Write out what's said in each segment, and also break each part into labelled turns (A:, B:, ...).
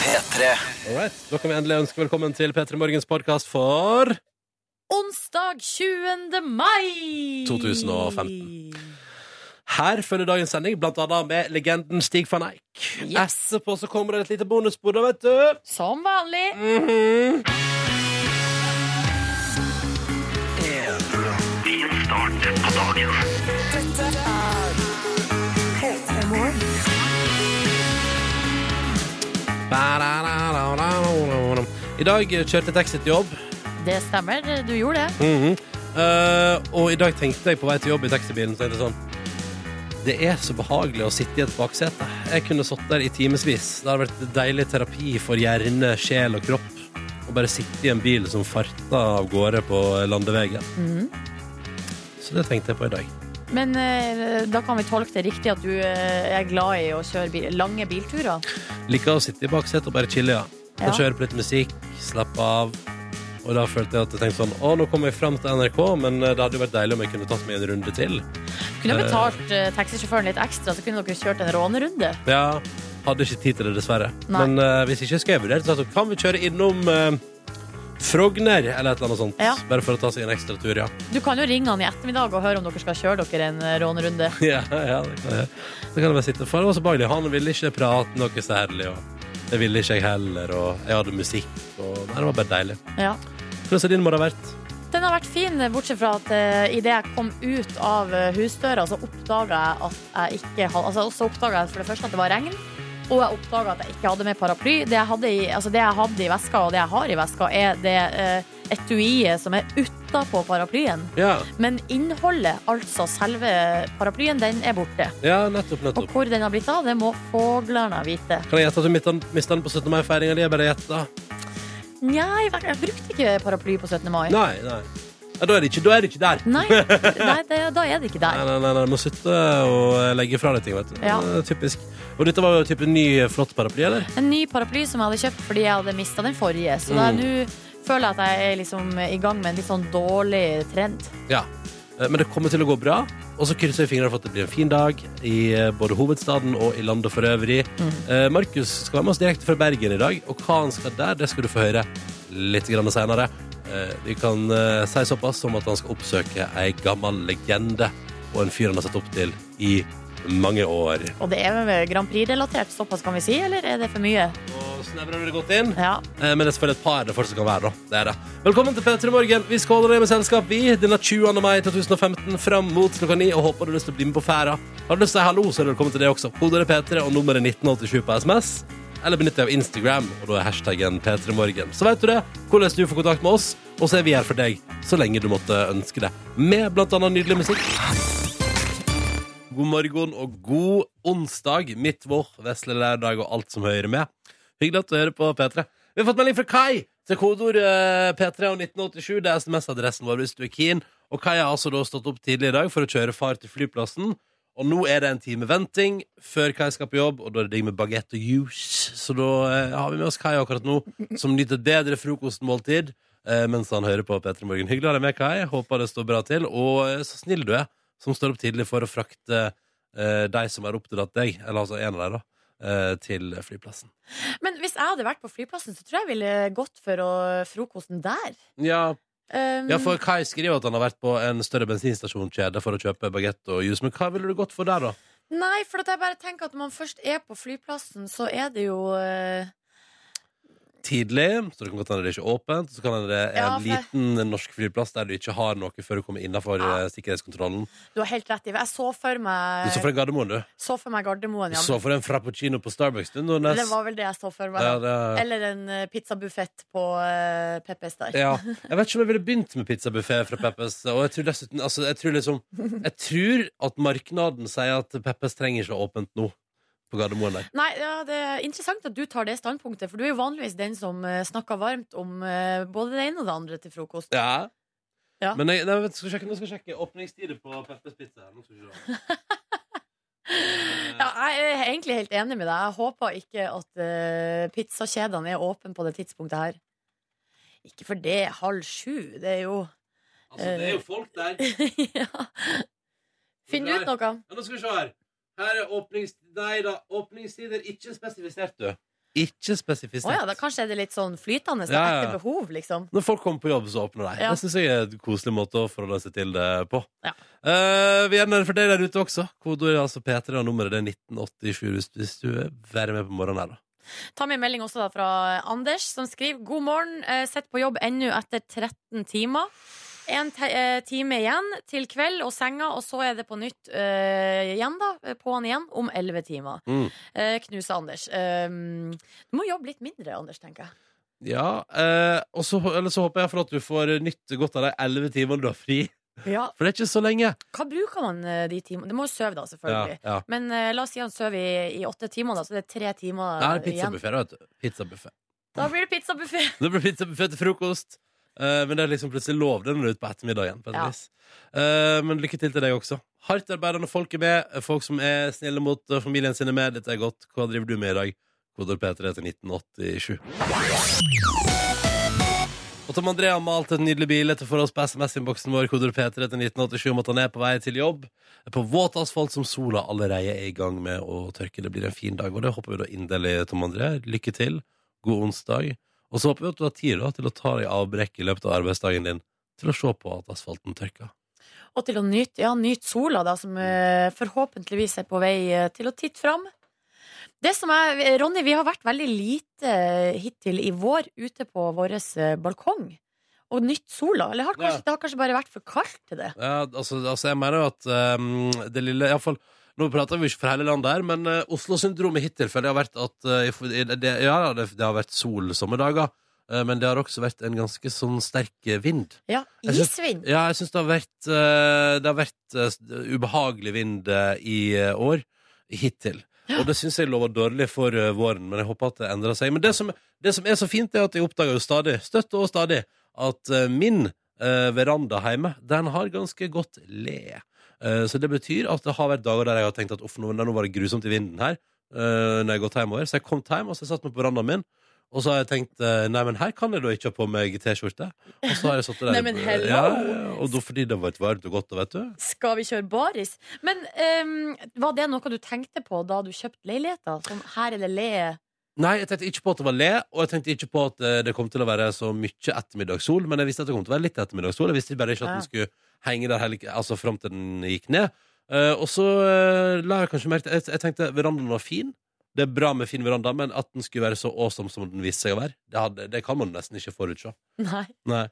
A: P3.
B: All right. Da kan vi endelig ønske velkommen til P3 Morgens podkast for
C: Onsdag 20. mai
B: 2015. Her følger dagens sending, blant annet med legenden Stig van Eijk.
C: Yes.
B: Etterpå så kommer det et lite bonusbord, da, vet du.
C: Som vanlig.
B: I dag kjørte jeg taxi til jobb.
C: Det stemmer, du gjorde det.
B: Mhm. Eh, og i dag tenkte jeg på vei til jobb i taxibilen så tenkte jeg sånn Det er så behagelig å sitte i et baksete. Jeg kunne sittet der i timevis. Det hadde vært deilig terapi for hjerne, sjel og kropp. Å bare sitte i en bil som farta av gårde på landeveien. Så det tenkte jeg på i dag.
C: Men eh, da kan vi tolke det riktig at du eh, er glad i å kjøre bil lange bilturer.
B: Liker å sitte i baksetet og bare chille, ja. Og
C: Ja.
B: kjøre på litt musikk, slappe av. Og da følte jeg at jeg tenkte sånn Å, nå kom jeg fram til NRK, men eh, det hadde jo vært deilig om jeg kunne tatt meg en runde til.
C: Kunne betalt eh, taxisjåføren litt ekstra, så kunne dere kjørt en rånerunde.
B: Ja, hadde ikke tid til det, dessverre.
C: Nei.
B: Men eh, hvis ikke skal jeg vurdere det. Altså, kan vi kjøre innom eh, Frogner eller et eller annet sånt?
C: Ja.
B: Bare for å ta seg en ekstra tur, ja.
C: Du kan jo ringe han i ettermiddag og høre om dere skal kjøre dere en eh, rånerunde.
B: ja, ja det kan jeg. Så kan jeg bare sitte For det var så behagelig. Han ville ikke prate noe særlig, og det ville ikke jeg heller, og jeg hadde musikk, og Nei, det var bare deilig.
C: Ja.
B: Hvordan har din morgen vært?
C: Den har vært fin, bortsett fra at uh, idet jeg kom ut av eh, husdøra, så oppdaga jeg at jeg ikke hadde altså, Så oppdaga jeg for det første at det var regn, og jeg oppdaga at jeg ikke hadde med paraply. Det jeg hadde i, altså, det jeg hadde i veska, og det jeg har i veska, er det eh, etuiet som er utapå paraplyen.
B: Ja,
C: Men innholdet, altså selve paraplyen, den er borte.
B: ja nettopp,
C: Og
B: nettopp.
C: hvor den har blitt av, det må fuglene vite.
B: Kan jeg gjette at du mista- mista den på 17. mai-feiringa di? Jeg bare gjetter.
C: Nei, jeg brukte ikke paraply på 17. mai.
B: Nei, nei. Ja, da er det ikke, da er det ikke der.
C: Nei, nei det, da er det ikke der.
B: Nei, nei, nei, nei, du må sitte og legge fra deg ting, vet du.
C: Ja.
B: Det er Typisk. Og dette var jo type ny, eh, flott paraply, eller?
C: En ny paraply som jeg hadde kjøpt fordi jeg hadde mista den forrige. Så da
B: Mm.
C: nå føler jeg at jeg er liksom i gang med en litt sånn dårlig trend.
B: Ja. Eh, Men det kommer til å gå bra. Og så krysser vi fingrene for at det blir en fin dag i eh, både hovedstaden og i landet for øvrig.
C: Mm.
B: Eh, Markus skal være med oss direkte fra Bergen i dag, og hva han skal der, det skal du få høre litt grann senere. Eh, Vi kan eh, si såpass som at han skal oppsøke ei gammel legende og en fyr han har sett opp til i mange år.
C: Og det er vel Grand Prix-relatert, såpass kan vi si, eller er det for mye?
B: Og snevrer du det godt inn?
C: Ja.
B: Eh, Men det er selvfølgelig et par det fortsatt kan være. da. Det er det. Velkommen til P3 Morgen. Vi skal holde deg med selskap vi denne 20. mai 2015 fram mot klokka ni. Og håper du har lyst til å bli med på ferda. Har du lyst til å si hallo, så er du velkommen til det også. Kodet er P3 og nummeret 1987 på SMS. Eller benytt deg av Instagram, og da er hashtaggen P3morgen. Så vet du det, hvordan du får kontakt med oss, og så er vi her for deg så lenge du måtte ønske det. Med blant annet nydelig musikk. God morgen og god onsdag, midt vår, vesle lørdag og alt som hører med. Hyggelig at du hører på P3. Vi har fått melding fra Kai til kodeord eh, P3 og 1987. Det er SMS-adressen vår hvis du er keen. Og Kai har altså da stått opp tidlig i dag for å kjøre far til flyplassen. Og nå er det en time venting før Kai skal på jobb, og da er det digg med bagett og juice. Så da eh, har vi med oss Kai akkurat nå, som nyter et bedre frokostmåltid eh, mens han hører på P3 Morgen. Hyggelig å ha deg med, Kai. Håper det står bra til. Og eh, så snill du er, som står opp tidlig for å frakte eh, de som har oppdratt deg, eller altså en av deg, da, eh, til flyplassen.
C: Men hvis jeg hadde vært på flyplassen, så tror jeg jeg ville gått for å, frokosten der.
B: Ja,
C: Um,
B: Ja, for Kai skriver at han har vært på en større bensinstasjonskjede for å kjøpe bagett og juice. Men hva ville du gått for der, da?
C: Nei, for at jeg bare tenker at når man først er på flyplassen, så er det jo eh,
B: Tidlig, så det kan godt hende det er ikke er åpent. Så kan hende det er en
C: Ja,
B: liten norsk flyplass der du ikke har noe før du kommer innafor
C: Ja. Eh,
B: eh, sikkerhetskontrollen.
C: Du har helt rett i Jeg så for meg,
B: Du så for deg Gardermoen, du.
C: så for meg Gardermoen,
B: Du
C: ja.
B: så for deg en frappuccino på Starbucks, du, Nordnes.
C: Det var vel det jeg så for meg.
B: ja,
C: da.
B: det...
C: Eller en eh, pizzabuffett på uh, Peppes der.
B: ja. Jeg vet ikke om jeg ville begynt med pizzabuffé fra Peppes. Og jeg tror dessuten altså, jeg, tror liksom, jeg tror at marknaden sier at Peppes trenger ikke å ha åpent nå på Gardermoen der.
C: Nei, ja, Det er interessant at du tar det standpunktet, for du er jo vanligvis den som eh, snakker varmt om eh, både det ene og det andre til frokost.
B: Ja.
C: Ja.
B: Men jeg, nei, vent, skal sjekke, nå skal jeg sjekke åpningstider på Peppers Pizza. her. Nå skal vi se.
C: Ja, jeg er egentlig helt enig med deg. Jeg håper ikke at eh, pizzakjedene er åpne på det tidspunktet her. Ikke for det, halv sju. Det er jo
B: Altså, det er jo folk der.
C: ja. Finn ut noe.
B: Ja, nå skal vi se her. Her er åpnings... Nei da, åpningstider ikke spesifisert, du. Ikke spesifisitet.
C: Å ja, da kanskje er det litt sånn flytende. da,
B: Ja, ja, ja.
C: Etter behov, liksom.
B: Når folk kommer på jobb, så åpner de.
C: Ja.
B: Det syns jeg er en koselig måte å forholde seg til det på.
C: Ja.
B: Eh, vi er nede for deg der ute også. Kodeordet er altså P3, og nummeret det er 1987 hvis- hvis du vil være med på morgenen her, da.
C: Ta med en melding også da fra Anders, som skriver God morgen, eh, sett på jobb ennå etter 13 timer. En te eh, time igjen til kveld og senga, og så er det på nytt eh, igjen, da. eh, På'n igjen om 11 timer.
B: Mm.
C: Eh, knuse Anders. Eh, du må jobbe litt mindre, Anders, tenker jeg.
B: Ja, eh, og så, eller så håper jeg for at du får nytte godt av de elleve timene du har fri.
C: Ja.
B: For det er ikke så lenge.
C: Hva bruker man eh, de timene? Du må jo sove, da,
B: Ja,
C: selvfølgelig.
B: ja.
C: Men eh, la oss si han sover i, i åtte timer, da, så det er tre timer
B: Det er
C: eh, igjen.
B: pizzabuffé, da, vet du. Pizzabuffé.
C: Da blir det pizzabuffé.
B: Det blir pizzabuffé til frokost. Eh, men det er liksom plutselig lov den ut på ettermiddagen. På et
C: Ja.
B: vis. Eh, men lykke til til deg også. Hardt arbeidende folk er med. eh, Folk som er snille mot eh, familien sin er med. Dette er godt. Hva driver du med i dag? Kodord P3 til 1987. Og Tom André har malt et nydelig bilde for oss på SMS-innboksen vår. Kodord P3 til 1987 om at han er på vei til jobb. På våt asfalt som sola allerede er i gang med å tørke. Det blir en fin dag, og det håper vi da inderlig, Tom André. Lykke til. God onsdag. Og så håper vi at du har tid da, til å ta deg avbrekk i løpet av arbeidsdagen din til å se på at asfalten tørker.
C: Og til å nyte, ja, nyte sola, da,
B: Mm.
C: som eh, forhåpentligvis er på vei eh, til å titte fram. Det som er, eh, Ronny, vi har vært veldig lite eh, hittil i vår ute på vår eh, balkong. Og nytt sola. Eller har kanskje,
B: Ja.
C: det har kanskje bare vært for kaldt til det.
B: Ja, altså, altså jeg mener jo at ehm, det lille, i hvert fall, nå prater vi ikke for hele landet her, men eh, Oslo-syndromet hittil føler jeg har vært at eh, i for- i det, ja, ja, det, det har vært sol sommerdager, eh, men det har også vært en ganske sånn sterk eh, vind.
C: Ja,
B: Jeg synes-
C: Isvind.
B: Ja, jeg syns det har vært, eh, det har vært eh, s- ubehagelig vind eh, i eh, år. Hittil. Og det syns jeg lover dårlig for eh, våren, men jeg håper at det endrer seg. Men det som, det som er så fint, er at jeg oppdager jo stadig, støtt og stadig, at eh, min eh, veranda hjemme, den har ganske godt le. Eh, så det betyr at det har vært dager der jeg har tenkt at uff, nå, nå var det grusomt i vinden her. eh, når jeg har gått hjemover. Så jeg kom hjem, og så satt meg på verandaen min. Og så har jeg tenkt eh, nei, men her kan jeg da ikke ha på meg T-skjorte. Og så har jeg satt det der
C: Nei, men hello!
B: Ja, ja, Og da fordi det var et varmt og godt, da, vet du.
C: Skal vi kjøre baris? Men eh, var det noe du tenkte på da du kjøpte leiligheta? Sånn her eller le?
B: Nei, jeg tenkte ikke på at det var le, og jeg tenkte ikke på at eh, det kom til å være så mye ettermiddagssol, men jeg visste at det kom til å være litt ettermiddagssol. Jeg visste bare ikke at den skulle henge der hele, altså fram til den gikk ned. Eh, og så eh, la jeg kanskje merke til jeg, jeg tenkte verandaen var fin. Det er bra med fin veranda, men at den skulle være så awesome som den viste seg å være, det, hadde, det kan man nesten ikke forutse.
C: Nei.
B: Nei.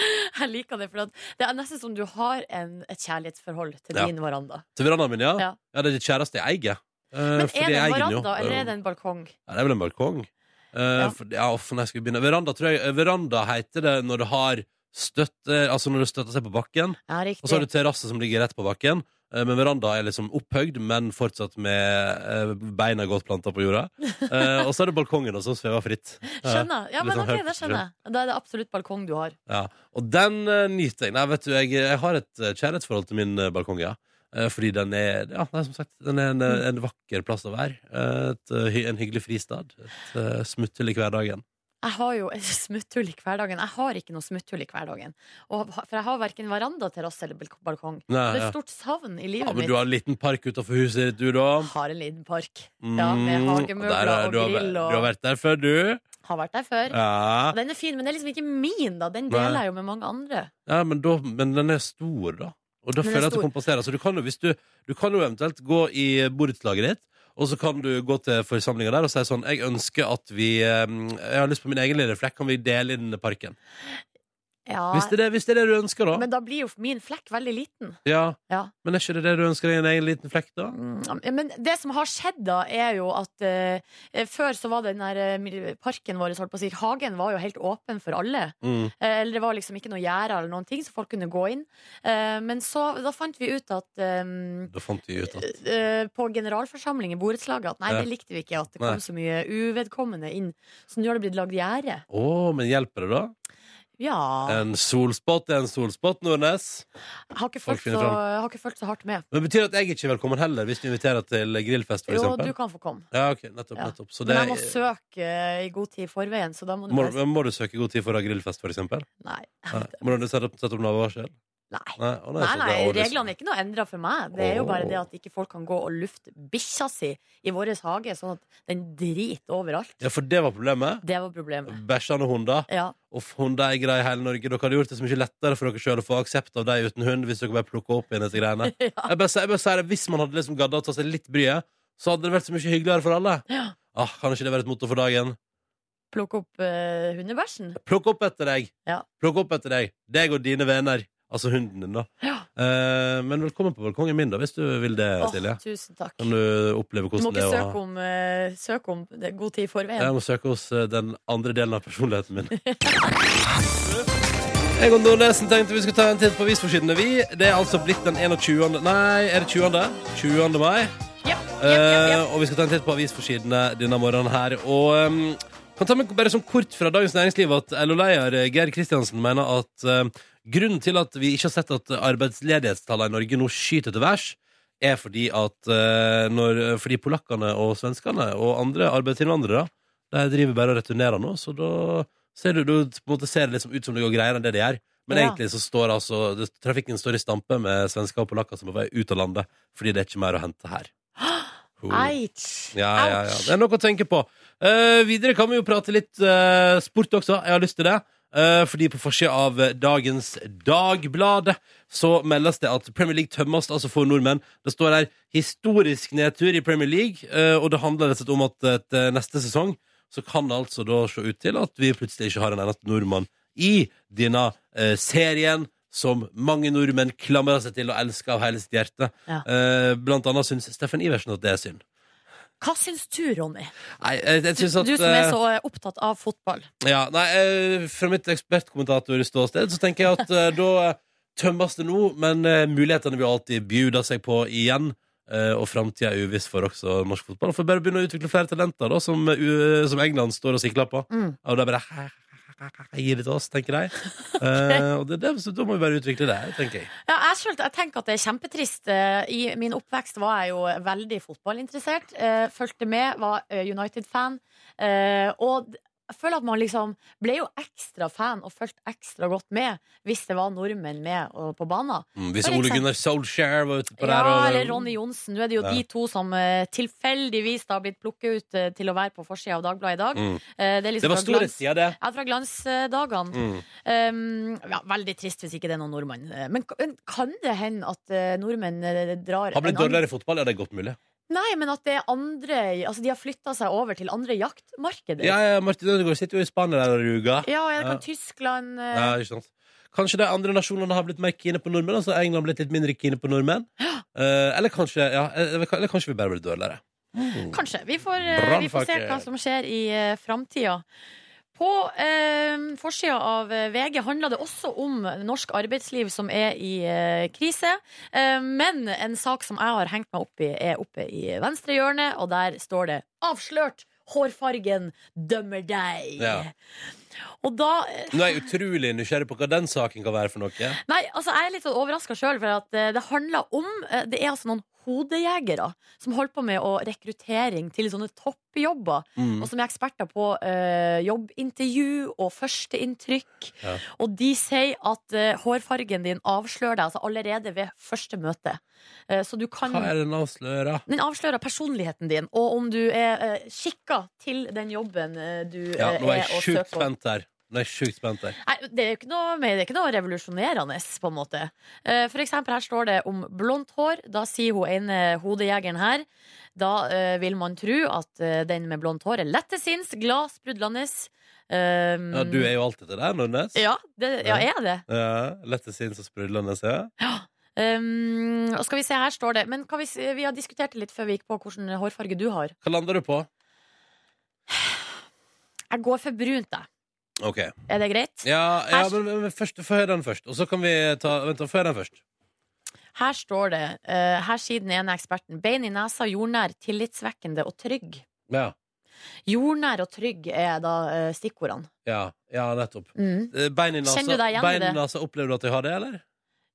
C: Jeg liker det, for at det er nesten som du har en, et kjærlighetsforhold til
B: Ja.
C: din veranda.
B: Til verandaen min, ja. ja.
C: Ja.
B: det er det kjæreste jeg eier. Eh,
C: Men
B: fordi
C: er det
B: jeg
C: en
B: eier den jo.
C: veranda, eller er det en balkong?
B: Ja, det er vel en balkong. Eh,
C: Ja.
B: for, ja, uff, nei, skal vi begynne? Veranda, tror jeg. eh, Veranda heter det når det har støtte, altså når det støtter seg på bakken.
C: Ja, riktig.
B: Og så har du terrasse som ligger rett på bakken. Eh, Men veranda er liksom opphøyd, men fortsatt med eh, beina godt planta på jorda. Eh, Og så er det balkongen da, som svever fritt. Ja.
C: Skjønner. Ja,
B: Litt
C: men
B: sånn
C: ok,
B: høyt,
C: det skjønner jeg. Da er det absolutt balkong du har.
B: Ja, og den eh, nyter jeg. Nei, vet du, jeg, jeg har et eh, kjærlighetsforhold til min eh, balkong, ja. Eh, fordi den er, ja, nei, som sagt, den er en, eh, en vakker plass å være. Eh, et, eh, hy- en hyggelig fristad. Et eh, smutthull i hverdagen.
C: Jeg har jo et smutthull i hverdagen. Jeg har ikke noe smutthull i hverdagen. Og, for jeg har verken veranda, terrasse eller balk- balkong. Det
B: Nei,
C: er et
B: ja.
C: stort savn i
B: ja,
C: livet
B: men
C: mitt.
B: du har en liten park utenfor huset ditt, du da.
C: Jeg har en liten park. Ja, med
B: Mm,
C: hagemøbler
B: der er-
C: og
B: du har,
C: grill og-
B: Du har vært der før, du.
C: Har vært der før.
B: Ja,
C: Den er fin, men det er liksom ikke min, da. Den
B: Nei.
C: deler jeg jo med mange andre.
B: ja men, da, men den er stor, da. Og da
C: Den er
B: føler jeg at det
C: stor.
B: kompenserer. Så du kan jo, hvis du, du kan jo eventuelt gå i borettslaget ditt, og så kan du gå til forsamlinga der og si sånn Jeg ønsker at vi eh, Jeg har lyst på min egen lille flekk. Kan vi dele inn parken?
C: Ja,
B: Hvis, det er det, hvis det er det du ønsker, da.
C: men da blir jo min flekk veldig liten.
B: ja.
C: Ja.
B: Men er ikke det det du ønsker deg? En egen liten flekk, da?
C: Mm, ja, Men det som har skjedd da, er jo at eh, eh, før så var den der eh, parken vår, holdt på å si, hagen var jo helt åpen for alle.
B: Mm.
C: Eh, Eller det var liksom ikke noe gjerde eller noen ting, så folk kunne gå inn. Eh, Men så, da fant vi ut at eh,
B: Da fant vi ut at
C: eh, på generalforsamling i borettslaget at nei,
B: Ja.
C: det likte vi ikke, at det
B: Nei.
C: kom så mye uvedkommende inn. Så nå har det blitt lagd gjerde.
B: Å, men hjelper det, da?
C: Ja.
B: En solspott er en solspott, Nordnes.
C: Jeg har ikke fulgt
B: folk finner
C: så,
B: fram.
C: jeg har ikke fulgt så hardt med.
B: Men det betyr at jeg ikke er velkommen heller hvis du inviterer til grillfest, for
C: Jo, du
B: eksempel?
C: kan få komme.
B: Ja, ok, nettopp,
C: Ja.
B: nettopp. Så det,
C: Men jeg må søke eh, i god tid i forveien, så da må du
B: må,
C: bare
B: må du søke god tid for å ha grillfest, for eksempel?
C: Nei.
B: Nei. Må du sette opp, sette opp en advarsel?
C: Nei.
B: Nei, å nei,
C: Nei,
B: så
C: nei,
B: bra, Ålesund.
C: reglene er ikke noe endra for meg. Det er jo bare det at ikke folk kan gå og lufte bikkja si i vår hage, sånn at den driter overalt.
B: Ja, for det var problemet.
C: Det var problemet.
B: Bæsjende hunder.
C: Ja.
B: Og hundeeiere i hele Norge. Dere hadde gjort det så mye lettere for dere selv å få aksept av deg uten hund hvis dere bare plukka opp igjen disse greiene. Jeg bare, sier- jeg bare sier det, Hvis man hadde liksom gadda å ta seg litt bryet, så hadde det vært så mye hyggeligere for alle.
C: Ja.
B: Ah, kan ikke det være et motto for dagen?
C: Plukke opp eh, hundebæsjen.
B: Plukk opp etter deg.
C: Ja.
B: Plukk opp etter deg. Deg og dine venner. Altså hunden din, da.
C: Ja.
B: Eh, men velkommen på balkongen min, da, hvis du vil det,
C: Åh,
B: Silje.
C: tusen takk.
B: Kan
C: Du
B: du oppleve
C: må
B: hvordan det
C: ikke
B: er å ha
C: søke om, eh, søke om det god tid i
B: Jeg
C: forveien.
B: må søke hos eh, den andre delen av personligheten min. Egon Nordnesen tenkte vi skulle ta en titt på avisforsidene. Vi, det er altså blitt den 21. Nei, er det 20.? 20. mai.
C: Ja, ja, ja, ja.
B: Eh, og vi skal ta en titt på avisforsidene denne morgenen her. Og em, kan ta med bare som kort fra Dagens Næringsliv at LO-leder Geir Kristiansen mener at eh, grunnen til at vi ikke har sett at arbeidsledighetstallene i Norge nå skyter til værs, er fordi at eh, når, fordi polakkene og svenskene og andre arbeidsinnvandrere de driver bare og returnerer nå, så da ser du, du på en måte ser det liksom ut som det går greiere enn det det gjør. Men
C: Ja.
B: egentlig så står altså det, trafikken står i stampe med svensker og polakker som er på vei ut av landet fordi det er ikke mer å hente her. Ho.
C: Eits.
B: oh. Ja, ja, ja.
C: Ouch.
B: Det er noe å tenke på. Eh, videre kan vi jo prate litt eh, sport også. Jeg har lyst til det. Eh, fordi på forsida av eh, dagens Dagbladet så meldes det at Premier League tømmes altså for nordmenn. Det står her 'historisk nedtur i Premier League', eh, og det handler rett og slett om at eh, til neste sesong så kan det altså da se ut til at vi plutselig ikke har en eneste nordmann i denne eh, serien som mange nordmenn klamrer seg til og elsker av hele sitt hjerte.
C: Ja.
B: Eh, blant annet syns Steffen Iversen at det er synd.
C: Hva syns du, Ronny?
B: Nei, jeg, jeg
C: Du,
B: synes at
C: du som er
B: eh,
C: så eh, opptatt av fotball.
B: ja, nei, eh, Fra mitt ekspertkommentatorståsted så tenker jeg at eh, da tømmes det nå, men eh, mulighetene vil alltid bjuda seg på igjen. eh, og framtida er uviss for også norsk fotball. For bare begynne å utvikle flere talenter, da, som, eh, u- som England står og sikler på.
C: Mm.
B: Og da bare Gi det til oss, tenker jeg. Eh, og det, er det, så da må vi bare utvikle det, tenker jeg.
C: Ja, jeg, skjønte, jeg tenker at det er kjempetrist. Eh, I min oppvekst var jeg jo veldig fotballinteressert. eh, Fulgte med, var eh, United-fan. eh, Og d- jeg føler at man liksom ble jo ekstra fan og fulgte ekstra godt med hvis det var nordmenn med og på banen.
B: Mm, hvis
C: For
B: Ole
C: eksempel-
B: Gunnar Solskjær var ute
C: Ja,
B: på der og
C: eller Ronny Johnsen. Nå er det jo
B: Ja.
C: de to som eh, tilfeldigvis da har blitt plukket ut eh, til å være på forsida av Dagbladet i dag.
B: Mm.
C: Eh, Det, er liksom
B: Det var
C: fra glans-
B: storhetstida, det.
C: Ja, fra glansdagene.
B: Mm.
C: Um, ja, veldig trist hvis ikke det er noen nordmann. Eh, Men k- men kan det hende at eh, nordmenn eh, drar
B: Har blitt
C: en annen-
B: dårligere i fotball, ja, det er godt mulig.
C: Nei, men at det er andre Altså, de har flytta seg over til andre jaktmarkeder.
B: Ja, ja, Martin Ødegaard sitter jo i Spania der og ruger.
C: Ja, er det
B: Ja.
C: kan Tyskland eh,
B: Ja, ikke sant Kanskje de andre nasjonene har blitt mer kine på nordmenn? Altså England har blitt litt mindre kine på nordmenn? Eh, eller, kanskje, ja, eller, eller kanskje vi bare blir dårligere? Mm.
C: Kanskje. Vi får, eh, vi får se
B: Brannfakker.
C: hva som skjer i uh, framtida. På eh, forsida av eh, VG handler det også om norsk arbeidsliv som er i eh, krise. Eh, men en sak som jeg har hengt meg opp i, er oppe i venstre hjørne, og der står det 'Avslørt! Hårfargen dømmer deg'.
B: Ja.
C: Og da eh,
B: Nå er jeg utrolig nysgjerrig på hva den saken kan være for noe.
C: Nei, altså jeg er litt sånn overraska sjøl, for at eh, det handler om eh, Det er altså noen hodejegere som holder på med å rekruttering til sånne toppjobber.
B: Mm.
C: Og som er eksperter på eh, jobbintervju og førsteinntrykk.
B: Ja.
C: Og de sier at eh, hårfargen din avslører deg altså allerede ved første møte. Eh, så du kan
B: Hva er den avsløra?
C: Den avslører personligheten din, og om du er uh, skikka til den jobben eh, du
B: Ja,
C: eh,
B: nå er
C: er
B: jeg
C: og søker
B: sjukt
C: på.
B: spent her. Nå er jeg sjukt spent her.
C: Nei, det er jo ikke noe, mer- det er ikke noe revolusjonerende, på en måte. Eh, For eksempel her står det om blondt hår. Da sier hun ene hodejegeren her Da eh, vil man tro at eh, den med blondt hår er lett til sinns, glad, sprudlende. Um,
B: Ja, du er jo alltid til der, Nordnes.
C: ja, det, ja, jeg er det.
B: Ja, lett til sinns og sprudlende, ser jeg.
C: Um, og skal vi se, her står det Men hva hvis, vi har diskutert det litt før vi gikk på hvilken hårfarge du har.
B: Hva lander du på?
C: Jeg går for brunt, jeg.
B: OK.
C: Er det greit?
B: Ja, ja
C: Her-
B: men, men, men først, få høre den først. Og så kan vi ta Vent, da, få høre den først.
C: Her står det, eh, her sier den ene eksperten, bein i nesa, jordnær, tillitsvekkende og trygg.
B: Ja.
C: Jordnær og trygg er da eh, stikkordene.
B: Ja, ja nettopp.
C: Mm.
B: Eh, Bein i nasa.
C: Kjenner du deg igjen i
B: Bein i
C: det?
B: nasa, opplever du at jeg har det, eller?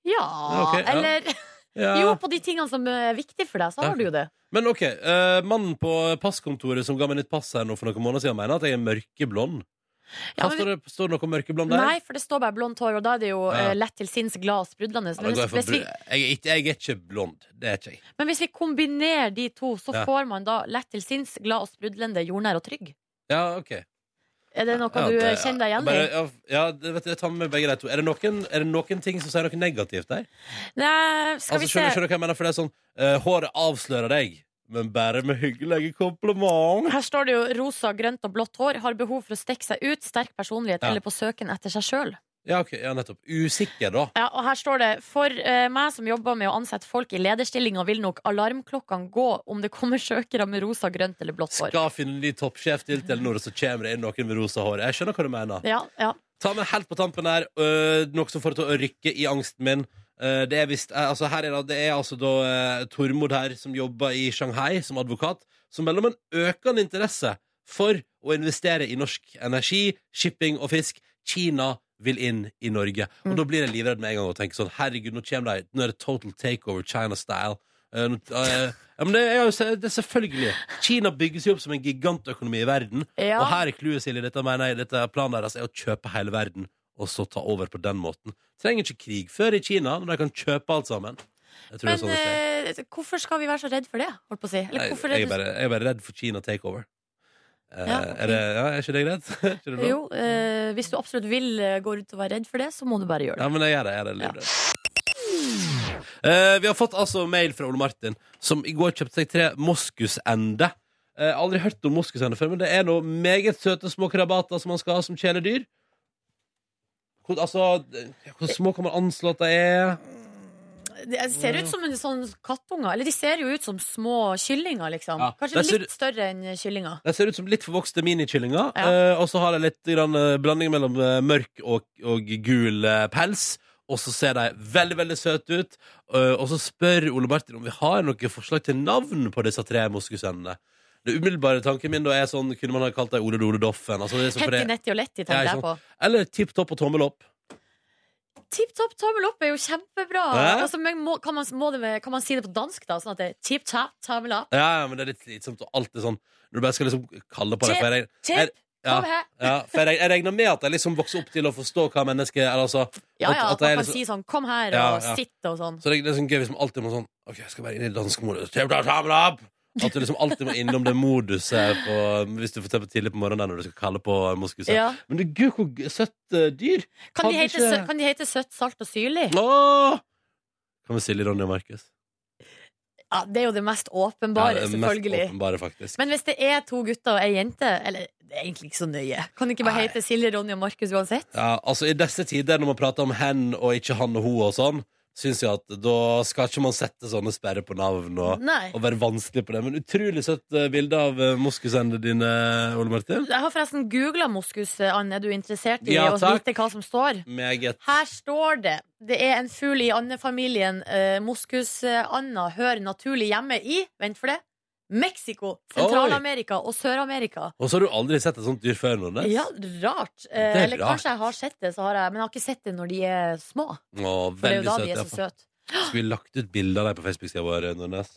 C: Ja,
B: ok, ja.
C: eller
B: Ja.
C: Jo, på de tingene som er viktige for deg, så
B: Ja.
C: har du jo det.
B: Men ok, eh, mannen på passkontoret som ga meg nytt pass her nå for noen måneder siden, mener at jeg er mørkeblond.
C: Ja,
B: Hva
C: men-
B: står, det, står det noe mørkeblond der?
C: Nei, for det står bare blondt hår, og da er det jo
B: Ja.
C: eh, lett til sinns, glad og sprudlende.
B: Ja, da
C: Men,
B: går jeg, for
C: hvis vi,
B: bru- jeg, er ikke, jeg er ikke blond. Det er ikke jeg.
C: men hvis vi kombinerer de to, så
B: Ja.
C: får man da lett til sinns, glad og sprudlende, jordnær og trygg.
B: Ja, ok.
C: Er det noe
B: Ja,
C: du
B: det-
C: kjenner deg igjen i?
B: bare- Ja, ja det, vet du, jeg tar med begge de to. Er det noen, er det noen ting som sier noe negativt der?
C: Nei, skal
B: Altså,
C: vi se.
B: skjønner, skjønner du hva jeg mener? For det er sånn eh, Håret avslører deg, men bare med hyggelige komplimenter.
C: Her står det jo rosa, grønt og blått hår. Har behov for å stikke seg ut, sterk personlighet
B: Ja.
C: eller på søken etter seg sjøl.
B: Ja, ok, ja, nettopp. Usikker, da.
C: Ja, og her står det For eh, meg som jobber med å ansette folk i lederstillinger, vil nok alarmklokkene gå om det kommer søkere med rosa, grønt eller blått hår.
B: Skal finne en ny toppsjef til Telenor, og så kommer det inn noen med rosa hår. Jeg skjønner hva du mener.
C: Ja, ja.
B: Ta med helt på tampen her, øh, noe som får det til å rykke i angsten min. Øh, det, er visst, eh, altså her er da, det er altså da eh, Tormod her, som jobber i Shanghai som advokat, som melder om en økende interesse for å investere i norsk energi, shipping og fisk. Kina vil inn i Norge. Og
C: Mm.
B: da blir jeg livredd med en gang og tenker sånn Herregud, nå kommer de. Nå er det total takeover China-style. Eh, nå- eh, ja, men det er jo se- det er selvfølgelig. Kina bygges jo opp som en gigantøkonomi i verden.
C: ja.
B: Og her er clouet, Silje. Dette mener jeg, dette planen deres er å kjøpe hele verden og så ta over på den måten. Trenger ikke krigføre i Kina når de kan kjøpe alt sammen. Jeg tror
C: Men
B: det er sånn det skjer.
C: eh, hvorfor skal vi være så redd for det? Holdt på å si. Eller
B: Nei,
C: hvorfor
B: jeg,
C: er
B: er
C: det
B: bare, jeg er bare redd for Kina takeover. Eh,
C: Ja, ok.
B: er, det, ja, er ikke det greit? Er ikke det bra?
C: Jo, eh, hvis du absolutt vil eh, gå rundt og være redd for det, så må du bare gjøre det.
B: Ja, men jeg er det. Jeg er det livredd. Eh, vi har fått altså mail fra Ole Martin, som i går kjøpte seg tre moskusender. Eh, aldri hørt om moskusender før, men det er noen meget søte små krabater som man skal ha som kjæledyr. Hvor, altså, eh, hvor små kan man anslå at de er?
C: De ser ut som en sånn kattunger. Eller de ser jo ut som små kyllinger, liksom.
B: Ja,
C: Kanskje
B: der ser
C: litt større enn kyllinger.
B: De ser ut som litt forvokste minikyllinger.
C: Ja.
B: eh, og så har de litt grann, eh, blanding mellom eh, mørk og, og gul eh, pels. Og så ser de veldig veldig søte ut. Eh, og så spør Ole Martin om vi har noen forslag til navn på disse tre moskusendene. Det umiddelbare tanken min da er sånn Kunne man ha kalt dem Ole Dole Doffen? Altså, det er sånn for
C: Hetty,
B: det-
C: Netty og Letty
B: Ja,
C: tenkte
B: ikke
C: jeg på.
B: Eller Tipp Topp og Tommel Opp.
C: Tipp topp, tommel opp er jo kjempebra.
B: Hæ?
C: Altså, men må, kan, man, må det, kan man si det på dansk, da? Sånn at det er tipp tapp, tommel opp.
B: Ja, ja, men det er litt slitsomt og alltid sånn når du bare skal liksom kalle på det.
C: Tipp,
B: For jeg,
C: Tipp,
B: ja,
C: kom her.
B: ja, for jeg, jeg regner med at jeg liksom vokser opp til å forstå hva mennesket er. Altså,
C: Ja
B: at-
C: ja,
B: at
C: at
B: det
C: man
B: er
C: kan
B: liksom-
C: si sånn kom her
B: Ja,
C: og
B: ja.
C: sitt og sånn.
B: Så det, det er sånn gøy hvis man alltid må sånn Ok, jeg skal bare inn i dansk modus Tipp, topp, tommel opp! At du liksom alltid må innom det moduset på, Hvis du for eksempel tidlig på morgenen Når du skal kalle på moskuset
C: Ja.
B: Men du, gud, hvor g- søtt eh, dyr
C: Kan, de
B: Hadde
C: hete,
B: ikke-
C: sø- kan de hete søtt, salt og syrlig?
B: Åh! Hva med Silje, Ronny og Markus?
C: Ja, det er jo det mest
B: Ja,
C: åpenbare,
B: det er
C: selvfølgelig.
B: Mest åpenbare faktisk
C: Men hvis det er to gutter og ei jente Eller det er egentlig ikke så nøye. Kan det ikke bare
B: Nei.
C: hete Silje, Ronny og Markus uansett?
B: Ja, altså i disse tider når man prater om hen Og ikke han og ho og sånn Synes jeg at da skal ikke man sette sånne sperre på navn Og,
C: Nei.
B: og være vanskelig på det Men utrolig søtt eh, bilde av eh, moskusene dine, Ole Martin
C: Jeg har forresten googla moskus, Anne. Er du interessert i
B: Ja,
C: å
B: takk.
C: vite hva som står?
B: Meget
C: Her står det Det er en fugl i andefamilien eh, moskusanda hører naturlig hjemme i Vent for det Mexico, Sentral-Amerika og Sør-Amerika.
B: Og så har du aldri sett et sånt dyr før, Nordnes
C: Ja, rart. Eh,
B: Det er
C: Eller
B: rart.
C: kanskje jeg har sett det, så har jeg, men jeg har ikke sett det når de er små.
B: Å,
C: For det er jo
B: veldig
C: da
B: søt,
C: de er
B: ja,
C: så
B: faen.
C: søte.
B: Skulle vi lagt ut bilder av deg på Facebook-sida vår, Nordnes?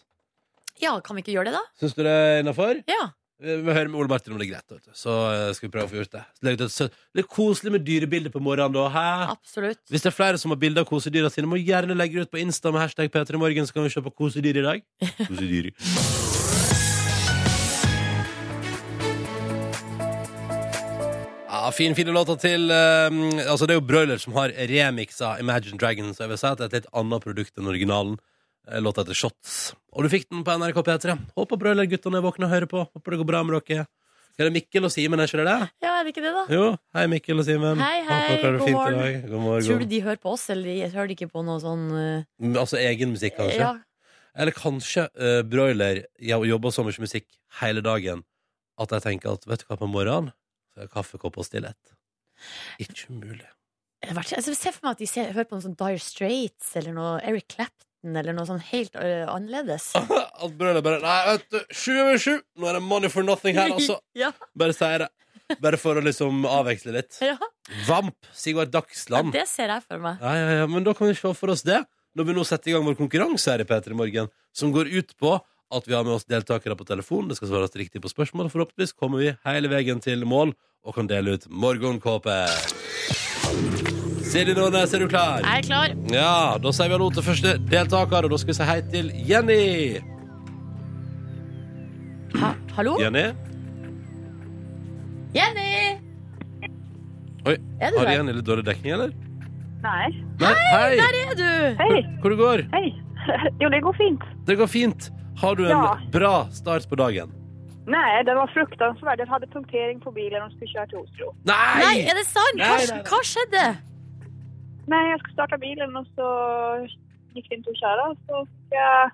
C: Ja, kan vi ikke gjøre det, da?
B: Syns du det er innafor?
C: Ja.
B: Vi vi hører med Ole Martin om det er greit. Vet du. Så eh, skal vi prøve å få gjort det. Så legg ut et søtt- Litt koselig med dyrebilder på morgenen, da. Hæ?
C: Absolutt.
B: Hvis det er flere som har bilder av kosedyra sine, må gjerne legge det ut på Insta med hashtag P3morgen, så kan vi se på kosedyr i dag. Kosedyr. Ja, fin, fine låter til eh, Altså, det er jo Broiler som har remixa Imagine Dragons, så jeg vil si at det er et litt annet produkt enn originalen. Eh, Låta heter Shots. Og du fikk den på NRK P3. Håper Broiler-guttene er våkne og hører på. Håper det går bra med dere. Er det Mikkel og Simen, er ikke det det?
C: Ja, er det ikke det, da?
B: Jo. Hei, Mikkel og Simen.
C: Hei, hei,
B: Håper dere har det
C: god
B: fint i
C: morgen.
B: dag. God morgen.
C: Tror du de hører på oss, eller de hører de ikke på noe sånn eh,
B: Altså egen musikk, kanskje?
C: Ja.
B: Eller kanskje eh, broiler jeg jobber så mye musikk hele dagen at jeg tenker at vet du hva, på morgenen så er det kaffekopp og stillhet. Ikke umulig.
C: Jeg vet ikke, altså, Se for meg at de ser, hører på noe sånn Dire Straits eller noe Eric Clapton eller noe sånn helt eh, annerledes.
B: At broiler bare Nei, vet du, sju over sju! Nå er det money for nothing her, altså.
C: ja,
B: Bare sier det. Bare for å liksom avveksle litt.
C: ja.
B: Vamp! Sigvard Dagsland.
C: Det ser jeg for meg.
B: Ja, ja, ja, men da kan vi se for oss det Når vi nå setter i gang vår konkurranse her i P3 Morgen Som går ut på at vi har med oss deltakere på telefon Det skal svares riktig på spørsmål Og forhåpentligvis kommer vi hele veien til mål og kan dele ut morgenkåpe. Silje Nordnes, er du klar?
C: Jeg er klar.
B: Ja, da sier vi hallo til første deltaker, og da skal vi si hei til Jenny.
C: Ha, hallo?
B: Jenny?
C: Jenny!
B: Oi,
C: Er du
B: har
C: der?
B: Jenny litt dårlig dekning, eller?
A: Nei.
B: Nei, hei!
C: Der er du!
A: Hei.
B: Hvor- Hvor det går?
A: Hei. Jo, det går fint.
B: Det går fint. Har du en
A: Ja.
B: bra start på dagen?
A: Nei, det var fruktansvärt. Den hade punktering på bilen och de skulle köra till Oslo.
B: Nei!
C: Nei, er det sant?
B: Nei, nei,
C: Hva,
B: nei.
C: hva skjedde?
A: Nej, jag skulle starta bilen och så gick det inte att köra. Så ska jag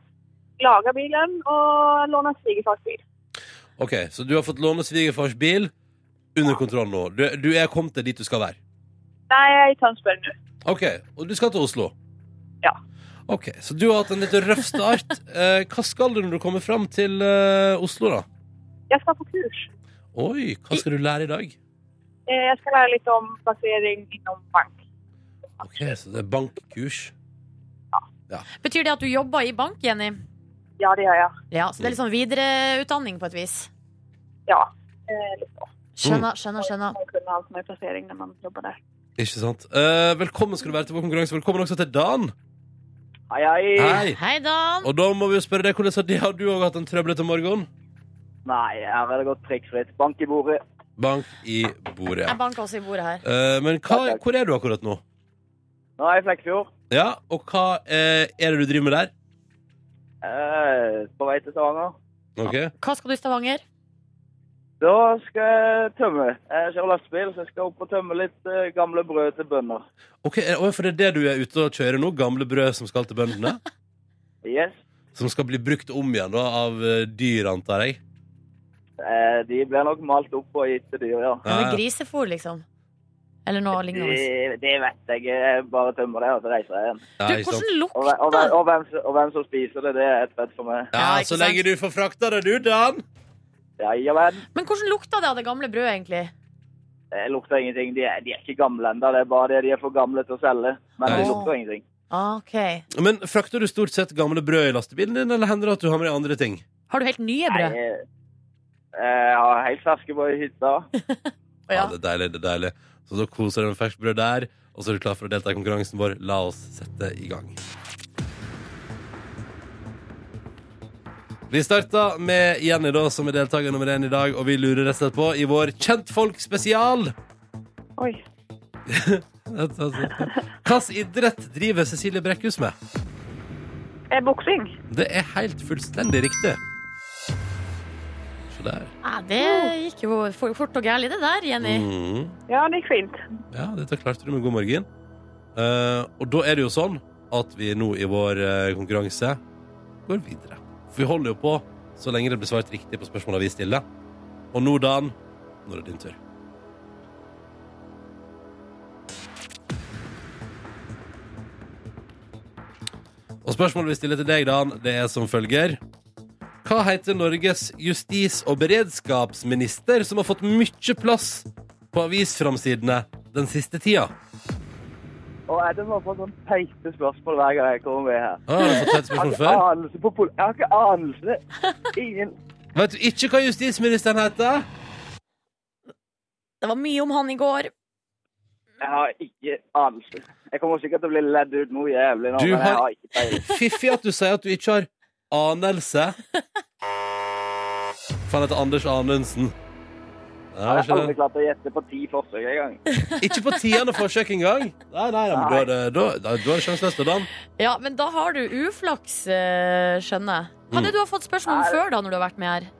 A: laga bilen och låna svigerfars bil.
B: Ok, så du har fått låne svigerfars bil under kontroll nå. Du, du er kommet til dit du skal være.
A: Nej, jag är i Tönsberg nu.
B: Ok, og du skal til Oslo?
A: Ja.
B: Ok, så du har hatt en litt røff start. Eh, hva skal du når du kommer fram til eh, Oslo, da?
A: Jag ska på kurs.
B: Oi, hva skal du lære i dag?
A: Eh, Jag ska lära lite om placering inom bank.
B: Ok, så det er bankkurs.
C: Betyr det at du jobber i bank, Jenny?
A: Ja, det gör jag.
C: Ja, så det er litt sånn videreutdanning på et vis.
A: Ja. Eh, lite så.
B: Mm.
C: Skjønner, skjønner, skjønner.
A: Man kunde allt med placering när man jobbar där.
B: Ikke sant? Eh, velkommen skal du være til vår konkurranse. Velkommen også til Dan.
A: Aj, aj.
B: Hei.
C: Hei, Dan.
B: Og da må vi jo spørre deg, hvordan har de- har du òg hatt en trøblete morgen?
D: Nei, her er det gått prikkfritt. Bank i bordet.
B: Bank i bordet.
C: Jeg banker også i bordet her.
B: Eh, men hva, hvor er du akkurat nå?
D: Nå er jeg i Flekkefjord.
B: Ja, og hva eh, er det du driver med der?
D: Eh, på vei til Stavanger.
B: Ok,
C: Hva skal du i Stavanger?
D: Da skal jeg tømme. Jeg kjører lastebil, så jeg skal opp og tømme litt eh, gamle brød til bønder.
B: Ok, eh, oi, for det er det du er ute og kjører nå? Gamle brød som skal til bøndene?
D: Yes.
B: Som skal bli brukt om igjen da, av eh, dyr, antar jeg?
D: Eh, de blir nok malt opp og gitt til dyr, ja.
C: Ja,
B: Ja,
C: men
B: ja.
C: Grisefôr, liksom? Eller noe
D: De,
C: lignende.
D: de vet jeg. Jeg bare tømmer det, og så reiser jeg igjen.
B: Ja,
C: Du,
B: ikke sant?
C: hvordan
D: Og, hve- og, hve-
C: lukter
D: og, hvem, som- og hvem som spiser det, det er et fett for meg.
B: Ja,
C: Ja, ikke
B: så lenge
C: sant?
B: du får frakta det, du, Dan.
D: Ja, ja vel.
C: Men hvordan lukta det av det gamle brødet, egentlig?
D: Det lukter ingenting. De er, de er ikke gamle ennå. Det er bare det de er for gamle til å selge. Men
B: Nei.
D: det lukter ingenting.
C: Ah, OK.
B: Men frakter du stort sett gamle brød i lastebilen din, eller hender det at du har med deg andre ting?
C: Har du helt nye brød?
D: Nei, eh, Jeg har helt ferske på hytta.
C: Å, ja.
B: Ja, det er deilig, det er deilig. Så da koser du deg med ferskt brød der, og så er du klar for å delta i konkurransen vår. La oss sette i gang. Vi starter med Jenny, da, som er deltaker nummer én i dag, og vi lurer rett og slett på i vår Kjentfolk-spesial.
A: Oj.
B: Hvilken idrett driver Cecilie Brekkhus med?
A: Eh, boxing.
B: Det er helt fullstendig riktig. Se der.
C: Ja, det gikk jo for- fort og gærent, det der, Jenny.
B: Mhm.
A: Ja, det gick fint.
B: Ja, dette klarte du med god morgen. Eh, og da er det jo sånn at vi nå i vår eh, konkurranse går videre. For vi holder jo på så lenge det blir svart riktig på spørsmåla vi stiller. Og nå, Dan, nå er det din tur. Og spørsmålet vi stiller til deg, Dan, det er som følger. Hva heter Norges justis- og beredskapsminister som har fått mye plass på avisframsidene den siste tida?
D: Og er det bare for sånn teite spørsmål hver gang jeg kommer med her?
B: Ah, har du
D: Jeg
B: fått et
D: har
B: spørsmål
D: ikke
B: før?
D: anelse på pol... Jeg har ikke anelse. Ingen
B: Vet du ikke hva justisministeren heter?
C: Det var mye om han i går.
D: Jeg har ikke anelse. Jeg kommer sikkert til å bli ledd ut noe jævlig nå,
B: Du
D: men
B: har-
D: jeg har ikke peiling.
B: Fiffig at du sier at du ikke har anelse. For han heter Anders Anundsen. Ja,
D: Jeg har
B: skjønner.
D: aldri klart å gjette på ti forsøk engang.
B: Ikke på tiende forsøk engang. Nei, nei, nei, men da er det, da, da, da er det sjanseløst, da, Dan.
C: Ja, men da har du uflaks, eh, skjønner jeg. Hva er det du har fått spørsmål om
D: Nei, det-
C: før, da, når du har vært med her?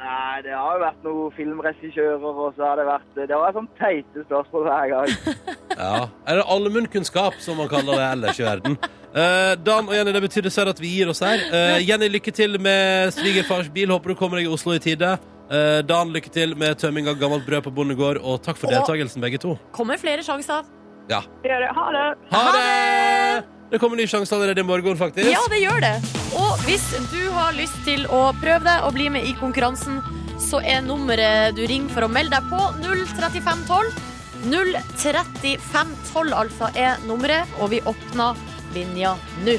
D: Nei, det har jo vært noen filmregissører, og så har det vært Det var sånn teite spørsmål hver gang.
B: Ja. Eller allmunnkunnskap, som man kaller det ellers i verden. Eh, Dan og Jenny, det betyr dessverre at vi gir oss her. Eh, Jenny, lykke til med svigerfars bil. Håper du kommer deg i Oslo i tide. Eh, Dan, lykke til med tømming av gammelt brød på bondegård, og takk for
C: Og-
B: deltakelsen, begge to.
C: Kommer flere sjanser.
A: Det gör det. Ha det!
B: Ha det! Det kommer ny sjanse allerede i morgen, faktisk.
C: Ja, det gjør det. Og hvis du har lyst til å prøve det og bli med i konkurransen, så er nummeret du ringer for å melde deg på, 03512. 03512 altså er nummeret, og vi åpner linja nå.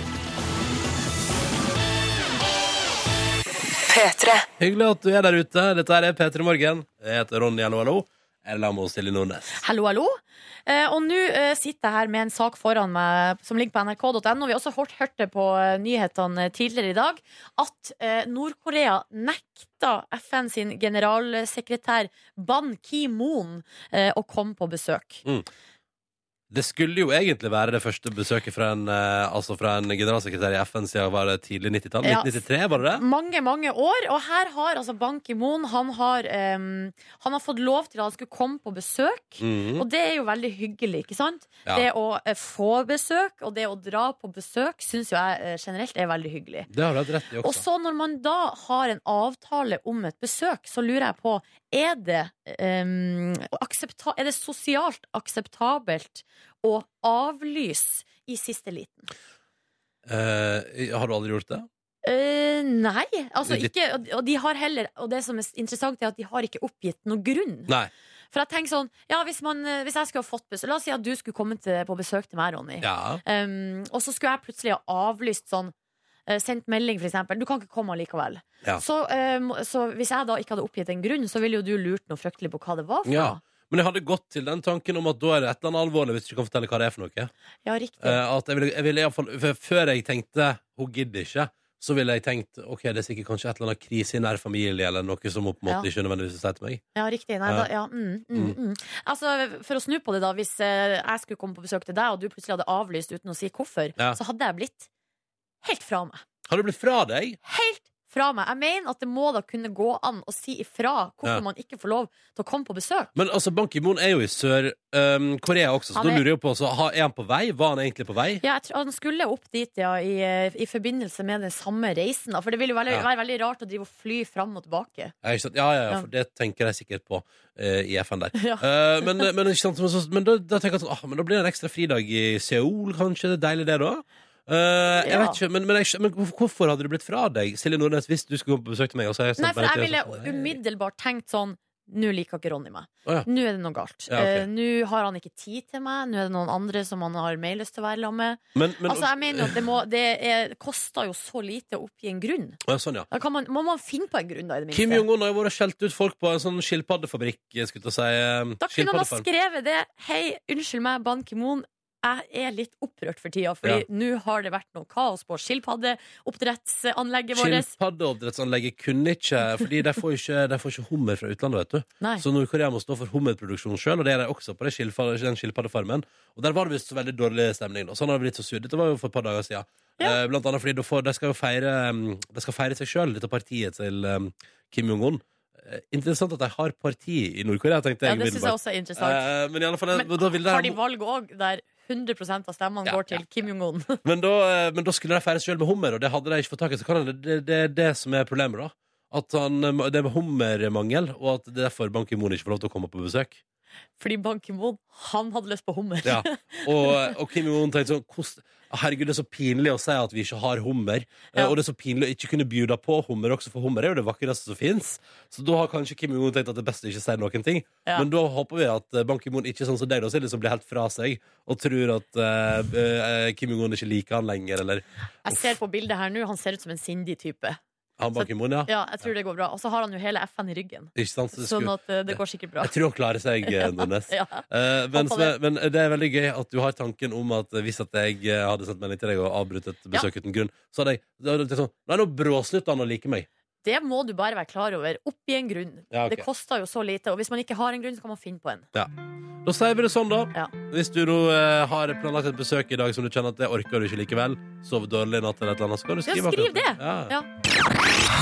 B: Hyggelig at du er der ute. Dette her er P3 Morgen. Jeg heter Ronny, hallo, hallo. eller sammen med Silje Nordnes.
C: Hallo, hallo. Eh, og nå eh, sitter jeg her med en sak foran meg som ligger på nrk.no. Vi har også hørt, hørt det på eh, nyhetene tidligere i dag at eh, Nord-Korea nekta FN sin generalsekretær Ban Ki-moon eh, å komme på besøk.
B: Det skulle jo egentlig være det første besøket fra en, eh, altså fra en generalsekretær i FN siden var det tidlig 90-tall.
C: Ja.
B: 1993, var det det?
C: Mange, mange år, og her har altså Ban Ki-moon Han har, eh, han har fått lov til at han skulle komme på besøk.
B: Mhm.
C: Og det er jo veldig hyggelig, ikke sant?
B: Ja.
C: Det å eh, få besøk, og det å dra på besøk, syns jo jeg eh, generelt er veldig hyggelig.
B: Det har du hatt rett i
C: Og
B: også.
C: så når man da har en avtale om et besøk, så lurer jeg på Er det, em, aksepta er det sosialt akseptabelt å avlyse i siste liten?
B: Eh, har du aldri gjort det?
C: Eh, nei. Altså
B: Litt-
C: ikke og- Og de har heller Og det som er interessant, er at de har ikke oppgitt noen grunn.
B: Nei.
C: For jeg tenker sånn Ja, hvis, man, eh, hvis jeg skulle ha fått besøk La oss si at du skulle komme til, på besøk til meg, Ronny.
B: Ja.
C: Um, og så skulle jeg plutselig ha avlyst sånn eh, Sendt melding, for eksempel. Du kan ikke komme allikevel.
B: Ja.
C: Så, eh, må- så hvis jeg da ikke hadde oppgitt en grunn, så ville jo du lurt noe fryktelig på hva det var for
B: ja.
C: noe.
B: Men jeg hadde gått til den tanken om at da er det et eller annet alvorlig hvis du ikke kan fortelle hva det er for noe.
C: Ja, riktig.
B: Eh, at jeg ville, jeg ville i hvert fall, f- Før jeg tenkte 'hun gidder ikke', så ville jeg tenkt ok, det er sikkert kanskje et eller annet krise i nær familie eller noe som hun på en måte
C: Ja.
B: ikke nødvendigvis sier til meg.
C: Ja, riktig. Nei,
B: Ja.
C: da, ja. Mm, mm, mm. Altså, for å snu på det, da. Hvis eh, jeg skulle komme på besøk til deg, og du plutselig hadde avlyst uten å si hvorfor,
B: Ja.
C: så hadde jeg blitt helt fra meg.
B: Har du blitt fra deg?
C: Helt fra meg. Jeg mener at det må da kunne gå an å si ifra hvorfor
B: Ja.
C: man ikke får lov til å komme på besøk.
B: Men altså, Ban Ki-moon er jo i Sør-Korea også, så
C: Han
B: da
C: er-
B: lurer jeg jo på så, ha- Er han på vei? Var han egentlig på vei?
C: Ja, jeg tror Han skulle opp dit ja, i, eh, i forbindelse med den samme reisen. Da. For det ville jo veldig,
B: Ja.
C: være veldig rart å drive og fly fram og tilbake.
B: Ja, ikke sant? ja, ja, ja,
C: Ja.
B: for det tenker jeg sikkert på eh, i FN der.
C: Ja.
B: Eh, men, men, ikke sant, men, så, men da, da tenker jeg sånn ah, Men da blir det en ekstra fridag i Seoul, kanskje? Det er deilig, det, da. Eh, jeg
C: Ja.
B: vet ikke, men, men, jeg, skj- men hvorfor- hvorfor hadde det blitt fra deg, Silje Nordnes, hvis du skulle komme på besøk til meg? Og så har jeg sendt
C: Nei, for
B: bare
C: jeg
B: til
C: ville
B: deg, og så-
C: umiddelbart tenkt sånn nå liker ikke Ronny meg.
B: Å, ja.
C: Nå er det noe galt.
B: Ja, ok.
C: Eh, Nå har han ikke tid til meg. Nå er det noen andre som han har mer lyst til å være sammen med.
B: Men, men
C: altså, jeg mener jo at det, må, det er, koster jo så lite å oppgi en grunn.
B: Å, ja, Sånn, ja.
C: Da kan man, må man finne på en grunn, da, i det minste.
B: Kim Jong-un har jo vært og skjelt ut folk på en sånn skilpaddefabrikk. jeg Skulle til å si eh,
C: Da kunne han ha
B: skilpaddefarm.
C: skrevet det. Hei, unnskyld meg, Ban Ki-moon. Jeg er litt opprørt for tida, Fordi
B: Ja.
C: nå har det vært noe kaos på skilpaddeoppdrettsanlegget vårt.
B: Skilpaddeoppdrettsanlegget kunne ikke Fordi de får ikke, de får ikke hummer fra utlandet, vet du.
C: Nei.
B: Så Nord-Korea må stå for hummerproduksjon sjøl, og det er de også på det skilfa- den skilpaddefarmen. Og der var det visst så veldig dårlig stemning. Da. Sånn har det blitt så sur. Dette var jo for et par dager siden.
C: Ja.
B: Eh, Blant annet fordi de, får, de skal jo feire um, De skal feire seg sjøl, dette partiet til um, Kim Jong-un. Eh, Interessant at de har parti i Nord-Korea, tenkte
C: Ja,
B: jeg.
C: det syns jeg
B: umiddelbart.
C: også er interessant.
B: Eh, men i alle fall,
C: Men
B: da ville de
C: har de valg òg der 100 av stemmene
B: Ja,
C: går til Kim Jong-un?
B: Men da, eh, men da skulle de feire seg sjøl med hummer, og det hadde de ikke fått tak i. Så kan det, det, det er det som er problemet, da. At han, eh, det er hummermangel, og at det er derfor Ban Ki-moon ikke får lov til å komme på besøk.
C: Fordi Ban Ki-moon, han hadde lyst på hummer.
B: Ja. Og, og Kim Jong-un tenkte sånn "Hvordan- Herregud, det er så pinlig å si at vi ikke har hummer. Eh,
C: Ja.
B: Og det er så pinlig å ikke kunne bjuda på hummer også, for hummer er jo det vakreste som fins. Så da har kanskje Kim Jong-un tenkt at det er best å ikke si noen ting.
C: Ja.
B: Men da håper vi at eh, Ban Ki-moon ikke er sånn som deg, da, Silje, som blir helt fra seg og tror at eh, eh, Kim Jong-un ikke liker han lenger, eller
C: Jeg ser på bildet her nå, han ser ut som en sindig type.
B: han Ban Ki-moon, ja.
C: Ja, jeg tror det går bra. Og så har han jo hele FN i ryggen.
B: Ikke sant? Så det
C: Sånn
B: skulle-
C: at eh, det går sikkert bra.
B: Jeg tror han klarer seg, eh, Nordnes.
C: Ja.
B: Eh, men,
C: Håper det.
B: men det er veldig gøy at du har tanken om at hvis at jeg eh, hadde sendt melding til deg og avbrutt et besøk uten grunn, så hadde jeg, da hadde jeg tenkt sånn Nei, nå bråslutter han å like meg.
C: Det må du bare være klar over. Oppgi en grunn.
B: Ja, ok.
C: Det koster jo så lite. Og hvis man ikke har en grunn, så kan man finne på en.
B: Da sier vi det sånn, da.
C: Ja.
B: Hvis du nå eh, har planlagt et besøk i dag som du kjenner at det orker du ikke likevel, sov dårlig i natt eller et eller annet, så kan du
C: Ja,
B: skrive
C: skriv
B: akkurat
C: det.
B: Ja.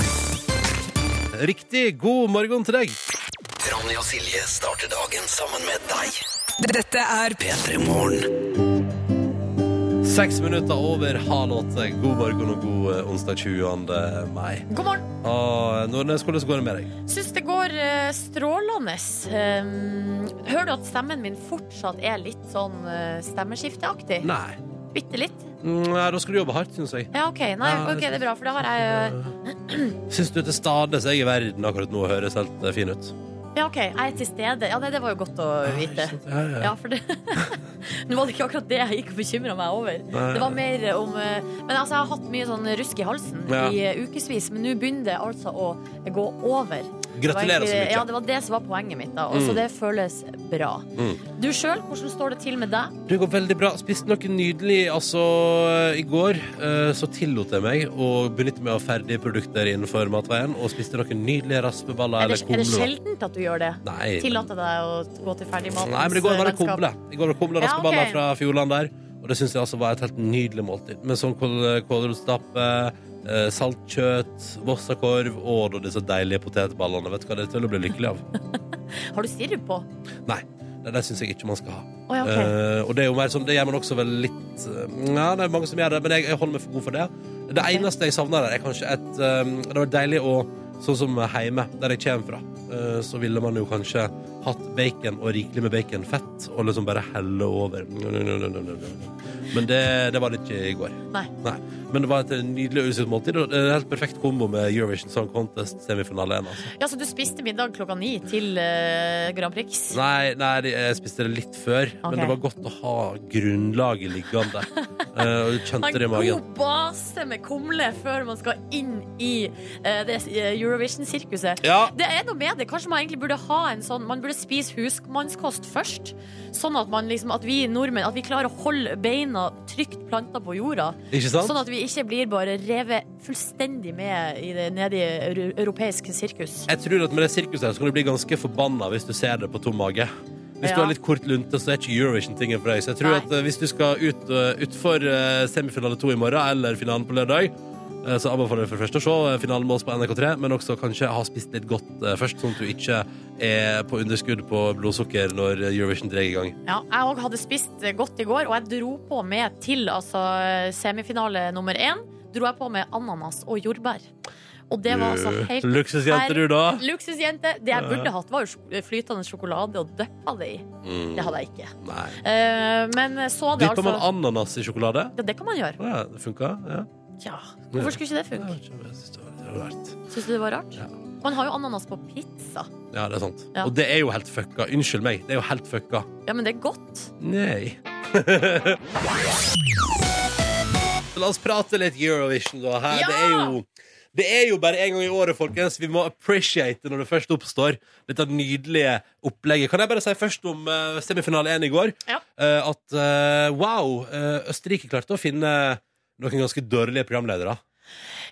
B: Riktig. God morgen til deg.
E: Ronny og Silje starter dagen sammen med deg.
F: Dette er
E: P3 Morgen.
B: Seks minutter over halv åtte. God morgen og god eh, onsdag 20. mai.
C: God morgen.
B: Ah, Nordnes, hvordan går det med deg?
C: Syns det går eh, strålende. Um, hører du at stemmen min fortsatt er litt sånn eh, stemmeskifteaktig?
B: Nei.
C: Bitte litt?
B: Mm, ja, da skal du jobbe hardt, syns jeg.
C: Ja, OK. Nei,
B: Ja,
C: ok, det er bra, for da har jeg eh,
B: Syns du til stades jeg i verden akkurat nå høres helt eh, fin ut?
C: Ja, OK, jeg er til stede. Ja, nei, det var jo godt å vite.
B: Ja, ja.
C: Ja, for det Nå var det ikke akkurat det jeg gikk og bekymra meg over. Det var mer om eh, Men altså, jeg har hatt mye sånn rusk i halsen
B: Ja.
C: i eh, ukevis, men nå begynner det altså å gå over. Det var
B: Gratulerer så
C: egentlig-
B: mye.
C: Ja, det var det som var poenget mitt. da Og Så
B: Mm.
C: det føles bra.
B: Mm.
C: Du sjøl, hvordan står det til med deg?
B: Det går veldig bra. Spiste noe nydelig. Altså, i går eh, så tillot jeg meg å benytte meg av ferdige produkter innenfor matveien, og spiste noen nydelige raspeballer
C: Er det,
B: eller
C: er det
B: kumler.
C: sjeldent at du gjør det?
B: Nei, men-
C: Tillater deg å gå til ferdigmatens
B: nei, men i går var det
C: vennskap?
B: kumle. I går var det kumle og
C: Ja,
B: raspeballer
C: ok.
B: fra Fjordland der, og det syns jeg altså var et helt nydelig måltid. Med sånn kål- kålrotstappe, eh, saltkjøtt, vossakorv og da disse deilige potetballene. Vet du hva det er til å bli lykkelig av?
C: Har du sirup på?
B: Nei, det, det syns jeg ikke man skal ha.
C: Å, ja, ok.
B: Eh, og det er jo mer sånn, det gjør man også vel litt eh, Ja, det er mange som gjør det, men jeg, jeg holder meg for god for det. Det eneste jeg savner der, er kanskje et eh, Det var deilig å Sånn som hjemme, der jeg kommer fra, eh, så ville man jo kanskje hatt bacon og rikelig med baconfett og liksom bare helle over. Men det, det var det ikke i går.
C: Nei.
B: Men det var et nydelig og usunt måltid. Og det er en helt perfekt kombo med Eurovision Song Contest-semifinale. igjen, Altså.
C: Ja, Så du spiste middag klokka ni til eh, Grand Prix?
B: Nei, nei, jeg spiste det litt før,
C: Ok.
B: men det var godt å ha grunnlaget liggende. Eh, Og du kjente det i
C: En
B: magen.
C: god base med kumle før man skal inn i eh, det eh, Eurovision-sirkuset.
B: Ja,
C: Det er noe med det. Kanskje man egentlig burde ha en sånn Man burde spise husmannskost først. Sånn at, man liksom, at vi nordmenn At vi klarer å holde beina trygt planta på jorda.
B: ikke sant?
C: Sånn at vi ikke blir bare revet fullstendig med i det, ned i euro- europeisk sirkus.
B: Jeg tror at med det sirkuset her så kan du bli ganske forbanna hvis du ser det på tom mage. Hvis du
C: Ja.
B: har litt kort lunte, så er ikke Eurovision-tingen for deg. Så jeg tror
C: Nei.
B: at eh, hvis du skal ut eh, utfor eh, semifinale to i morgen, eller finalen på lørdag, eh, så anbefaler jeg for det første å se eh, finalen med oss på NRK3, men også kanskje ha spist litt godt eh, først, sånn at du ikke er på underskudd på blodsukker når eh, Eurovision drar i gang.
C: Ja, jeg òg hadde spist godt i går, og jeg dro på med til altså, semifinale nummer én. Dro jeg på med ananas og jordbær. Og det var altså helt
B: Luksusjente, du, da.
C: Luksusjente. Det jeg burde hatt, var jo sjok- flytende sjokolade og døppa det i.
B: Mm,
C: Det hadde jeg ikke.
B: Nei.
C: Eh, men så det, altså.
B: Dypper man ananas i sjokolade?
C: Ja, det kan man gjøre.
B: Å ja, det funka? Ja.
C: Ja. Hvorfor skulle ikke det
B: Jeg
C: funke?
B: vet ikke, jeg synes det var litt rart.
C: Syns du det var rart?
B: Ja.
C: Man har jo ananas på pizza.
B: Ja, det er sant.
C: Ja.
B: Og det er jo helt fucka. Unnskyld meg, det er jo helt fucka.
C: Ja, men det er godt.
B: Nei. La oss prate litt Eurovision, da. Her.
C: Ja!
B: Det, er jo, det er jo bare én gang i året, folkens. Vi må appreciate det når det først oppstår. Dette nydelige opplegget. Kan jeg bare si først om eh, semifinale én i går?
C: Ja.
B: Eh, at eh, wow, eh, Østerrike klarte å finne noen ganske dårlige programledere.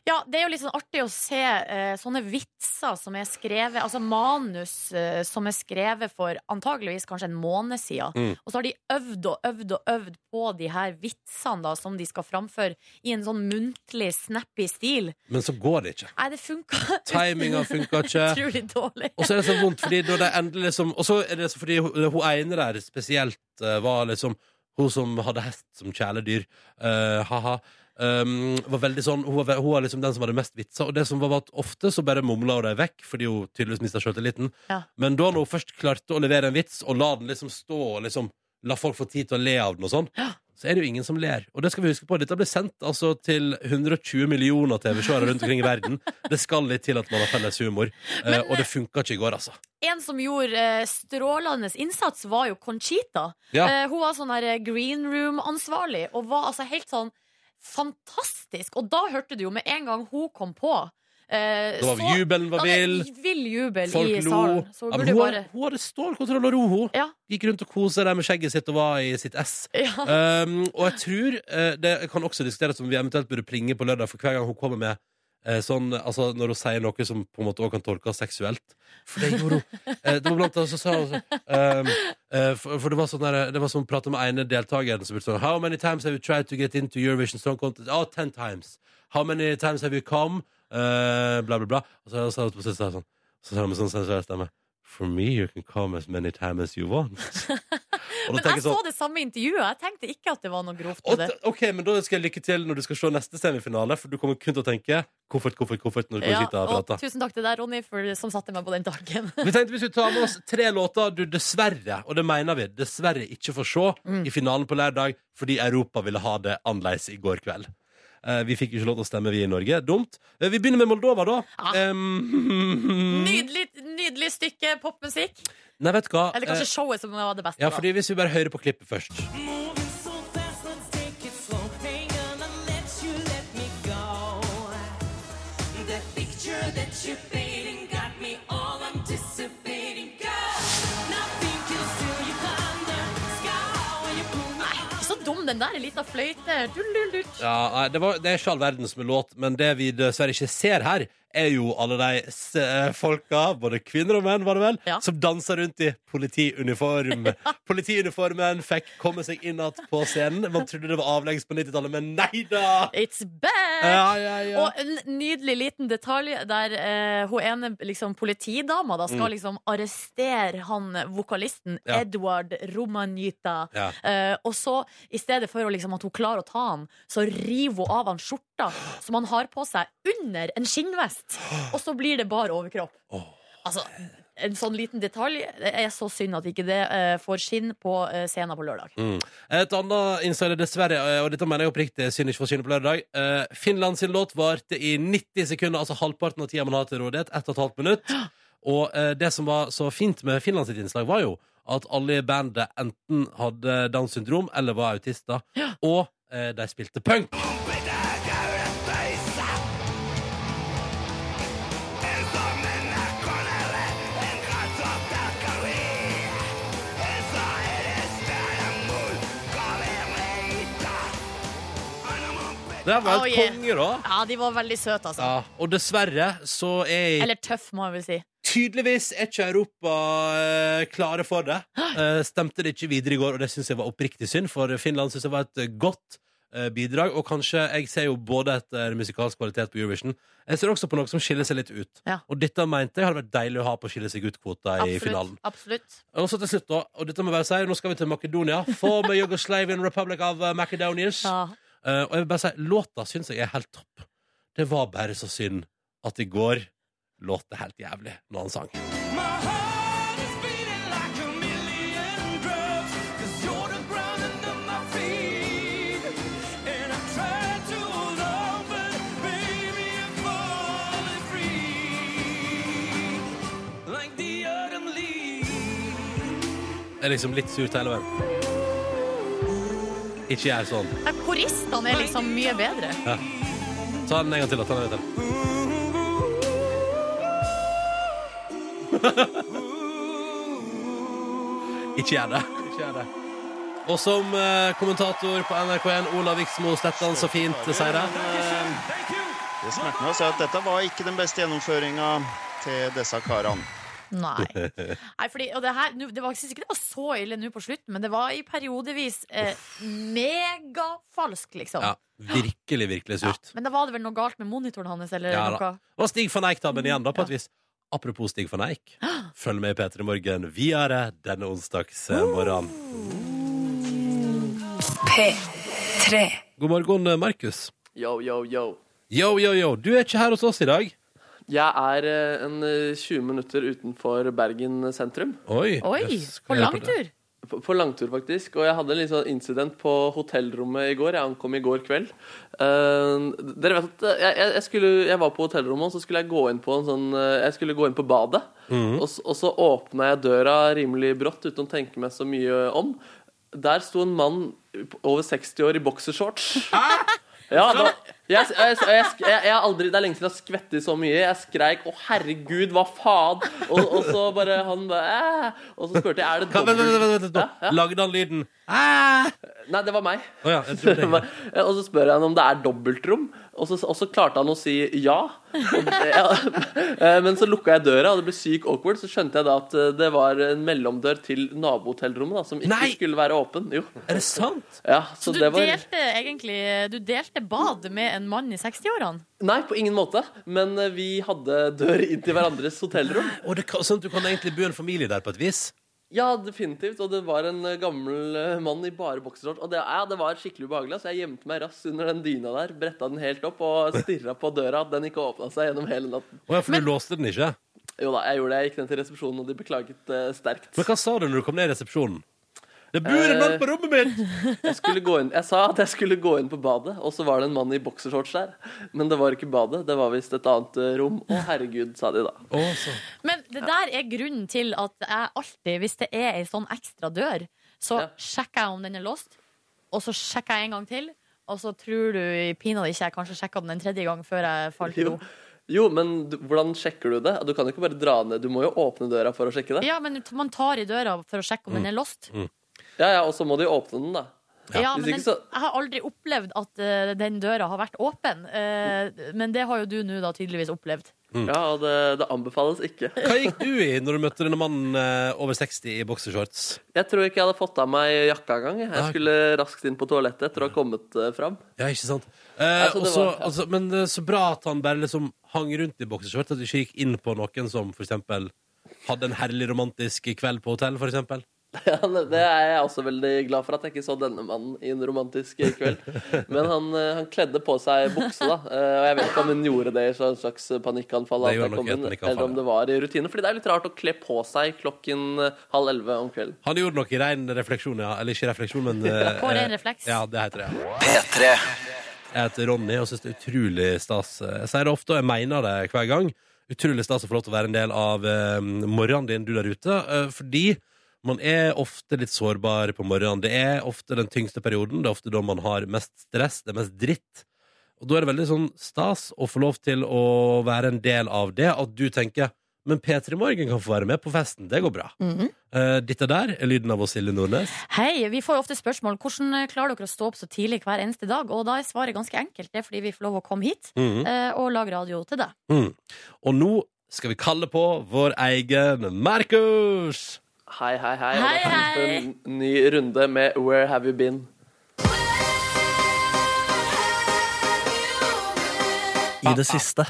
C: Ja, det er jo litt sånn artig å se eh, sånne vitser som er skrevet, altså manus eh, som er skrevet for antageligvis kanskje en måned siden.
B: Mm.
C: Og så har de øvd og øvd og øvd på de her vitsene da, som de skal framføre i en sånn muntlig, snappy stil.
B: Men så går det ikke.
C: Nei, det funka
B: Timinga funka ikke.
C: utrolig dårlig.
B: Og så er det så vondt fordi når det endelig liksom Og så er det så fordi hun, hun ene der spesielt eh, var liksom Hun som hadde hest som kjæledyr. eh, haha. Um, var veldig sånn, hun, var, ve- hun var liksom den som hadde mest vitser. Og det som var, var at ofte så bare mumla hun dem vekk, fordi hun tydeligvis mista sjøltilliten.
C: Ja.
B: Men da når hun først klarte å levere en vits, og la den liksom stå og liksom la folk få tid til å le av den, og sånn, så er det jo ingen som ler. Og det skal vi huske på. Dette ble sendt altså til 120 millioner TV-seere rundt omkring i verden. Det skal litt til at man har felles humor. Eh,
C: Men,
B: og det funka ikke i går, altså.
C: En som gjorde eh, strålende innsats, var jo Conchita.
B: Ja.
C: Eh, hun var sånn her eh, green room-ansvarlig, og var altså helt sånn fantastisk. Og da hørte du jo med en gang hun kom på. eh,
B: Det var
C: så-
B: Jubelen var
C: Ja, det
B: vill,
C: er Vill jubel i
B: folk lo.
C: salen. Så
B: Ja,
C: burde
B: men
C: du
B: hun,
C: bare
B: har- hun hadde stålkontroll og ro, hun.
C: Ja.
B: Gikk rundt og kosa der med skjegget sitt og var i sitt ess.
C: ja.
B: Um, og jeg tror eh, Det kan også diskuteres om vi eventuelt burde plinge på lørdag, for hver gang hun kommer med eh, sånn Altså når hun sier noe som på en måte også kan tolkes seksuelt. For det gjorde hun. Eh, det var blant annet så sa hun sånn um, eh, for, for det var sånn der, Det var sånn prate med ene deltakeren som brukte sånn How many times have you tried to get into Eurovision Song Contest? Oh, ten times. How many times have you come? Eh, bla, bla, bla. Og så sa hun på siste sånn Så sa hun med sånn sensuell stemme For me you can come as many times as you want. Og da
C: Men altså,
B: tenker
C: jeg
B: sånn-
C: så det samme intervjuet. Jeg tenkte ikke at det var noe grovt
B: og
C: med det.
B: t- Ok, men da skal jeg lykke til når du skal se neste semifinale, for du kommer kun til å tenke koffert, koffert, koffert når du
C: Ja,
B: sitter og
C: og
B: prater.
C: tusen takk til deg, Ronny, for, som satte meg på den dagen.
B: Vi tenkte vi skulle ta med oss tre låter du dessverre, og det mener vi, dessverre ikke får se
C: Mm.
B: i finalen på lørdag, fordi Europa ville ha det annerledes i går kveld. Eh, vi fikk jo ikke lov til å stemme, vi i Norge. Dumt. Eh, vi begynner med Moldova, da.
C: Ah.
B: Em,
C: Nydelig, nydelig stykke popmusikk.
B: nei, vet du hva.
C: Eller
B: Eh,
C: kanskje showet som var det beste.
B: ja,
C: da.
B: fordi hvis vi bare hører på klippet først.
F: Moving so fast, let's take it slow. Ain't gonna let you let me go. The picture that you're painting got me all
C: den der, ei lita fløyte. Dululult.
B: Ja, nei, det, var, det er ikke all verden som er låt, men det vi dessverre ikke ser her, er jo alle de s- eh, folka, både kvinner og menn, var det vel,
C: Ja.
B: som danser rundt i politiuniform. Politiuniformen fikk komme seg inn igjen på scenen. Man trodde det var avleggs på 90-tallet, men nei da!
C: It's back!
B: Ja, ja,
C: Eh,
B: ja.
C: Og en nydelig liten detalj der eh, hun ene liksom, politidama da, skal liksom arrestere han vokalisten
B: Mm. Ja.
C: Edward Romanita.
B: Ja.
C: Eh, og så, i stedet for å, liksom, at hun klarer å ta han, så river hun av han skjorta som han har på seg under en skinnvest. Og så blir det bar overkropp.
B: Åh.
C: Altså, en sånn liten detalj. Det er så synd at ikke det eh, får skinn på eh, scenen på lørdag.
B: Mm. Et annet insider, dessverre, eh, og dette mener jeg oppriktig, synd ikke for synet på lørdag. Eh, Finland sin låt varte i 90 sekunder, altså halvparten av tida man har til rådighet. Ett og et halvt minutt. Og eh, det som var så fint med Finland sitt innslag, var jo at alle i bandet enten hadde Downs syndrom eller var autister. Og eh, de spilte punk. Det var
C: Oh,
B: et
C: yeah.
B: konge, da.
C: Ja, de var veldig søte, altså.
B: Ja, og dessverre så er jeg
C: Eller tøff, må jeg vel si.
B: Tydeligvis er ikke Europa eh, klare for det. Eh, stemte det ikke videre i går, og det syns jeg var oppriktig synd, for Finland syns jeg var et eh, godt eh, bidrag. Og kanskje Jeg ser jo både etter musikalsk kvalitet på Eurovision, jeg ser også på noe som skiller seg litt ut.
C: Ja.
B: Og dette mente jeg hadde vært deilig å ha på skille seg ut-kvota i finalen.
C: Absolutt.
B: Og så til slutt, da, og dette må jeg bare si, nå skal vi til Makedonia. For med Yugoslavian Republic of eh, Macedonians.
C: Ja.
B: Eh, og jeg vil bare si, låta syns jeg er helt topp. Det var bare så synd at i går låt det helt jævlig når han sang.
F: My heart is beating like a million drums, cause you're the ground under my feet. And I try to hold on, but baby, I'm falling free. Like the autumn leaves.
B: Det er liksom litt surt hele veien. Ikke gjør sånn.
C: Nei, Koristene er liksom mye bedre.
B: Ta den en gang til. da, Ta den en gang til. Ikke gjør det. Ikke gjør det. Og som eh, kommentator på NRK1, Olav Viksmo Sletland, så fint eh, sier det.
G: Det smerter meg å si at dette var ikke den beste gjennomføringa til disse karene.
C: Nei. Nei fordi, og det her, nå- det var, jeg synes ikke det var så ille nå på slutten, men det var i periodevis eh, megafalsk, liksom.
B: Ja, virkelig, virkelig
C: Ja,
B: surt.
C: Men da var det vel noe galt med monitoren hans, eller
B: Ja, da.
C: noe?
B: Og Stig van Eijk-tabben igjen, da, på et vis. Apropos Stig van Eijk, følg med i P3 Morgen videre denne onsdags eh, morgen. God morgen, Markus.
H: Yo, yo, yo.
B: Yo, yo, yo. Du er ikke her hos oss i dag.
H: Jeg er eh, en eh, 20 minutter utenfor Bergen sentrum.
B: Oi.
C: Oi,
B: jøss.
C: på lang tur!
H: På, på langtur, faktisk. Og jeg hadde en litt sånn incident på hotellrommet i går. Jeg ankom i går kveld. Eh, dere vet at eh, jeg, jeg- jeg, skulle, jeg var på hotellrommet, og så skulle jeg gå inn på, en sånn, eh, jeg skulle gå inn på badet. og, s- og så åpna jeg døra rimelig brått uten å tenke meg så mye om. Der sto en mann over 60 år i boksershorts. Ja, da, jeg, jeg, jeg, jeg, jeg har aldri, Det er lenge siden jeg har skvettet så mye. Jeg skreik 'Å, herregud, hva faen?' Og, og så bare han bare «Æ». Og så spurte jeg er det
B: Vent, vent, vent,
H: dobbelt
B: vent, vent, nå. Lagde han lyden?
H: Nei, det var meg.
B: Å ja, jeg tror det.
H: og så spør jeg han om det er dobbeltrom, og så, og så klarte han å si ja. Og, ja. Eh, Men så lukka jeg døra, og det ble sykt awkward. Så skjønte jeg da at eh, det var en mellomdør til nabohotellrommet da, som ikke
B: Nei!
H: skulle være åpen. Jo.
B: Er det sant?
H: Ja,
C: Så
H: så
C: du
H: det var...
C: delte egentlig Du delte bad med en mann i 60-årene?
H: Nei, på ingen måte. Men eh, vi hadde dør inn til hverandres hotellrom.
B: Og det kan, sånn at du kan egentlig bo en familie der på et vis?
H: Ja, definitivt. Og det var en eh, gammel eh, mann i bare boksershorts. Og det, ja, det var skikkelig ubehagelig. Så jeg gjemte meg raskt under den dyna der, bretta den helt opp og stirra på døra at den ikke åpna seg gjennom hele natten.
B: Å ja, for du låste den ikke?
H: Jo da, jeg gjorde det. Jeg gikk ned til resepsjonen, og de beklaget eh, sterkt.
B: Men hva sa du når du kom ned i resepsjonen? Det bor en mann på rommet mitt!
H: Jeg, skulle gå inn, jeg sa at jeg skulle gå inn på badet, og så var det en mann i boksershorts der. Men det var ikke badet, det var visst et annet eh, rom. Å, herregud, sa de da.
B: Å, så.
C: Men det der er grunnen til at jeg alltid, hvis det er ei sånn ekstra dør, så
H: Ja.
C: sjekker jeg om den er låst, og så sjekker jeg en gang til, og så tror du i pinadø ikke jeg kanskje sjekka den en tredje gang før jeg falt i do.
H: Jo. Jo, men du, hvordan sjekker du det? Du kan jo ikke bare dra ned. Du må jo åpne døra for å sjekke det.
C: Ja, men man tar i døra for å sjekke om den er låst.
H: Mm. Ja, ja, Og så må de åpne den, da.
C: Ja, men
H: Hvis
C: den,
H: ikke så-
C: jeg har aldri opplevd at eh, den døra har vært åpen. Eh, men det har jo du nå da tydeligvis opplevd.
B: Mm.
H: Ja, og det, det anbefales ikke.
B: Hva gikk du i når du møtte denne mannen eh, over 60 i boksershorts?
H: Jeg tror ikke jeg hadde fått av meg jakka engang. jeg.
B: Nei.
H: Jeg skulle raskt inn på toalettet etter å ha kommet eh, fram.
B: Ja, ikke sant? Eh,
H: så det
B: og så-
H: var- ja.
B: altså, men eh, så bra at han bare liksom hang rundt i boksershorts, at du ikke gikk inn på noen som for eksempel hadde en herlig romantisk kveld på hotell, for eksempel.
H: Ja, det er jeg også veldig glad for at jeg ikke så denne mannen i en romantisk kveld. Men han, eh, han kledde på seg bukse, da. Eh, Og jeg vet ikke om hun gjorde det i sånn slags panikkanfall,
B: Det
H: at
B: gjorde
H: jeg
B: nok i
H: kom
B: et
H: inn,
B: panikkanfall,
H: eller om
B: ja.
H: det var i rutine. Fordi det er litt rart å kle på seg klokken eh, halv elleve om kvelden.
B: Han gjorde noe i ren refleksjon, ja. Eller ikke refleksjon, men eh,
C: På ren
B: eh,
C: refleks.
B: Ja, det heter det. ja.
E: P3.
B: Jeg heter Ronny og syns det er utrolig stas. Jeg sier det ofte, og jeg mener det hver gang. Utrolig stas å få lov til å være en del av eh, morgenen din, du der ute. eh, fordi man er ofte litt sårbar på morgenen. Det er ofte den tyngste perioden. Det er ofte da man har mest stress, det er mest dritt. Og da er det veldig sånn stas å få lov til å være en del av det. At du tenker men P3 Morgen kan få være med på festen. Det går bra. Eh, Dette der er lyden av oss, Silje Nordnes.
C: Hei, vi får jo ofte spørsmål hvordan eh, klarer dere å stå opp så tidlig hver eneste dag. Og da er svaret ganske enkelt. Det er fordi vi får lov å komme hit
B: Mhm.
H: Mm.
C: eh, og lage radio til deg.
B: Mm. Og nå skal vi kalle på vår egen Markus!
H: Hei, hei, hei. og
C: Hei,
H: det er tid for
C: hei.
H: En ny runde med Where Have You Been?
I: I det siste.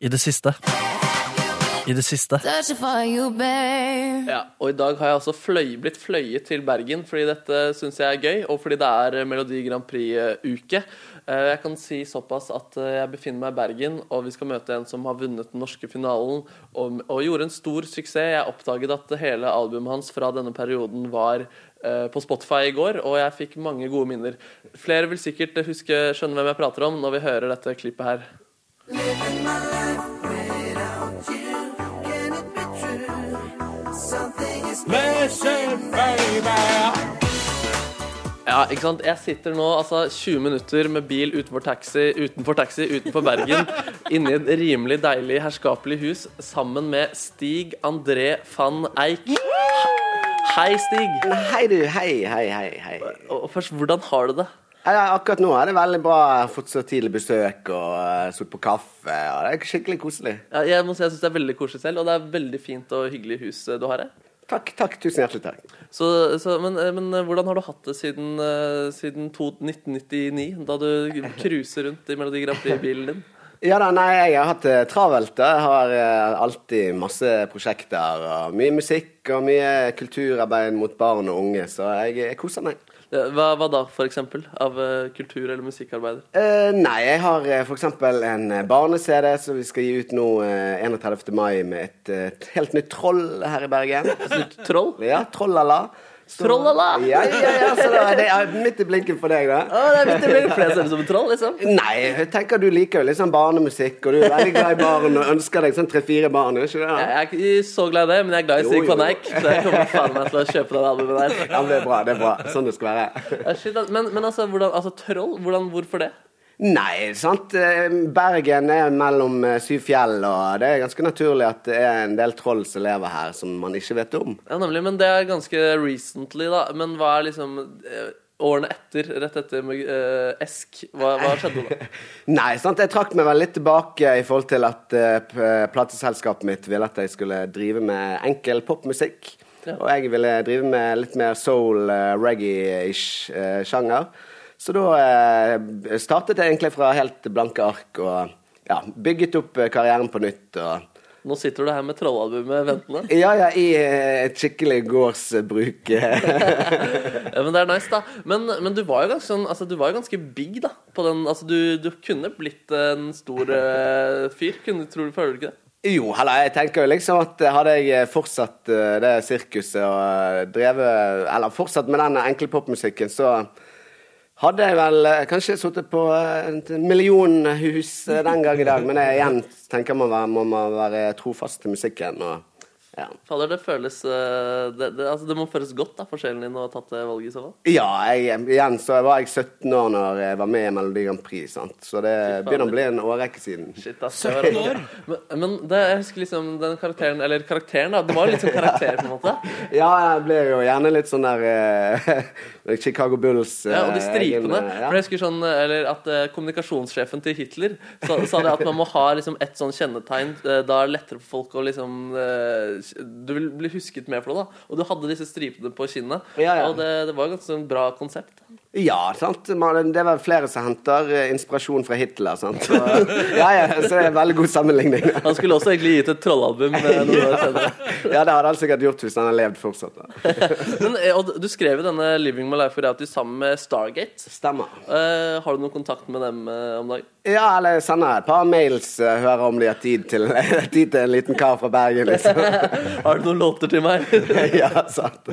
I: I det siste. I det siste.
H: Ja, og i dag har jeg også fløy, blitt fløyet til Bergen, fordi dette syns jeg er gøy, og fordi det er Melodi Grand Prix-uke. Eh, Jeg kan si såpass at eh, jeg befinner meg i Bergen, og vi skal møte en som har vunnet den norske finalen og, og gjorde en stor suksess. Jeg oppdaget at hele albumet hans fra denne perioden var eh, på Spotify i går, og jeg fikk mange gode minner. Flere vil sikkert huske, skjønne hvem jeg prater om når vi hører dette klippet her. Ja, ikke sant? Jeg sitter nå altså 20 minutter med bil utenfor taxi, utenfor taxi, utenfor Bergen, inni et rimelig deilig, herskapelig hus sammen med Stig André van Eik. Hei, Stig.
J: Hei, du. Hei, hei, hei. hei.
H: Og og først, hvordan har du det?
J: Ja, akkurat nå er det veldig bra. Jeg har fått så tidlig besøk og uh, sittet på kaffe. Og det er skikkelig koselig.
H: Ja, jeg må si jeg syns det er veldig koselig selv, og det er veldig fint og hyggelig hus eh, du har her.
J: Takk, takk. Tusen hjertelig takk.
H: Så, så, men, eh, men eh, hvordan har du hatt det siden, eh, siden to, 1999, da du cruiser rundt i Melodi Grand Prix-bilen din?
J: Ja da, nei, jeg har hatt det travelt. da. Jeg har eh, alltid masse prosjekter og mye musikk og mye kulturarbeid mot barn og unge, så jeg, jeg koser meg.
H: Ja, Hva, hva da, for eksempel? Av eh, kultur- eller musikkarbeider?
J: Eh, nei, jeg har eh, for eksempel en eh, barne-CD som vi skal gi ut nå eh, 31. mai med et, eh, et helt nytt troll her i Bergen.
H: Troll?
J: Ja, trollala. Så-
H: Trollala!
J: Ja, ja, ja, så da, det er midt i blinken for deg, da.
H: Å, det er viktig, blir det flere som som et troll, liksom?
J: Nei, jeg tenker du liker jo litt sånn barnemusikk, og du er veldig glad i barn og ønsker deg sånn tre-fire barn, er ikke det?
H: Jeg
J: da?
H: er ikke så glad i det, men jeg er glad i
J: Jo,
H: Stig
J: jo.
H: van Eyck. Så jeg kommer faen meg til å kjøpe det albumet der.
J: Ja, men det er bra, det er bra. Sånn det skal være.
H: Ja, shit, da. Men, men altså, hvordan, altså, troll? Hvordan, hvorfor det?
J: Nei, sant. eh, Bergen er mellom eh, syv fjell, og det er ganske naturlig at det er en del troll som lever her, som man ikke vet om.
H: Ja, nemlig, men det er ganske recently, da. Men hva er liksom eh, årene etter, rett etter eh, Esk? Hva, hva skjedde da?
J: Nei, sant. Jeg trakk meg vel litt tilbake i forhold til at eh, p- plateselskapet mitt ville at jeg skulle drive med enkel popmusikk.
H: Ja.
J: Og jeg ville drive med litt mer soul, eh, reggae-ish eh, sjanger. Så da eh, startet jeg egentlig fra helt blanke ark og ja, bygget opp eh, karrieren på nytt. og...
H: Nå sitter du her med trollalbumet ventende.
J: Ja, ja, i eh, et skikkelig gårdsbruk. eh,
H: Ja, men det er nice, da. Men, men du var jo ganske sånn Altså, du var jo ganske big, da. På den, altså, du, du kunne blitt en stor eh, fyr. Kunne, tror du, føler du ikke det?
J: jo, heller, jeg tenker jo liksom at hadde jeg fortsatt eh, det sirkuset og eh, drevet Eller fortsatt med den enkle popmusikken, så hadde jeg vel eh, kanskje sittet på eh, et millionhus eh, den gang i dag. Men jeg, igjen tenker man være- må man være trofast til musikken. og
H: Fader, det føles eh, det, det, altså, det må føles godt da, for sjelen din å ha tatt det valget i så fall.
J: Ja, jeg, eh, igjen så var jeg 17 år når jeg var med i Melodi Grand Prix, sant? så det begynner å bli en årrekke siden.
H: Shit, ass, det var- Men, men det, jeg husker liksom den karakteren Eller karakteren, da. Det var jo litt sånn karakter, på en måte.
J: Ja, jeg ble jo gjerne litt sånn der eh, Chicago Bulls eh,
H: Ja, og de stripene.
J: egen, eh,
H: For jeg husker sånn, eller at eh, Kommunikasjonssjefen til Hitler sa, sa det at man må ha liksom, et sånn kjennetegn. eh, Da er det lettere for folk å liksom eh, Du vil bli husket mer for det. da Og du hadde disse stripene på kinnet. Og det, det var et ganske sånn bra konsept.
J: Ja, sant? Man, det er vel flere som henter eh, inspirasjon fra Hitler. Sant? Så, eh, ja, ja, så det er en veldig god sammenligning.
H: Han skulle også egentlig gitt et trollalbum. eh, noen år senere.
J: Ja, det hadde han sikkert gjort hvis han hadde levd fortsatt. Da.
H: Men, eh, og du skrev jo denne 'Living My Life Without You' sammen med Stargate. Eh,
J: Stemmer.
H: har du noen kontakt med dem eh, om dagen?
J: Ja, eller jeg sender et par mails, eh, hører om de har tid til, tid til en liten kar fra Bergen, liksom.
H: Har du noen låter til meg?
J: ja, sant.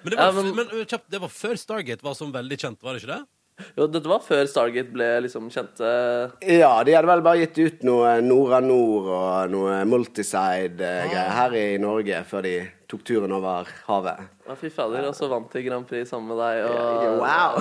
B: Men, det var, men uh, kjapt, det var før Stargate var som veldig kjent, var det ikke det?
H: Jo, dette var før Stargate ble liksom kjent. eh,
J: Ja, de hadde vel bare gitt ut noe Nora Nord og noe Multiside-greier her i Norge før de tok turen over havet.
H: Ja, fy fader, og så vant de Grand Prix sammen med deg.
J: Ja,
H: Og...
J: wow.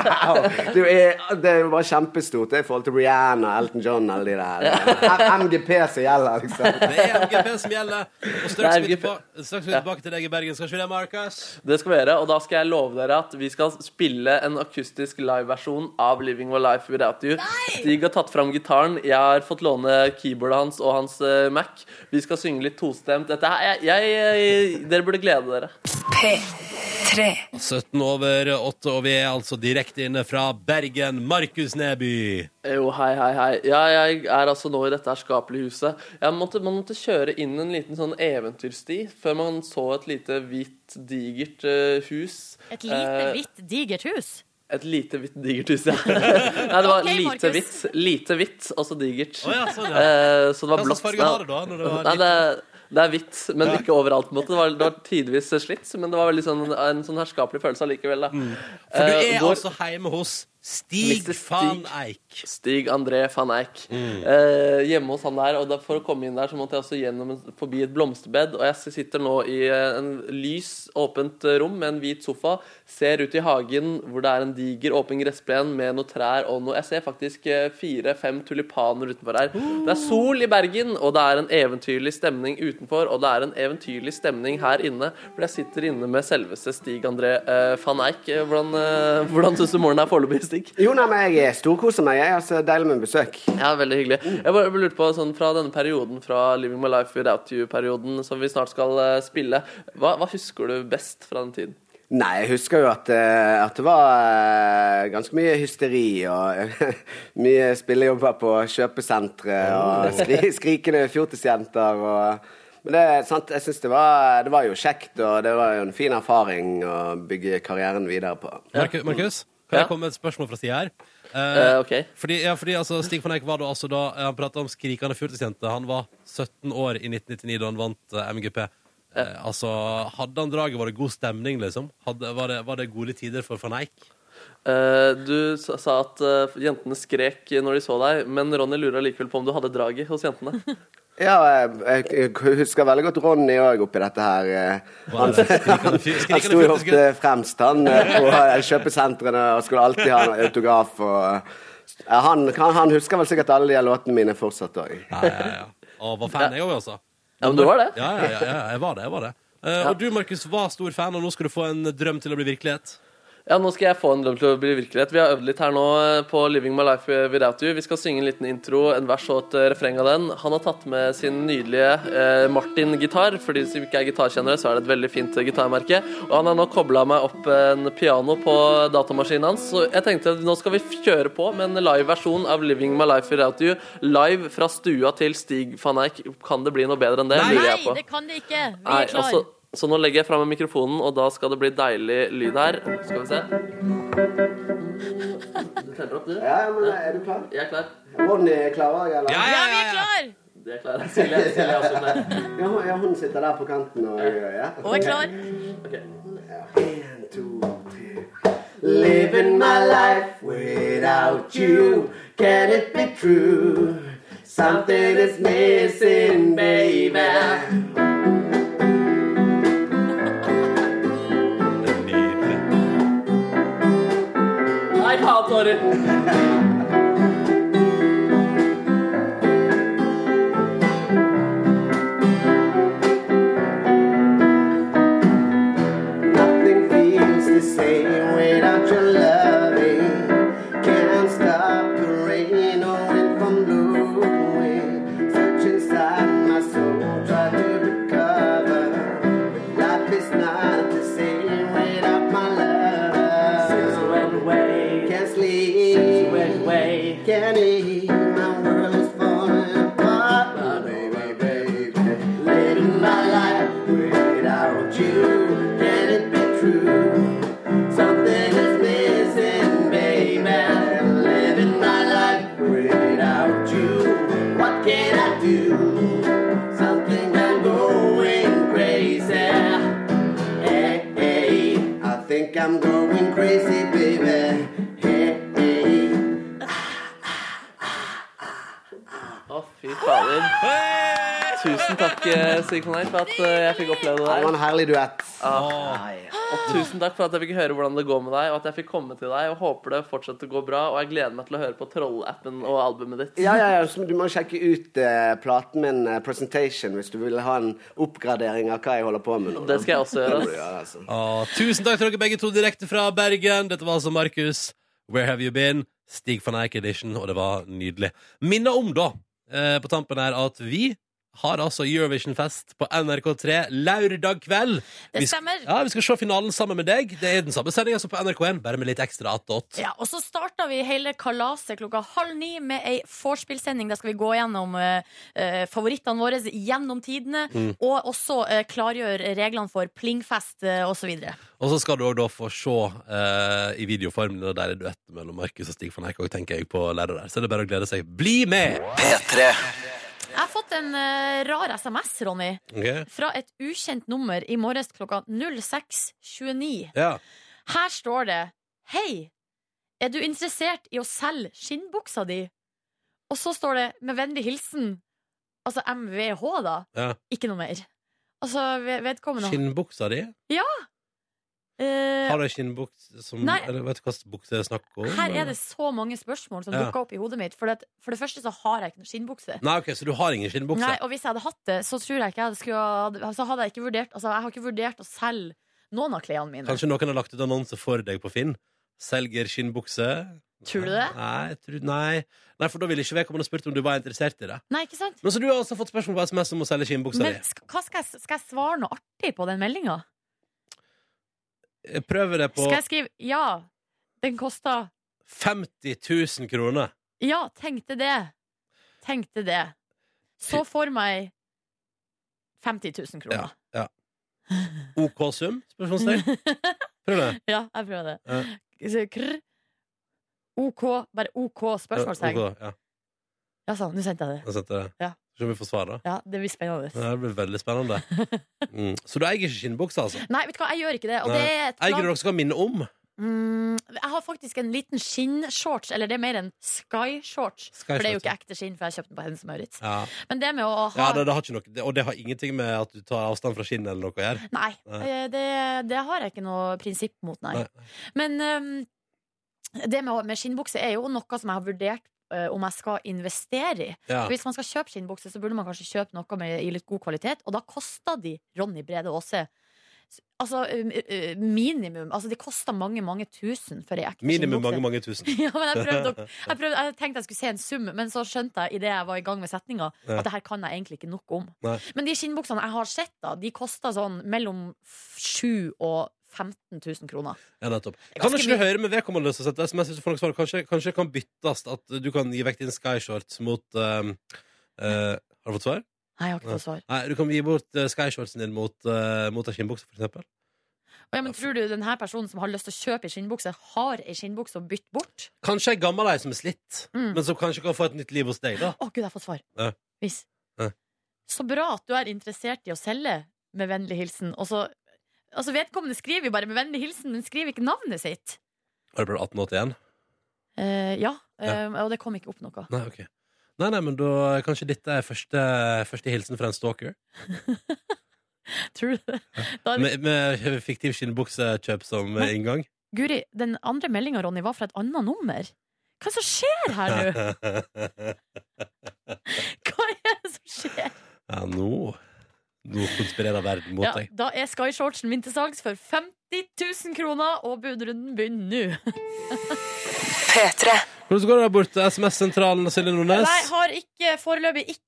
J: wow! Det er, det er jo bare kjempestort det er i forhold til Rihanna, Elton John alle de der. M- MGP som gjelder, liksom.
B: Det er MGP som gjelder. Og straks
H: Det er
B: vi er tilbake, straks vi er tilbake til deg i Bergen. Skal ikke vi det, Markus?
H: Det skal vi gjøre, og da skal jeg love dere at vi skal spille en akustisk liveversjon av 'Living Our Life Without You'. Stig har tatt fram gitaren, jeg har fått låne keyboardet hans og hans eh, Mac. Vi skal synge litt tostemt. Dette er, jeg, jeg, dere burde glede dere.
F: P3.
B: 17 over 8, og vi er altså direkte inne fra Bergen. Markus Neby.
H: Jo, hei, hei, hei. Ja, jeg er altså nå i dette her skapelige huset. Jeg måtte, man måtte kjøre inn en liten sånn eventyrsti før man så et lite, hvitt, digert eh, hus.
C: Et lite,
H: Eh,
C: hvitt, digert hus.
H: Et lite, hvitt, digert hus, ja. Nei, det var
C: Ok,
H: lite
C: Markus.
H: hvitt, lite hvitt, og så digert.
B: Å ja, sånn, ja.
H: Eh, Så det var
B: Hva slags
H: blått.
B: farge har det da, når det var
H: Nei, det, det er hvitt, men ikke overalt. på en måte. Det var, det var tidvis slitt, men det var veldig sånn, en sånn herskapelig følelse allikevel. da.
B: Mm. For du
H: Eh,
B: er
H: vår-
B: altså hjemme hos Stig
H: Mr. Stig.
B: van Eik.
H: Stig André van Eijk. Eh, hjemme hos han der. Og da, for å komme inn der så måtte jeg også gjennom en, forbi et blomsterbed. Og jeg sitter nå i eh, en lys, åpent eh, rom med en hvit sofa. Ser ut i hagen hvor det er en diger, åpen gressplen med noen trær og noe Jeg ser faktisk fire-fem tulipaner utenfor her. Det er sol i Bergen, og det er en eventyrlig stemning utenfor. Og det er en eventyrlig stemning her inne, for jeg sitter inne med selveste Stig André eh, van Eijk. Eh, Hvordan, eh, hvordan syns du morgenen er foreløpig, Stig?
J: Jo, nei, men jeg storkoser meg. Jeg er så deilig med besøk.
H: Ja, veldig hyggelig. Jeg bare lurte på, sånn, Fra denne perioden, fra 'Living My Life Without You'-perioden som vi snart skal eh, spille, hva, hva husker du best fra den tiden?
J: Nei, jeg husker jo at, eh, at det var eh, ganske mye hysteri og mye spillejobber på kjøpesentre og skri skrikende fjortisjenter og Men det, er sant, jeg syns det, var- det var jo kjekt, og det var jo en fin erfaring å bygge karrieren videre på.
B: Marku- Markus, kan
H: Ja.
B: jeg komme med et spørsmål fra sida her? Eh,
H: Eh, ok.
B: Fordi, ja, fordi altså, Stig van Eijk var da altså da eh, Han pratet om skrikende fjortisjente. Han var 17 år i 1999 da han vant eh, MGP. Eh, altså, Hadde han draget, var det god stemning, liksom? Hadde, var, det, var det gode tider for van Eijk?
H: Eh, du sa sa at eh, jentene skrek når de så deg, men Ronny lurer likevel på om du hadde draget hos jentene.
J: Ja, og jeg, jeg husker veldig godt Ronny òg oppi dette her. eh,
B: Var det skrikende fj-
J: Han sto
B: skrikende
J: jo
B: fjortisjente?
J: ofte fremst, han, eh, på eh, kjøpesentrene og skulle alltid ha en autograf. og... eh, Han, han, han husker vel sikkert alle de her låtene mine fortsatt òg.
B: Ja, ja, ja. Og var fan, jeg òg, altså.
H: Ja, men du var det?
B: Ja, ja, ja, ja, jeg var det. jeg var det Eh, Og du, Markus, var stor fan, og nå skal du få en drøm til å bli virkelighet.
H: Ja, nå skal jeg få en drøm til å bli virkelighet. Vi har øvd litt her nå eh, på 'Living My Life Without You'. Vi skal synge en liten intro, en vers og et eh, refreng av den. Han har tatt med sin nydelige eh, Martin-gitar. For de som ikke er gitarkjennere, så er det et veldig fint eh, gitarmerke. Og han har nå kobla meg opp en piano på datamaskinen hans. Så jeg tenkte at nå skal vi kjøre på med en live versjon av 'Living My Life Without You'. Live fra stua til Stig van Eijk. Kan det bli noe bedre enn det? lurer
C: Nei,
H: jeg på.
C: det kan det ikke. Vi
H: Nei,
C: er klar.
H: altså, så nå legger jeg fra meg mikrofonen, og da skal det bli deilig lyd her. Skal vi se. Du tenner opp, du?
J: Ja, men eh, er du klar?
H: Jeg er klar.
J: Ronny er klar òg, eller?
B: Ja,
C: Ja, vi er klar!
H: Du er klar. Silje, Silje er også klar.
J: Ja, hun, ja, hun sitter der på kanten og gjør ja.
C: Og er klar.
H: Ok.
J: En, to, tre. Living my life without you, can it be true?
F: Something is missing, baby.
H: Nei, faen, sorry.
F: Nothing feels the same without your loving. Can't stop the rain or wind from blowing. Search inside my soul, try to recover. But life is not the same without my love. Since you went away, can't sleep. Since you went away, can't eat. My world is falling apart. But baby, baby, late in my life without you. Can it be true? Something is missing, baby. I'm living my life without you. What can I do? Something I'm going crazy. Hey, hey, I think I'm going crazy, baby. Hey, hey.
H: Å, fy fader. Tusen takk, eh, Sigmund Eik, for at eh, jeg fikk oppleve det der.
J: Det var en herlig duett.
F: Oh,
H: Ah. Og tusen takk for at jeg fikk høre hvordan det går med deg, og at jeg fikk komme til deg. Og håper det fortsetter å gå bra, og jeg gleder meg til å høre på Trollappen og albumet ditt.
J: Ja, ja, ja, så Du må sjekke ut eh, platen min, eh, 'Presentation', hvis du vil ha en oppgradering av hva jeg holder på med nå. da.
B: Det skal jeg også gjøre,
J: Det må
B: ass.
J: du gjøre, altså.
B: Å, Ah, tusen takk til dere begge to direkte fra Bergen. Dette var altså Markus. Where have you been? Stig van Eijk edition, og det var nydelig. Minner om, da, eh, på tampen her, at vi har altså Eurovision-fest på NRK3 lørdag kveld.
C: Det
B: Vi sk-
C: stemmer.
B: Ja, Vi skal se finalen sammen med deg. Det er den samme sendinga som på NRK1, bare med litt ekstra attåt.
C: Ja, og så starta vi hele kalaset klokka halv ni med ei vorspielsending. Der skal vi gå gjennom eh, eh, favorittene våre gjennom tidene.
B: Mm.
C: Og også eh, klargjøre reglene for plingfest eh, og så videre
B: Og så skal du også da få se eh, i videoform den der duetten mellom Markus og Stig van Eijk, og tenker jeg på lørdag der. Så det er bare å glede seg. Bli med! P3.
C: Jeg har fått en eh, rar SMS, Ronny. Fra et ukjent nummer i morges klokka 06.29.
B: Ja.
C: Her står det Hei, er du interessert i å selge skinnbuksa di? Og så står det med vennlig hilsen Altså MVH, da.
B: Ja.
C: Ikke noe mer. Altså ved- vedkommende
B: Skinnbuksa di?
C: Ja! Eh,
B: Har du ei skinnbukse som
C: Nei.
B: Eller vet du hva slags bukse det er snakk om?
C: her er
B: eller?
C: det så mange spørsmål som
B: Ja. Mm,
C: dukker opp i hodet mitt. For det, for det første så har jeg ikke noen skinnbukse.
B: Nei, ok, Så du har ingen skinnbukse?
C: Nei, og hvis jeg hadde hatt det, så tror jeg ikke jeg hadde skulle ha- altså, hadde jeg, ikke vurdert, altså, jeg har ikke vurdert å selge noen av klærne mine.
B: Kanskje noen har lagt ut annonse for deg på Finn? Selger skinnbukse?
C: Tror du det?
B: Nei, jeg tror, nei. nei for da ville ikke vedkommende spurt om du var interessert i det.
C: Nei, ikke sant?
B: Men Så du har også fått spørsmål på SMS om å selge skinnbuksa
C: Men
B: di.
C: sk- hva skal, jeg, skal jeg svare noe artig på den meldinga?
B: Jeg prøver det på
C: Skal jeg skrive 'ja, den kosta
B: 50 000 kroner.
C: Ja, tenkte det. Tenkte det. Så får meg 50 000
B: Ja,
C: kroner.
B: ja. OK sum? Spørsmålstegn. Prøv det.
C: Ja, jeg prøver det.
B: Ja.
C: Så Krr. OK, bare OK spørsmålstegn.
B: Ja, ok, ja.
C: Ja, sånn, nå sendte jeg det.
B: Jeg sendte det.
C: Ja.
B: Skal vi få svar, da?
C: Ja, det blir spennende.
B: Ja, det blir veldig spennende. Mm. Så du eier ikke skinnbuksa, altså?
C: Nei, vet du hva, jeg gjør ikke det. Og
B: Nei.
C: det er et
B: Eier du
C: plagg
B: noe som kan minne om?
C: Mm, jeg har faktisk en liten skinnshorts, eller det er mer en sky-shorts.
B: Sky
C: For det er jo
B: shorts, ja.
C: ikke ekte skinn, for jeg kjøpte den på Hennes Maurits.
B: Ja.
C: Men det med å ha
B: Ja, det, det har ikke noe, det, og det har ingenting med at du tar avstand fra skinnet eller noe å gjøre?
C: Nei, eh, det, det har jeg ikke noe prinsipp mot, nei.
B: Nei.
C: Men eh, det med, å- med skinnbukse er jo noe som jeg har vurdert eh, om jeg skal investere i.
F: Ja.
C: For Hvis man skal kjøpe skinnbukse, så burde man kanskje kjøpe noe med, i litt god kvalitet, og da koster de Ronny Brede Aase s- Altså eh, eh, minimum. Altså de koster mange, mange tusen for ei ekte
B: Minimum
C: skinnbukse.
B: mange, mange tusen.
C: Ja, men jeg prøvde, å, jeg prøvde Jeg tenkte jeg skulle se en sum, men så skjønte jeg idet jeg var i gang med setninga,
B: Ja.
C: at det her kan jeg egentlig ikke nok om.
B: Nei.
C: Men de skinnbuksene jeg har sett, da, de koster sånn mellom 7 og 15 000 kroner.
B: Ja, nettopp.
C: er
B: Kan
C: ganske
B: ikke du
C: mye.
B: høre med vedkommende som sendte SMS? Hvis du får noe svar? Kanskje, kanskje det kan byttes at du kan gi vekk din skyshorts mot ehm, eh, Har du fått svar?
C: Nei, jeg har ikke fått svar.
B: Nei, du kan gi bort eh, skyshortsen din mot, eh, mot ei skinnbukse, for eksempel.
C: Og ja, men tror du den her personen som har lyst til å kjøpe ei skinnbukse, har ei skinnbukse å bytte bort?
B: Kanskje ei gammel ei som er slitt,
C: Mm.
B: men som kanskje kan få et nytt liv hos deg, da.
C: Å gud, jeg har fått svar.
B: Ja.
C: Hvis.
B: Ja.
C: Så bra at du er interessert i å selge, med vennlig hilsen. Og så Altså, vedkommende skriver jo bare 'med vennlig hilsen', men skriver ikke navnet sitt.
B: Har du bare 1881?
C: Eh, ja,
B: Ja.
C: Eh, og det kom ikke opp noe.
B: Nei, ok. Nei, nei, men da eh, kanskje dette er første, første hilsen fra en stalker.
C: Tror du det? Da er vi-
B: Med, med fiktiv skinnbuksekjøp som eh, inngang.
C: Guri, den andre meldinga, Ronny, var fra et annet nummer. Hva er det som skjer her nå? Hva er det som skjer?
B: ja, nå Nå konspirerer verden mot
C: Ja,
B: deg.
C: da er Sky Shortsen min til salgs for 50 000 kroner, og budrunden begynner nå.
B: Hvordan går det der borte? SMS-sentralen Silje Nordnes?
C: Nei, har ikke, foreløpig ikke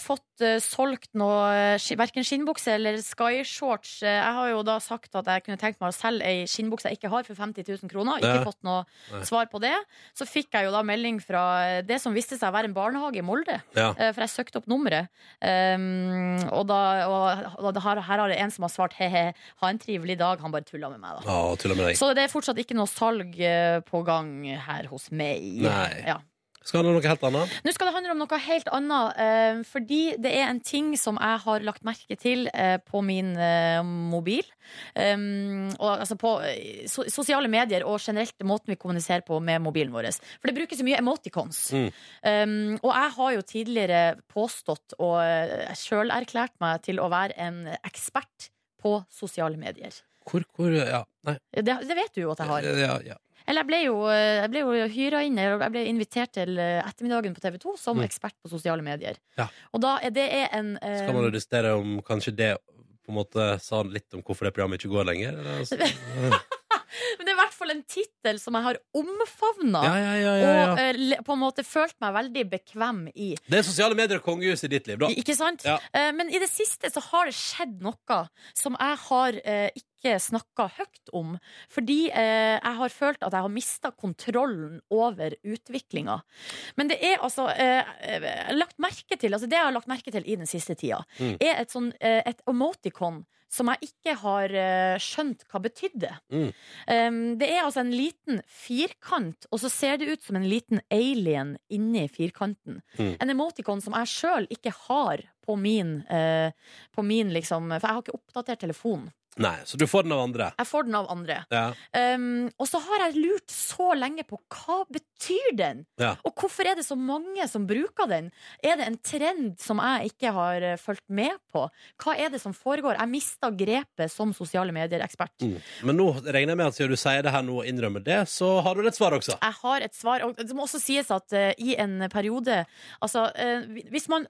C: fått eh, solgt noe, uh, verken skinnbukse eller skyshorts. Eh, jeg har jo da sagt at jeg kunne tenkt meg å selge ei skinnbukse jeg ikke har, for 50 000 kroner. Ikke
K: Ja.
C: fått noe
K: Nei.
C: svar på det. Så fikk jeg jo da melding fra eh, det som viste seg å være en barnehage i Molde.
K: Ja.
C: Eh, for jeg søkte opp nummeret. Um, og da, og, og her, her har det en som har svart he-he, ha en trivelig dag. Han bare tulla med meg, da.
B: Å, tulla med deg.
C: Så det er fortsatt ikke noe salg eh, på gang her hos meg.
B: Nei.
C: Ja.
B: Skal han ha noe helt annet?
C: Nå skal det handle om noe helt annet, eh, fordi det er en ting som jeg har lagt merke til eh, på min eh, mobil. Um, og, altså på eh, so sosiale medier og generelt måten vi kommuniserer på med mobilen vår. For det brukes så mye emoticons.
B: Mm.
C: Um, og jeg har jo tidligere påstått og uh, sjøl erklært meg til å være en ekspert på sosiale medier.
B: Hvor, hvor Ja, nei.
C: Det, det vet du jo at jeg har.
B: Ja, ja.
C: Eller jeg ble jo, eh, jeg ble jo hyra inn, eller jeg ble invitert til eh, Ettermiddagen på TV 2 som
B: Mm.
C: ekspert på sosiale medier.
B: Ja.
C: Og da er det er en eh,
B: Skal man redusere om kanskje det på en måte sa litt om hvorfor det programmet ikke går lenger? eller? altså?
C: Men det er i hvert fall en tittel som jeg har omfavna.
B: Ja, ja, ja, ja, ja.
C: Og eh, le- på en måte følt meg veldig bekvem i.
B: Det er sosiale medier og kongehus i ditt liv, da.
C: Ikke sant?
B: Ja.
C: Eh, Men i det siste så har det skjedd noe som jeg har eh, ikke snakka høyt om. Fordi eh, jeg har følt at jeg har mista kontrollen over utviklinga. Men det er altså eh, eh, lagt merke til, altså Det jeg har lagt merke til i den siste tida,
K: Mm.
C: er et, sånn, eh, et emoticon som jeg ikke har eh, skjønt hva betydde.
B: Mm.
C: Um, det er altså en liten firkant, og så ser det ut som en liten alien inni firkanten.
K: Mm.
C: En emoticon som jeg sjøl ikke har på min, eh, på min liksom, For jeg har ikke oppdatert telefonen.
B: Nei, så du får den av andre.
C: Jeg får den av andre.
B: Ja.
C: Um, og så har jeg lurt så lenge på hva betyr den?
B: Ja.
C: Og hvorfor er det så mange som bruker den? Er det en trend som jeg ikke har eh, fulgt med på? Hva er det som foregår? Jeg mista grepet som sosiale medier-ekspert.
B: Mm. Men nå regner jeg med at siden du sier det her nå og innrømmer det, så har du et svar også.
C: Jeg har et svar. Og det må også sies at eh, i en periode Altså, eh, hvis man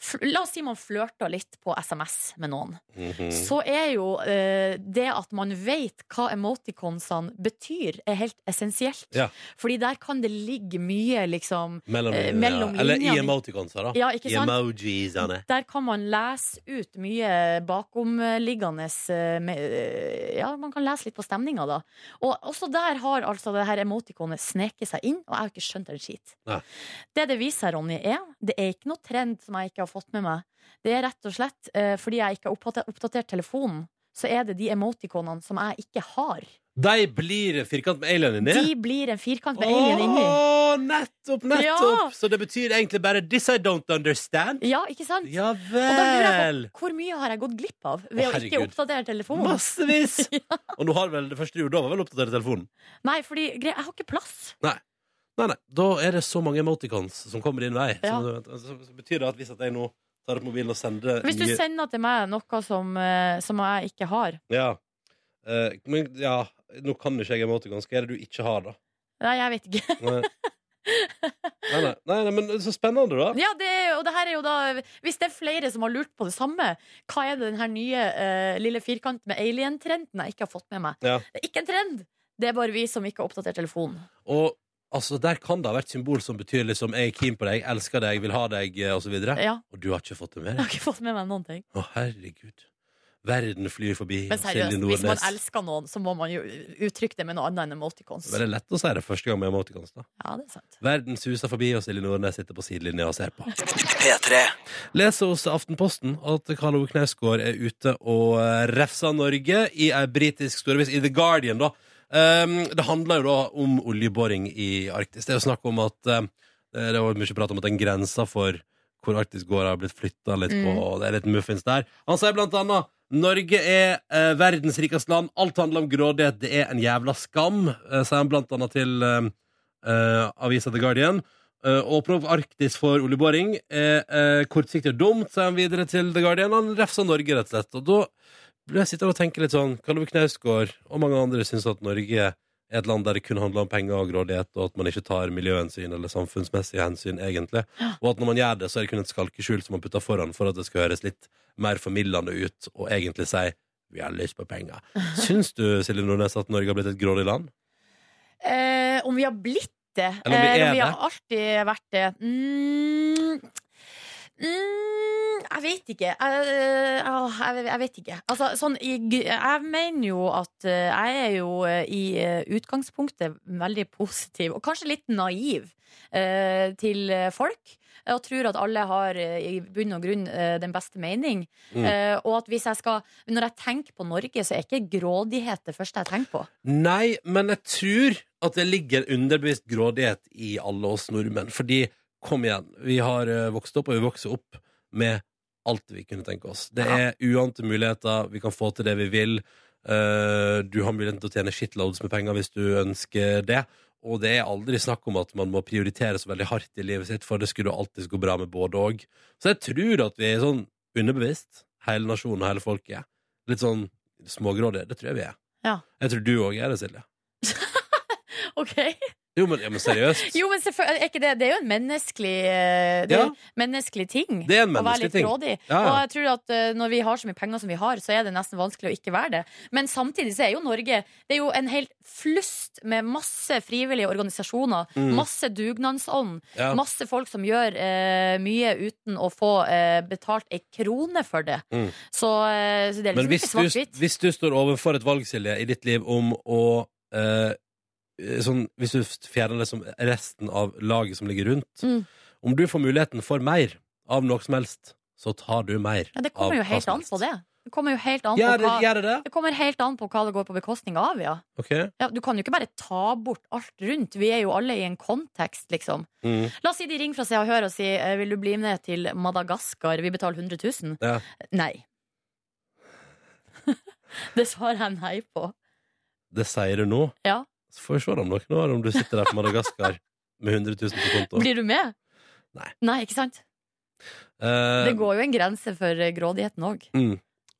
C: fl- La oss si man flørter litt på SMS med noen.
B: Mhm. Mm.
C: Så er jo eh, det at man vet hva emoticonsene betyr, er helt essensielt.
B: Ja.
C: Fordi der kan det ligge mye liksom
B: Mellom,
C: eh, mellom
B: ja. Eller i
C: linjene.
B: emoticonsa, da.
C: Ja, ikke sant?
B: I emojiesene.
C: Der kan man lese ut mye bakomliggende eh, med, eh, Ja, man kan lese litt på stemninga, da. Og også der har altså det her emotikonet sneket seg inn, og jeg har ikke skjønt en skit.
B: Nei.
C: Det det viser seg, Ronny, er det er ikke noe trend som jeg ikke har fått med meg. Det er rett og slett eh, fordi jeg ikke har oppdatert, oppdatert telefonen, så er det de emotikonene som jeg ikke har.
B: De blir firkant med alien inni.
C: De blir en firkant med alien inni.
B: Åh, nettopp, nettopp!
C: Ja.
B: Så det betyr egentlig bare 'this I don't understand'?
C: Ja, ikke sant?
B: Ja
C: Og da lurer
B: vel!
C: jeg på hvor mye har jeg gått glipp av ved å ikke
B: Herregud.
C: oppdatere telefonen?
B: Massevis! Og nå har vel det første du gjorde, da var vel å oppdatere telefonen?
C: Nei, fordi gre- jeg har ikke plass.
B: Nei. nei, nei. Da er det så mange emoticons som kommer din vei.
C: Ja.
B: Så, altså, så, så betyr det at hvis at jeg nå tar opp mobilen og sender
C: Hvis du
B: nye-
C: sender til meg noe som, eh, som jeg ikke har
B: Ja. Eh, men ja, nå kan ikke jeg emoticons. Hva er det du ikke har, da?
C: Nei, jeg vet ikke.
B: Nei. Nei, nei, nei, nei, men så spennende, da.
C: Ja, det, er- og det her er jo da Hvis det er flere som har lurt på det samme, hva er det den her nye eh, lille firkant med alien-trenden jeg ikke har fått med meg?
B: Ja.
C: Det er ikke en trend! Det er bare vi som ikke har oppdatert telefonen.
B: Og altså, der kan det ha vært symbol som betyr liksom 'jeg er keen på deg', 'elsker deg', 'vil ha deg', eh, og så videre.
C: Ja.
B: Og du har ikke fått det med
C: Jeg har
B: deg?
C: ikke fått med meg noen ting.
B: Å, herregud. Verden flyr forbi.
C: Men
B: og Silje
C: seriøst, hvis man
B: Nordnes.
C: elsker noen, så må man jo uttrykke det med noe annet enn emoticons.
B: Det er veldig lett å si det første gang med emoticons, da.
C: Ja, det er sant.
B: Verden suser forbi, og Silje Nordnes sitter på sidelinja og ser på. Leser hos Aftenposten at Karl Ove Knausgård er ute og eh, refser Norge i ei britisk storavis, i The Guardian, da. Um, det handler jo da om oljeboring i Arktis. Det er jo snakk om at eh, Det var mye prat om at den grensa for hvor Arktis går, har blitt flytta litt på,
L: Mm.
B: og det er litt muffins der. Han sier blant annet Norge er eh, verdens rikeste land. Alt handler om grådighet. Det er en jævla skam, eh, sier han blant annet til eh, eh, avisa The Guardian. Eh, åpne opp Arktis for oljeboring er eh, kortsiktig og dumt, sier han videre til The Guardian. Han refser Norge, rett og slett. Og da ble jeg sittende og tenke litt sånn Kan Ove Knausgård og mange andre synes at Norge er et land der det kun handler om penger og grådighet, og at man ikke tar miljøhensyn eller samfunnsmessige hensyn, egentlig. Og at når man gjør det, så er det kun et skalkeskjul som man putter foran for at det skal høres litt mer formildende ut, og egentlig si vi har lyst på penger. Syns du, Silje Nordnes, at Norge har blitt et grådig land?
C: Eh, om vi har blitt det?
B: Eller om vi
C: Eh, vi
B: er det?
C: har alltid vært det? Mm, mm, jeg vet ikke. Jeg, eh, åh, jeg, jeg vet ikke. Altså, sånn, i, gr- jeg mener jo at eh, jeg er jo eh, i eh, utgangspunktet veldig positiv, og kanskje litt naiv, eh, til eh, folk. eh, Og tror at alle har eh, i bunn og grunn eh, den beste mening.
B: Mm.
C: Eh, og at hvis jeg skal Når jeg tenker på Norge, så er ikke grådighet det første jeg tenker på.
B: Nei, men jeg tror at det ligger en underbevisst grådighet i alle oss nordmenn. Fordi, kom igjen, vi har eh, vokst opp, og vi vokser opp med alt vi kunne tenke oss. Det er uante muligheter, vi kan få til det vi vil. Eh, du har muligheten til å tjene shitloads med penger hvis du ønsker det. Og det er aldri snakk om at man må prioritere så veldig hardt i livet sitt, for det skulle alltid gå bra med både og. Så jeg tror at vi er sånn underbevisst, hele nasjonen og hele folket, litt sånn smågrådige. Det tror jeg vi er.
C: Ja.
B: Jeg tror du òg er det, Silje.
C: Ok
B: Jo, men, ja, men seriøst.
C: Jo, men selvføl- er ikke det, det er jo en menneskelig, eh, det er
B: Ja.
C: jo en menneskelig ting
B: Det er en
C: å være
B: menneskelig
C: litt
B: ting.
C: grådig.
B: Ja, ja.
C: Og jeg tror at eh, når vi har så mye penger som vi har, så er det nesten vanskelig å ikke være det. Men samtidig så er jo Norge Det er jo en helt flust med masse frivillige organisasjoner,
K: Mm.
C: masse dugnadsånd,
K: Ja.
C: masse folk som gjør eh, mye uten å få eh, betalt ei krone for det.
B: Mm.
C: Så, eh, så det er
B: Men
C: liksom ikke
B: hvis du,
C: svart-hvitt.
B: hvis du står overfor et valg, Silje, i ditt liv om å eh, sånn, Hvis du fjerner liksom resten av laget som ligger rundt
C: Mm.
B: Om du får muligheten for mer av noe som helst, så tar du mer.
C: Ja, det kommer
B: av
C: jo
B: hva
C: helt
B: som
C: an
B: helst.
C: på det. Det kommer jo helt an
B: Gjør
C: på
B: det-
C: hva,
B: gjør det det?
C: kommer helt an på hva det går på bekostning av, ja.
B: Ok?
C: Ja, du kan jo ikke bare ta bort alt rundt. Vi er jo alle i en kontekst, liksom.
B: Mm.
C: La oss si de ringer fra Se og Hør og sier eh, vil du bli med til Madagaskar, vi betaler 100 000.
B: Ja.
C: Nei. det svarer jeg nei på.
B: Det sier du nå.
C: Ja.
B: Så får vi se om noen år om du sitter der på Madagaskar med 100 000 på konto.
C: Blir du med?
B: Nei.
C: Nei, ikke sant?
B: Eh,
C: Det går jo en grense for eh, grådigheten òg.
B: Mm.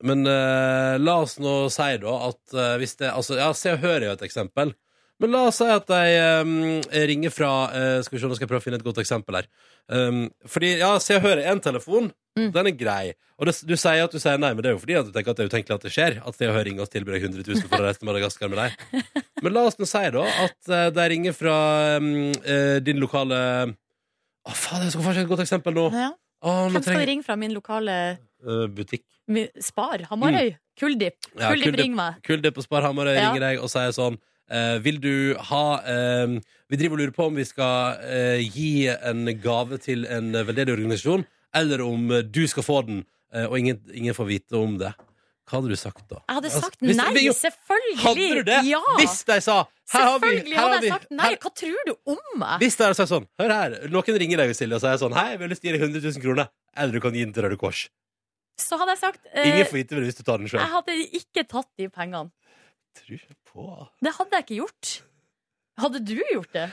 B: Men eh, la oss nå si da at eh, hvis det Altså, ja, Se og Hør er jo et eksempel. Men la oss si at de eh, ringer fra eh, Skal vi se, nå skal jeg prøve å finne et godt eksempel her. Um, fordi, ja, Se og Hør er én telefon.
C: Mm.
B: Den er grei. Og det, du sier at du sier nei, men det er jo fordi at du tenker at det er utenkelig at det skjer. At Se og Hør ringer og tilbyr deg 100 000 for å reise til Madagaskar med deg. Men la oss nå si da at eh, de ringer fra um, eh, din lokale Å, faen, jeg skal få et godt eksempel nå.
C: Ja.
B: Å, nå
C: Hvem skal
B: trenger-
C: det ringe fra min lokale
B: Eh, butikk.
C: mi- Spar? Hamarøy? Kuldip?
B: Mm. Ja,
C: Kuldip,
B: Kuldip-
C: ring meg.
B: Kuldip på Sparhamar
C: Ja.
B: ringer deg og sier sånn eh, Vil du ha eh, Vi driver og lurer på om vi skal eh, gi en gave til en veldedig organisasjon, eller om eh, du skal få den, eh, og ingen, ingen får vite om det. Hva hadde du sagt da?
C: Jeg hadde
B: Altså,
C: sagt
B: hvis-
C: nei,
B: vi- jo,
C: selvfølgelig!
B: Hadde du det?
C: Ja!
B: Hvis de sa her har vi,
C: Selvfølgelig
B: her har
C: hadde
B: vi
C: jeg sagt nei.
B: her-
C: Hva tror du om meg?
B: Hvis de hadde sagt sånn Hør her, noen ringer deg Silje og sier sånn Hei, vi har lyst til å gi deg 100 000 kroner, eller du kan gi den til Røde Kors.
C: Så hadde jeg sagt eh,
B: Ingen får vite det hvis du tar den sjøl.
C: Jeg hadde ikke tatt de pengene. Det hadde jeg ikke gjort. Hadde du gjort det?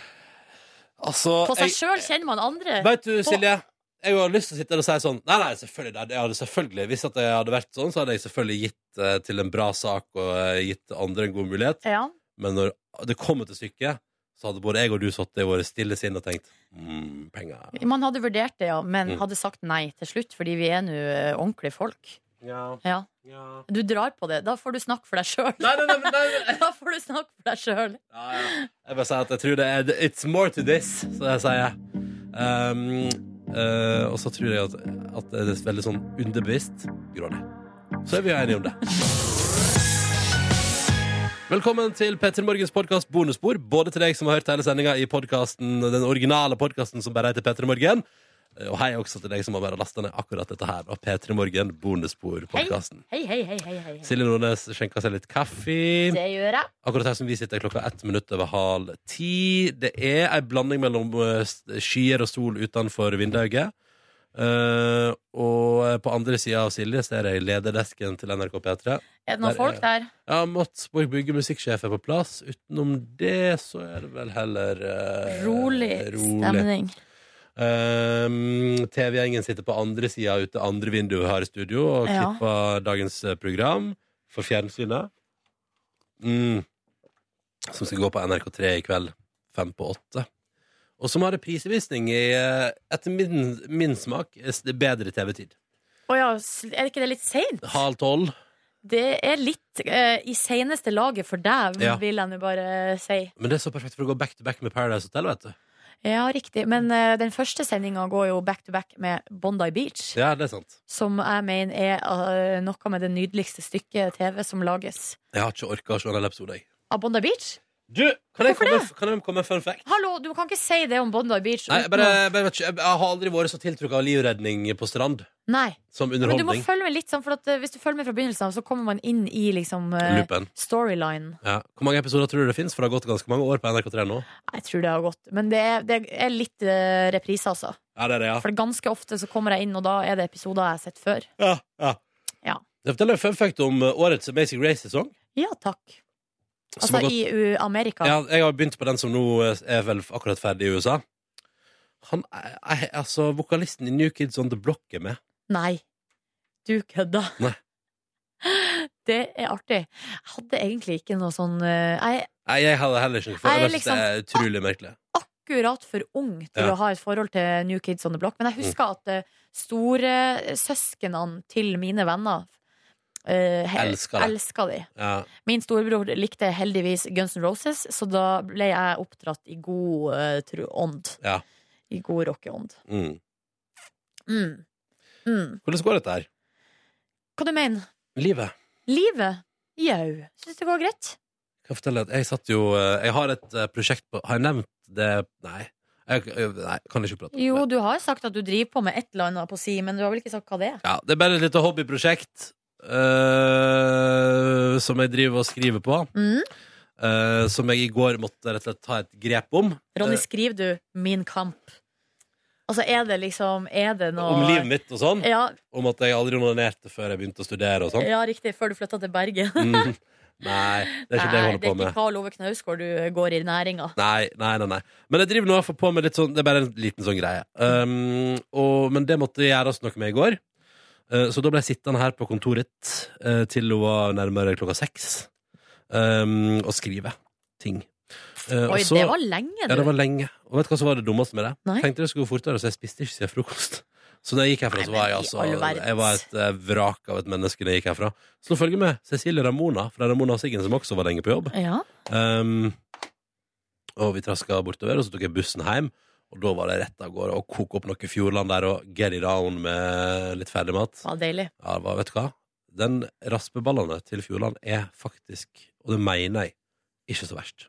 B: Altså,
C: På seg
B: jeg-
C: sjøl kjenner man andre.
B: Vet du,
C: På-
B: Silje, jeg har lyst til å sitte her og si sånn Nei, nei, selvfølgelig, nei, jeg hadde selvfølgelig Hvis at jeg hadde vært sånn, så hadde jeg selvfølgelig gitt eh, til en bra sak Og eh, gitt andre en god mulighet
C: Ja.
B: Men når det kommer til stykket Så hadde både jeg og du satt i våre stille sinn og tenkt mm, Penger
C: Man hadde vurdert det, ja, men
B: Mm.
C: hadde sagt nei til slutt, fordi vi er nå eh, ordentlige folk. Ja. Du drar på det. Da får du snakke for deg
B: sjøl.
C: da får du snakke for deg sjøl.
B: Jeg bare sier at jeg tror det er It's more to this, så det sier jeg. Um, eh, og så tror jeg at, at det er veldig sånn underbevisst grådig. Så er vi jo enige om det. Velkommen til Petter Morgens podkast bonusbord. Både til deg som har hørt hele sendinga i podcasten, den originale podkasten som bare heter Petter Morgen. Eh, Og hei også til deg som har bare lasta ned akkurat dette her. Og P3 Morgen,
C: Hei,
B: bonusbordpodkasten.
C: hei, hei, hei, hei, hei.
B: Silje Nordnes skjenka seg litt kaffe.
C: Det gjør jeg.
B: Akkurat her som vi sitter er klokka ett minutt over halv ti. Det er ei blanding mellom eh, s- skyer og sol utenfor vinduet. Eh, og på andre sida av Silje ser jeg lederdesken til NRK P3.
C: Er det noen folk der?
B: Ja, Mats Borg Bugge, musikksjef, er på plass. Utenom det så er det vel heller eh,
C: Rolig
B: rolig.
C: stemning.
B: Ehm, TV-gjengen sitter på andre sida ute, andre vinduet vi har i studio, og
C: Ja.
B: klipper dagens eh, program for fjernsynet. Mm. Som skal gå på NRK3 i kveld, fem på åtte. Og som har reprisevisning i, eh, etter min, min smak, eh, s- bedre TV-tid.
C: Å ja, s- er ikke det litt seint?
B: Halv tolv.
C: Det er litt eh, i seneste laget for deg,
B: Ja.
C: vil jeg nå bare si.
B: Men det er så perfekt for å gå back to back med Paradise Hotel, vet du.
C: Ja, riktig. Men eh, den første sendinga går jo back to back med Bondi Beach.
B: Ja, det er sant.
C: Som jeg mener er eh, noe med det nydeligste stykket TV som lages.
B: Jeg har ikke orka å se en hel episode, jeg.
C: Av Bondi Beach?
B: Du, kan jeg, komme, kan jeg komme med fun fact?
C: Hallo, du kan ikke si det om Bondi Beach.
B: Nei, jeg,
C: uten
B: bare,
C: å-
B: bare, vet ikke, jeg jeg har aldri vært så tiltrukket av livredning på strand
C: Nei.
B: som
C: Men du må
B: underholdning.
C: følge med litt sånn, for at, eh, hvis du følger med fra begynnelsen av, så kommer man inn i liksom eh,
B: Loopen.
C: storylinen.
B: Ja. Hvor mange episoder tror du det finnes? For det har gått ganske mange år på NRK3 nå.
C: Jeg tror det har gått. Men det er, det er litt eh, reprise, altså.
B: Ja, det er det, ja.
C: For ganske ofte så kommer jeg inn, og da er det episoder jeg har sett før.
B: Ja, ja.
C: Ja.
B: Jeg forteller en fun fact om eh, årets Amazing Race-sesong.
C: Ja takk. Altså
B: som har gått-
C: i U- Amerika.
B: Ja, jeg har begynt på den som nå eh, er vel akkurat ferdig i USA. Han er, er, altså, vokalisten i New Kids On The Block er med.
C: Nei, du kødda.
B: Nei.
C: Det er artig. Jeg hadde egentlig ikke noe sånn eh, Jeg er
B: Nei, jeg hadde heller ikke noe for
C: Nei,
B: det. Jeg synes det er
C: liksom-
B: utrolig merkelig.
C: akkurat for ung til
B: Ja. Mm.
C: å ha et forhold til New Kids on the Block, men jeg husker at eh, storesøsknene til mine venner eh, he-
B: Elsker det.
C: elsker de.
B: Ja.
C: Min storebror likte heldigvis Guns N' Roses, så da ble jeg oppdratt i god eh, tro- ånd.
B: Ja.
C: I god rockeånd.
B: Mm.
C: Mm. Mm.
B: Hvordan går dette her?
C: Hva du mener?
B: Livet?
C: Livet? Jau. Syns det går greit?
B: Kan jeg fortelle at jeg satt jo eh, Jeg har et eh, prosjekt på Har jeg nevnt det? Nei. Jeg, jeg- nei, kan ikke prate om det.
C: Jo, du har sagt at du driver på med et eller annet på si, men du har vel ikke sagt hva det er?
B: Ja, det er bare et lite hobbyprosjekt eh, som jeg driver og skriver på.
C: Mm.
B: eh, som jeg i går måtte rett og slett ta et grep om.
C: Ronny,
B: eh,
C: skriver du 'Min kamp'? Altså, er det liksom Er det noe
B: om livet mitt og sånn.
C: Ja,
B: Om at jeg aldri onanerte før jeg begynte å studere og sånn.
C: ja riktig. Før du flytta til Bergen.
B: Mm. Nei, det er ikke det jeg
C: Nei,
B: holder på
C: Det er ikke
B: med.
C: Karl Ove Knausgård du går i næringa.
B: Nei, nei, nei, nei. Men jeg driver nå i hvert fall på med litt sånn Det er bare en liten sånn greie. Um, og, men det måtte gjøres noe med i går. Eh, så da ble jeg sittende her på kontoret eh, til hun var nærmere klokka seks. Um, og skrive ting. Eh,
C: Oi,
B: og så-
C: det var lenge, du.
B: Ja, det var lenge. Og vet du hva som var det dummeste med det?
C: Nei.
B: Tenkte det skulle gå fortere, så jeg spiste ikke siden frokost. Så når jeg gikk herfra,
C: Nei,
B: så var jeg
C: men i
B: altså
C: all verdens.
B: Jeg var et eh, vrak av et menneske når jeg gikk herfra. Så nå følger med Cecilie Ramona fra Ramona og Siggen, som også var lenge på jobb.
C: Ja.
B: Um, og vi traska bortover, og så tok jeg bussen hjem. Og da var det rett av gårde å koke opp noe Fjordland der og get it down med litt ferdigmat.
C: Det var deilig.
B: Ja, det var, vet du hva? Den raspeballene til Fjordland er faktisk, og det mener jeg, ikke så verst.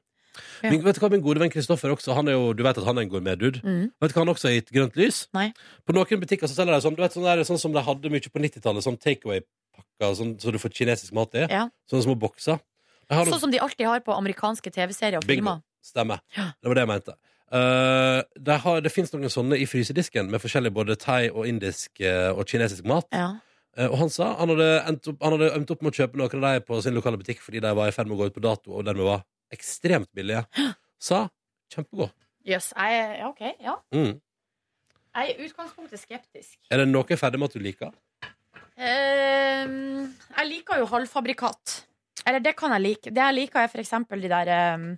C: Ja.
B: Min, vet du hva min gode venn Kristoffer også, han er jo, du vet at han er en gourmet-dude.
C: Mm.
B: Vet du hva han også har gitt grønt lys?
C: Nei.
B: På noen butikker så selger de sånn, du vet, sånn, der, sånn som de hadde mye på 90-tallet, sånn takeaway-pakker, sånn, så du får kinesisk mat i.
C: Ja.
B: Sånne små bokser. Jeg har noen-
C: Sånn som de alltid har på amerikanske TV-serier og filmer.
B: Bingo. Stemmer. Det var det jeg mente. Eh, det, har, det finnes noen sånne i frysedisken med forskjellig både thai og indisk eh, og kinesisk mat.
C: Ja.
B: Eh, og han sa han hadde, endt opp, han hadde ømt opp med å kjøpe noen av dem på sin lokale butikk fordi de var i ferd med å gå ut på dato og dermed var ekstremt billige. Sa kjempegod.
C: Jøss. jeg er- ja, OK. Ja.
B: Mm.
C: Jeg er i utgangspunktet skeptisk.
B: Er det noe ferdigmat du liker?
C: Ehm, jeg liker jo halvfabrikat. Eller det kan jeg like. Det jeg liker, er for eksempel de der ehm,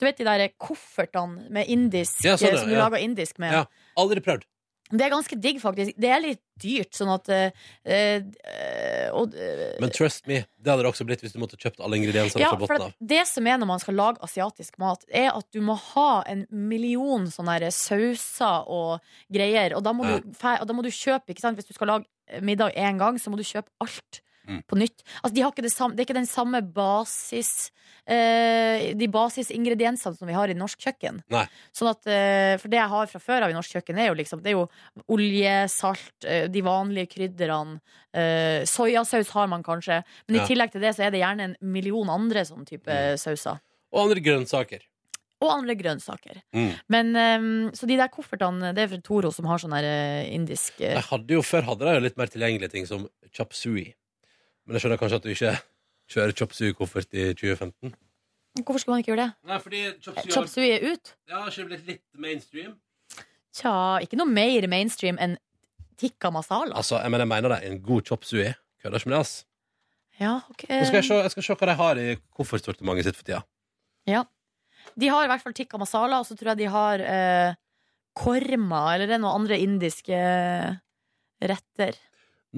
C: Du vet de der koffertene med indisk
B: Ja, sånn,
C: eh, som du
B: ja.
C: lager indisk med?
B: Ja. Aldri prøvd.
C: Det er ganske digg, faktisk. Det er litt dyrt, sånn at eh, eh, og, eh,
B: Men trust me, det hadde det også blitt hvis du måtte kjøpt alle ingrediensene
C: ja,
B: fra
C: for
B: bunnen
C: at
B: av.
C: det som er når man skal lage asiatisk mat, er at du må ha en million sånne her sauser og greier. Og da må,
B: Ja.
C: du, fe- og da må du kjøpe, ikke sant? Hvis du skal lage eh, middag én gang, så må du kjøpe alt
B: Mm.
C: på nytt. Altså, de har ikke det, samme, det er ikke den samme basis... eh, de basisingrediensene som vi har i norsk kjøkken.
B: Nei.
C: Sånn at, eh, for det jeg har fra før av i norsk kjøkken, er jo, liksom, det er jo olje, salt, eh, de vanlige krydderne. eh, soyasaus har man kanskje. Men
B: Ja.
C: i tillegg til det så er det gjerne en million andre sånn type
B: Mm.
C: sauser.
B: Og andre grønnsaker.
C: Og andre grønnsaker.
B: Mm.
C: Men, eh, så de der koffertene, det er fra Toro som har sånn her eh, indisk eh,
B: Jeg hadde jo, før hadde de jo litt mer tilgjengelige ting som chop sui. Men jeg skjønner kanskje at du ikke kjører chop sui-koffert i 2015.
C: Hvorfor skulle man ikke gjøre det?
B: Nei, fordi chop
C: Chop sui er ut.
B: har ikke blitt litt mainstream.
C: Tja, ikke noe mer mainstream enn tikka masala.
B: Altså, jeg mener, jeg mener det er en god chop suey. Kødder ikke med det, ass.
C: Ja, ok.
B: Nå skal jeg, se, jeg skal se hva de har i koffertsortimentet sitt for tida.
C: Ja. De har i hvert fall tikka masala, og så tror jeg de har eh, korma, eller det er noen andre indiske eh, retter.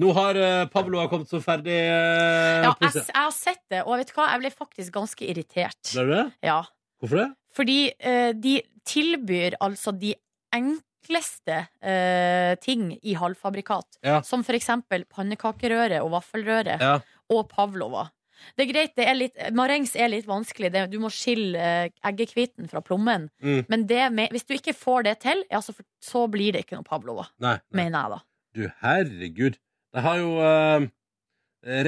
B: Nå har eh, Pavlo har kommet så ferdig eh,
C: Ja, jeg,
B: pose.
C: jeg har sett det, og vet du hva? jeg ble faktisk ganske irritert.
B: Ble du det?
C: Ja.
B: Hvorfor det?
C: Fordi eh, de tilbyr altså de enkleste eh, ting i halvfabrikat.
B: Ja.
C: Som for eksempel pannekakerøre og vaffelrøre.
B: Ja.
C: Og pavlova. Det er greit, det er litt, marengs er litt vanskelig. Det, du må skille eh, eggehviten fra plommen.
B: Mm.
C: Men det med, hvis du ikke får det til, ja, så, så blir det ikke noe pavlova.
B: Nei. nei.
C: Mener jeg, da.
B: Du, herregud. De har jo eh,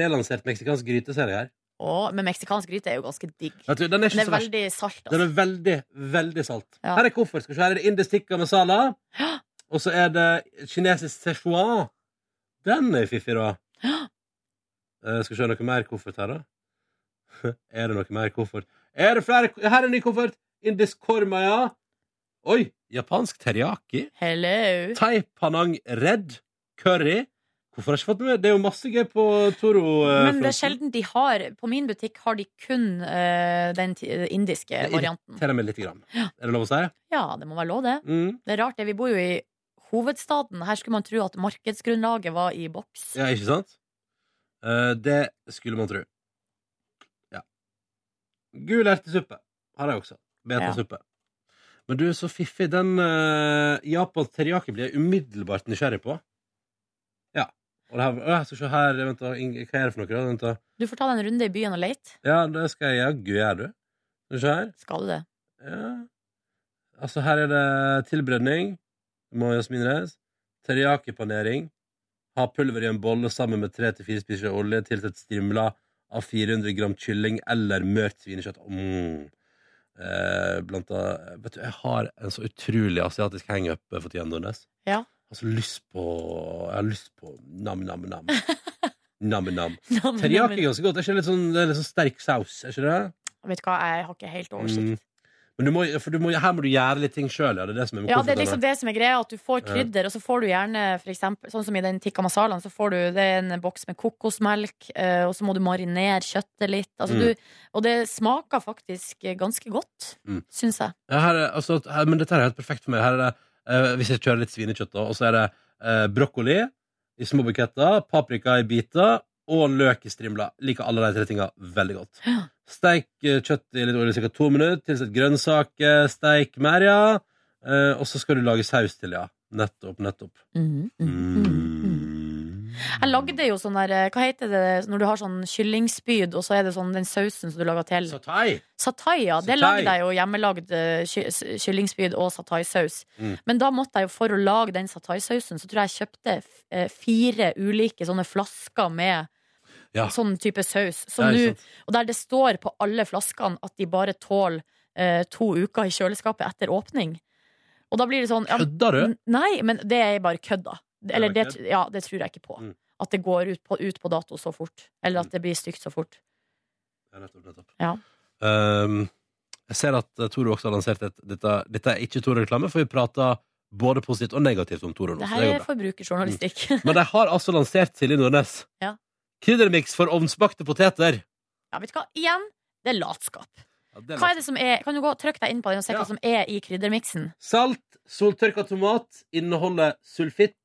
B: relansert meksikansk gryteserie her.
C: Å, men meksikansk gryte er jo ganske digg.
B: Vet du, den er
C: Den
B: ikke
C: er
B: så verst.
C: veldig salt. Altså.
B: Den er veldig, veldig salt.
C: Ja.
B: Her er koffert. Skal vi se, her er det indisk tikka masala.
C: Ja.
B: Og så er det kinesisk szechuan. Den er fiffig, da. Eh, skal vi se noe mer koffert her, da. er det noe mer koffert? Er det flere? Her er en ny koffert. Indisk korma, ja. Oi! Japansk teriyaki.
C: Hello.
B: Thai panang red. Curry. Hvorfor har jeg ikke fått med Det er jo masse gøy på Toro. eh,
C: Men det er
B: fronten.
C: sjelden de har På min butikk har de kun eh, den ti- indiske
B: Det
C: varianten.
B: irriterer meg litt. Grann. Er det lov å si?
C: Ja, det må være lov, det.
B: Mm.
C: Det er rart, det. Vi bor jo i hovedstaden. Her skulle man tro at markedsgrunnlaget var i boks.
B: Ja, ikke sant? Eh, det skulle man tro. Ja. Gul ertesuppe har jeg også. Betasuppe. Men du, så fiffig. Den uh, japansk teriyaki blir jeg umiddelbart nysgjerrig på. Ja. Og det her, Å, jeg skal se her vent, da, Ing- Hva er det for noe? da? Vent, da.
C: Du får ta deg en runde i byen og leite.
B: Ja, det skal jeg jaggu gjøre, du. Skal vi se her.
C: Skal du det?
B: Ja. Altså, her er det tilbredning. Må jasminreis. Teriyaki-panering. Ha pulver i en bolle sammen med 3-4 spiseskjeer olje tilsett strimla av 400 gram kylling eller mørt svinekjøtt. Mm. Eh, blant annet, vet du, jeg har en så utrolig asiatisk hangup for tida, Nordnes.
C: Ja.
B: Jeg har så lyst på Jeg har lyst på nam-nam-nam. Nam-nam.
C: Nam,
B: Teriyaki
C: nam.
B: er ganske godt. Er ikke det litt sånn, det er litt sånn sterk saus? Er ikke det?
C: Vet du hva, jeg har ikke helt oversikt.
B: Mm. Men du må, for du må, her må du gjøre litt ting sjøl, ja. Det er det som er med
C: Ja, det er
B: koffertene.
C: liksom det som er greia, at du får
B: Ja.
C: krydder, og så får du gjerne for eksempel, sånn som i den tikka masalaen, så får du det er en boks med kokosmelk, eh, og så må du marinere kjøttet litt. Altså,
B: Mm.
C: du, og det smaker faktisk eh, ganske godt,
B: Mm.
C: syns jeg.
B: ja, her er, altså, her, Men dette her er helt perfekt for meg. Her er det, eh, hvis jeg kjører litt svinekjøtt, da, og så er det eh, brokkoli i små buketter, paprika i biter og løk i strimler. Liker alle de tre tinga veldig godt.
C: Ja.
B: Steik eh, kjøttet i litt olje i ca. to minutter. Tilsett grønnsaker. Steik mer, ja. Eh, og så skal du lage saus til, ja. Nettopp, nettopp.
C: Mm,
B: Mm-hmm.
C: mm, mm, mm. Jeg lagde jo sånn der eh, Hva heter det når du har sånn kyllingspyd, og så er det sånn den sausen som du lager til?
B: Satai!
C: Satai, ja. Det lagde
B: Satai.
C: jeg jo hjemmelagd eh, ky- s- kyllingspyd og sataisaus.
B: Mm.
C: Men da måtte jeg jo for å lage den sataisausen, så tror jeg jeg kjøpte f- eh, fire ulike sånne flasker med
B: Ja.
C: sånn type saus. Som
B: Ja, ikke
C: nå
B: sant?
C: og der det står på alle flaskene at de bare tåler eh, to uker i kjøleskapet etter åpning. Og da blir det sånn ja,
B: Kødder du?
C: n- Nei, men det er bare kødd, da.
B: Det er
C: Eller det,
B: bare kødd.
C: ja, det tror jeg ikke på.
B: Mm.
C: At det går ut på, ut på dato så fort. Eller at det blir stygt så fort.
B: Ja, nettopp, nettopp.
C: Ja.
B: Ehm, jeg ser at eh, Toro også har lansert et, dette, dette er ikke Toro-reklame, for vi prater både positivt og negativt om Toro nå.
C: Det
B: Mm, Så
C: her
B: det går
C: er
B: bra.
C: forbrukerjournalistikk.
B: Men de har altså lansert Silje Nordnes.
C: Ja.
B: Kryddermiks for ovnsbakte poteter.
C: ja, vet du hva? Igjen, det er latskap.
B: Ja, det er
C: Hva
B: lett.
C: er det som er, kan du gå og trykke deg inn på den og se
B: Ja.
C: hva som er i kryddermiksen?
B: Salt, soltørka tomat inneholder sulfitt,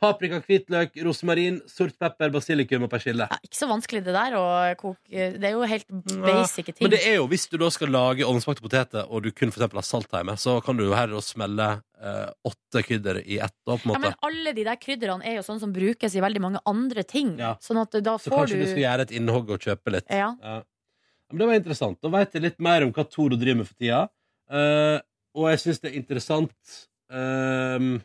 B: paprika, hvitløk, rosmarin, sort pepper, basilikum og persille.
C: Ja, ikke så vanskelig det der å koke Det er jo helt basic ting.
B: Men det er jo, hvis du da skal lage ovnsbakte poteter, og du kun for eksempel har salt hjemme, så kan du jo her og smelle eh, åtte krydder i ett. Da, på en
C: Ja,
B: måte.
C: men alle de der krydderne er jo sånn som brukes i veldig mange andre ting.
B: Ja.
C: Sånn at da
B: Så
C: får
B: kanskje du... skal gjøre et innhogg og kjøpe litt.
C: Ja.
B: Men det var interessant. Da veit jeg litt mer om hva Toro driver med for tida. Eh, og jeg syns det er interessant ehm,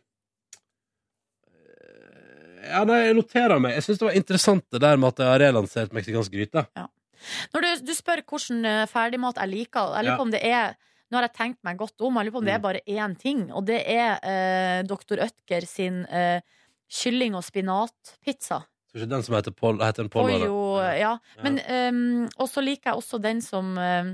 B: eh, Ja, nei, jeg noterer meg. Jeg syns det var interessant det der med at jeg har relansert meksikansk gryte.
C: Når du, du spør hvilken eh, ferdigmat jeg liker, jeg lurer
B: Ja. Mm.
C: på om det er Nå har jeg tenkt meg godt om, jeg lurer på om det er bare én ting, og det er eh, Dr. Ødker sin eh, kylling- og spinatpizza.
B: Så ikke den som heter Pol, heter en Pollo, da.
C: Pollo, eh, ja.
B: Ja.
C: Men ehm, Og så liker jeg også den som eh,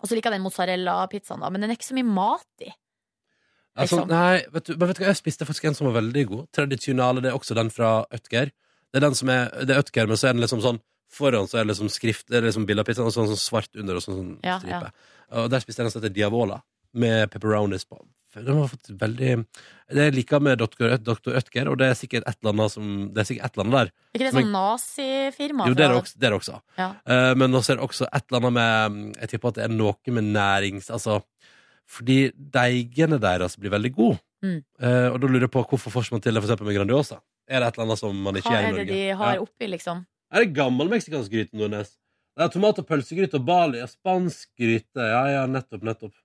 C: Og så liker jeg den mozzarella-pizzaen, da, men den er ikke så mye mat i.
B: Ja, sånn,
C: Liksom.
B: nei, vet du, men vet du hva, jeg spiste faktisk en som var veldig god. Tradisjonale, det er også den fra Øtger. Det er den som er, det er Øtger, men så er den liksom sånn, foran så er det liksom skrift, det er liksom bilder av pizzaen, og sånn, sånn svart under og sånn, sånn
C: Ja, ja.
B: stripe. Og der spiste jeg den som heter Diavola, med pepperonis på. Den var faktisk veldig... Det jeg liker med Dr. Øt- Dr. Øtger, og det er sikkert et eller annet som, det er sikkert et eller annet der.
C: Er ikke det
B: som
C: sånn nazifirma?
B: Jo, det er det
C: fra-
B: også. Det er det også.
C: Ja.
B: Eh, men også er det også et eller annet med mm, Jeg tipper at det er noe med nærings... Altså, fordi deigene deres blir veldig gode.
C: Mm.
B: Eh, og da lurer jeg på hvorfor får man til det for eksempel med Grandiosa? Er det et eller annet som man ikke
C: Hva
B: gjør i
C: er det
B: Norge?
C: de har
B: Ja.
C: oppi, liksom?
B: Er det gammel meksikansk gryte, Nordnes? Det er tomat- og pølsegryte og bali og spansk gryte. Ja, ja, nettopp, nettopp.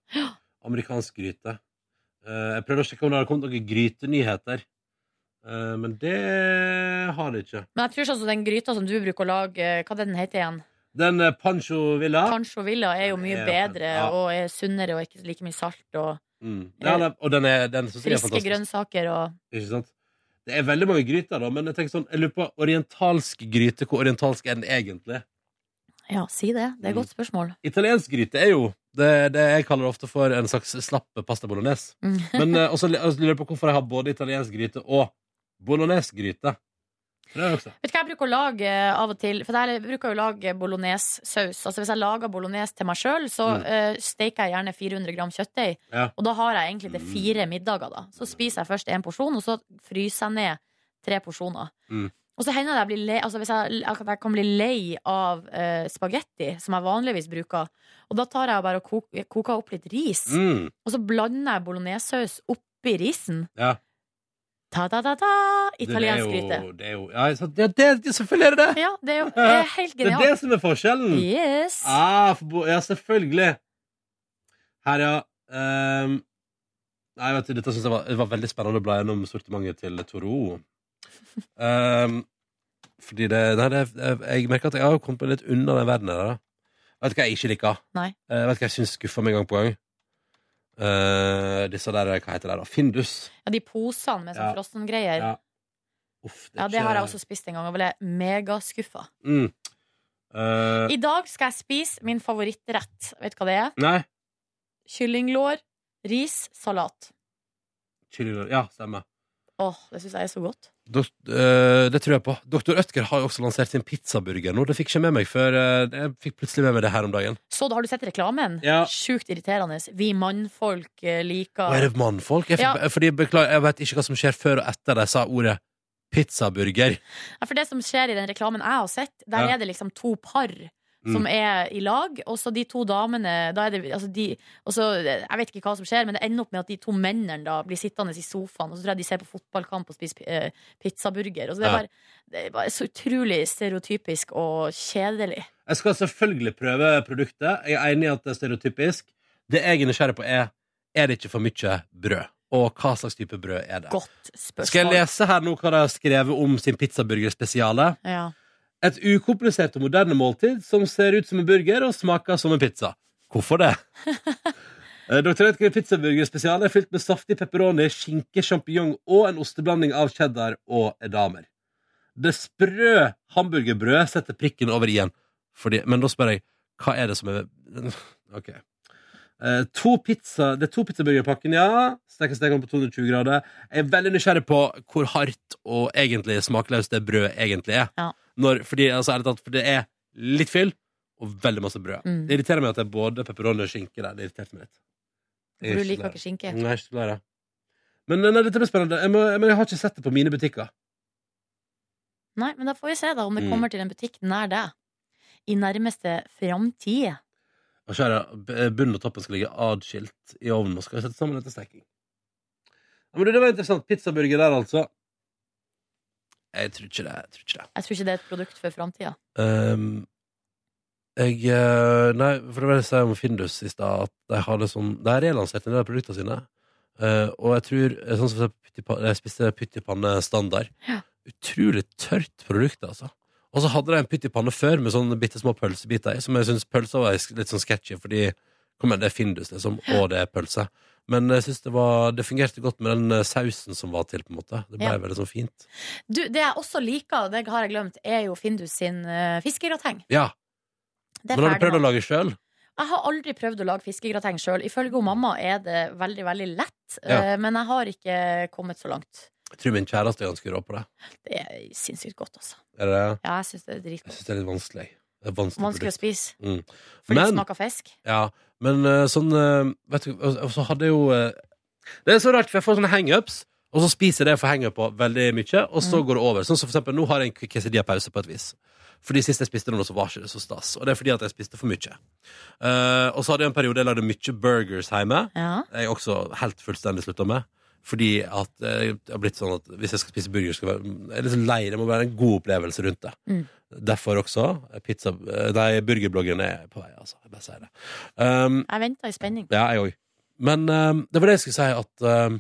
B: Amerikansk gryte. Eh, jeg prøvde å sjekke om det hadde kommet noen grytenyheter, Eh, men det har det ikke.
C: Men jeg tror sånn som den gryta som du bruker å lage, eh, hva er det den heter igjen?
B: Den eh, pancho villa
C: Pancho Villa er jo mye
B: Ja, den-
C: bedre
B: ja.
C: og er sunnere og ikke like mye salt og
B: Mm. Ja, nei, og den er, den synes jeg er
C: friske
B: fantastisk.
C: grønnsaker og
B: Ikke sant? Det er veldig mange gryter, da, men jeg tenker sånn, jeg lurer på orientalsk gryte. Hvor orientalsk er den egentlig?
C: Ja, si det. Det er et
B: Mm.
C: godt spørsmål.
B: Italiensk gryte er jo det, det jeg kaller ofte for en slags slappe pasta bolognese.
C: Mm.
B: Men eh, også l- også lurer jeg på hvorfor jeg har både italiensk gryte og bolognese-gryte. Det er også.
C: Vet du hva jeg bruker å lage eh, av og til? For der bruker jeg å lage bolognese-saus. Altså hvis jeg lager bolognese til meg sjøl, så
B: Mm.
C: eh, steker jeg gjerne 400 gram kjøttdeig.
B: Ja. Mm.
C: Og da har jeg egentlig til fire middager, da. Så spiser jeg først én porsjon, og så fryser jeg ned tre porsjoner.
B: Mm.
C: Og så hender det jeg blir lei Altså hvis jeg, at jeg kan bli lei av eh, spagetti, som jeg vanligvis bruker. Og da tar jeg og bare og kok, koker opp litt ris.
B: Mm.
C: Og så blander jeg bolognesesaus oppi risen.
B: Ja.
C: Ta-ta-ta-ta! Italiensk
B: Det er jo-
C: gryte.
B: Det er jo ja, så det, det, det, Selvfølgelig er det det!
C: Ja, det er jo det er helt
B: Det er det
C: genialt.
B: som er forskjellen!
C: Yes.
B: Ah, for, bo- ja, selvfølgelig. Her, ja. ehm, nei, vet du, dette synes jeg var, det var veldig spennende å bla gjennom sortimentet til Toro. Ehm, fordi det Nei, det, jeg merker at jeg har kommet litt unna den verdenen der. da. Vet du hva jeg ikke liker?
C: Nei.
B: Eh, vet du hva jeg syns skuffer meg gang på gang? Eh, disse der, hva heter de da? Findus.
C: Ja, de posene med sånn
B: Ja.
C: frossengreier.
B: Ja.
C: Ja.
B: Uff, det er
C: det
B: ikke-
C: har jeg også spist en gang og ble megaskuffa.
B: Mm. Eh,
C: I dag skal jeg spise min favorittrett. Vet du hva det er?
B: nei.
C: Kyllinglår, ris, salat.
B: Chili Ja, stemmer.
C: Åh, det syns jeg er så godt.
B: Dok- eh, det tror jeg på. Dr. Ødger har jo også lansert sin pizzaburger nå. Det fikk ikke med meg før eh, Jeg fikk plutselig med meg det her om dagen.
C: Så da har du sett reklamen?
B: Ja.
C: Sjukt irriterende. Vi mannfolk eh, liker
B: Og er det mannfolk? Jeg, fikk,
C: Ja.
B: fordi, beklager, jeg vet ikke hva som skjer før og etter de sa ordet pizzaburger.
C: Ja, for det som skjer i den reklamen jeg har sett, der
B: Ja. Mm.
C: er det liksom to par som er i lag, og så de to damene da er det, altså de, og så, Jeg vet ikke hva som skjer, men det ender opp med at de to mennene da blir sittende i sofaen, og så tror jeg de ser på fotballkamp og spiser pi- eh, pizzaburger. Og så det,
B: Ja.
C: er bare, det er bare så utrolig stereotypisk og kjedelig.
B: Jeg skal selvfølgelig prøve produktet. Jeg er enig i at det er stereotypisk. Det jeg er nysgjerrig på, er Er det ikke for mye brød. Og hva slags type brød er det?
C: Godt spørsmål.
B: Skal jeg lese her nå hva de har skrevet om sin pizzaburgerspesiale?
C: Ja.
B: Et ukomplisert og moderne måltid som ser ut som en burger og smaker som en pizza. Hvorfor det? Eh, Dr. Edgar pizzaburger spesial er fylt med saftig pepperoni, skinke, sjampinjong og en osteblanding av cheddar og edamer. Det sprø hamburgerbrødet setter prikken over i-en. Fordi, men da spør jeg, hva er det som er Ok. Eh, to pizza, det er to pizzaburgerpakken, ja. Steker stekene på 220 grader. Jeg er veldig nysgjerrig på hvor hardt og egentlig smakløst det brødet egentlig er.
C: Ja.
B: Når, fordi, altså, ærlig talt, for det er litt fyll og veldig masse brød.
C: Mm.
B: Det irriterer meg at det er både pepperoni og skinke der. Det irriterte meg litt. Jeg er
C: For du liker
B: glad.
C: ikke skinke.
B: Nei, Mm. jeg er ikke glad i det. Men eh, nei, dette blir spennende. Jeg, må, men jeg har ikke sett det på mine butikker.
C: Nei, men da får vi se da om det
B: Mm.
C: kommer til en butikk nær deg. I nærmeste framtid.
B: Og så er det b- Bunnen og toppen skal ligge adskilt i ovnen og skal settes sammen etter steking. Ja, men du, det var interessant. Pizzaburger der, altså. Jeg tror ikke det. Jeg tror ikke det.
C: Jeg tror ikke det er et produkt for framtida.
B: Ehm, jeg eh, Nei, for det var det jeg sa om Findus i stad, at de har det sånn De har relansert en del av produktene sine. Eh, og jeg tror eh, Sånn som for eksempel pytt i pa- jeg spiste pytt i panne standard. Utrolig tørt produkt, altså. Og så hadde de en pytt i panne før med sånne bitte små pølsebiter i, som jeg syns pølser var litt sånn sketchy, fordi kom igjen, det er Findus, liksom, og det er pølse. Men jeg syns det, var- det fungerte godt med den eh, sausen som var til, på en måte. Det ble
C: Ja.
B: veldig sånn fint.
C: Du, det jeg også liker, det har jeg glemt, er jo Findus sin uh, fiskegrateng.
B: Ja.
C: Det er
B: Men har du
C: ferdig
B: prøvd
C: nå.
B: å lage sjøl?
C: Jeg har aldri prøvd å lage fiskegrateng sjøl. Ifølge hun mamma er det veldig, veldig lett,
B: Ja.
C: eh, men jeg har ikke kommet så langt.
B: Jeg tror min kjæreste er ganske rå på det.
C: Det er sinnssykt godt, altså.
B: Er det?
C: Ja, jeg syns det er
B: Jeg
C: dritgodt.
B: syns det er litt vanskelig. Det er et vanskelig,
C: Vanskelig å
B: produkt.
C: spise.
B: Mm.
C: Fordi det
B: Men-
C: smaker fisk.
B: Ja, men eh, sånn eh, Vet du, og og så hadde jeg jo eh, Det er så rart, for jeg får sånne hangups, og så spiser jeg det jeg får hangup på veldig mye, og så går det over. Sånn som for eksempel, nå har jeg en quesadilla-pause på et vis. Fordi sist jeg spiste noe, så var ikke det så stas. Og det er fordi at jeg spiste for mye. Eh, og så hadde jeg en periode jeg lagde mye burgers hjemme.
C: Ja.
B: Jeg har også helt fullstendig slutta med. Fordi at eh, jeg har blitt sånn at hvis jeg skal spise burger, skal jeg være jeg er litt sånn lei. Det må være en god opplevelse rundt det.
F: Mm.
B: Derfor også eh, pizza eh, Nei, burgerbloggeren er på vei, altså. Jeg bare sier det. Um,
C: Jeg venter i spenning.
B: ja, jeg òg. Men ehm, det var det jeg skulle si at ehm,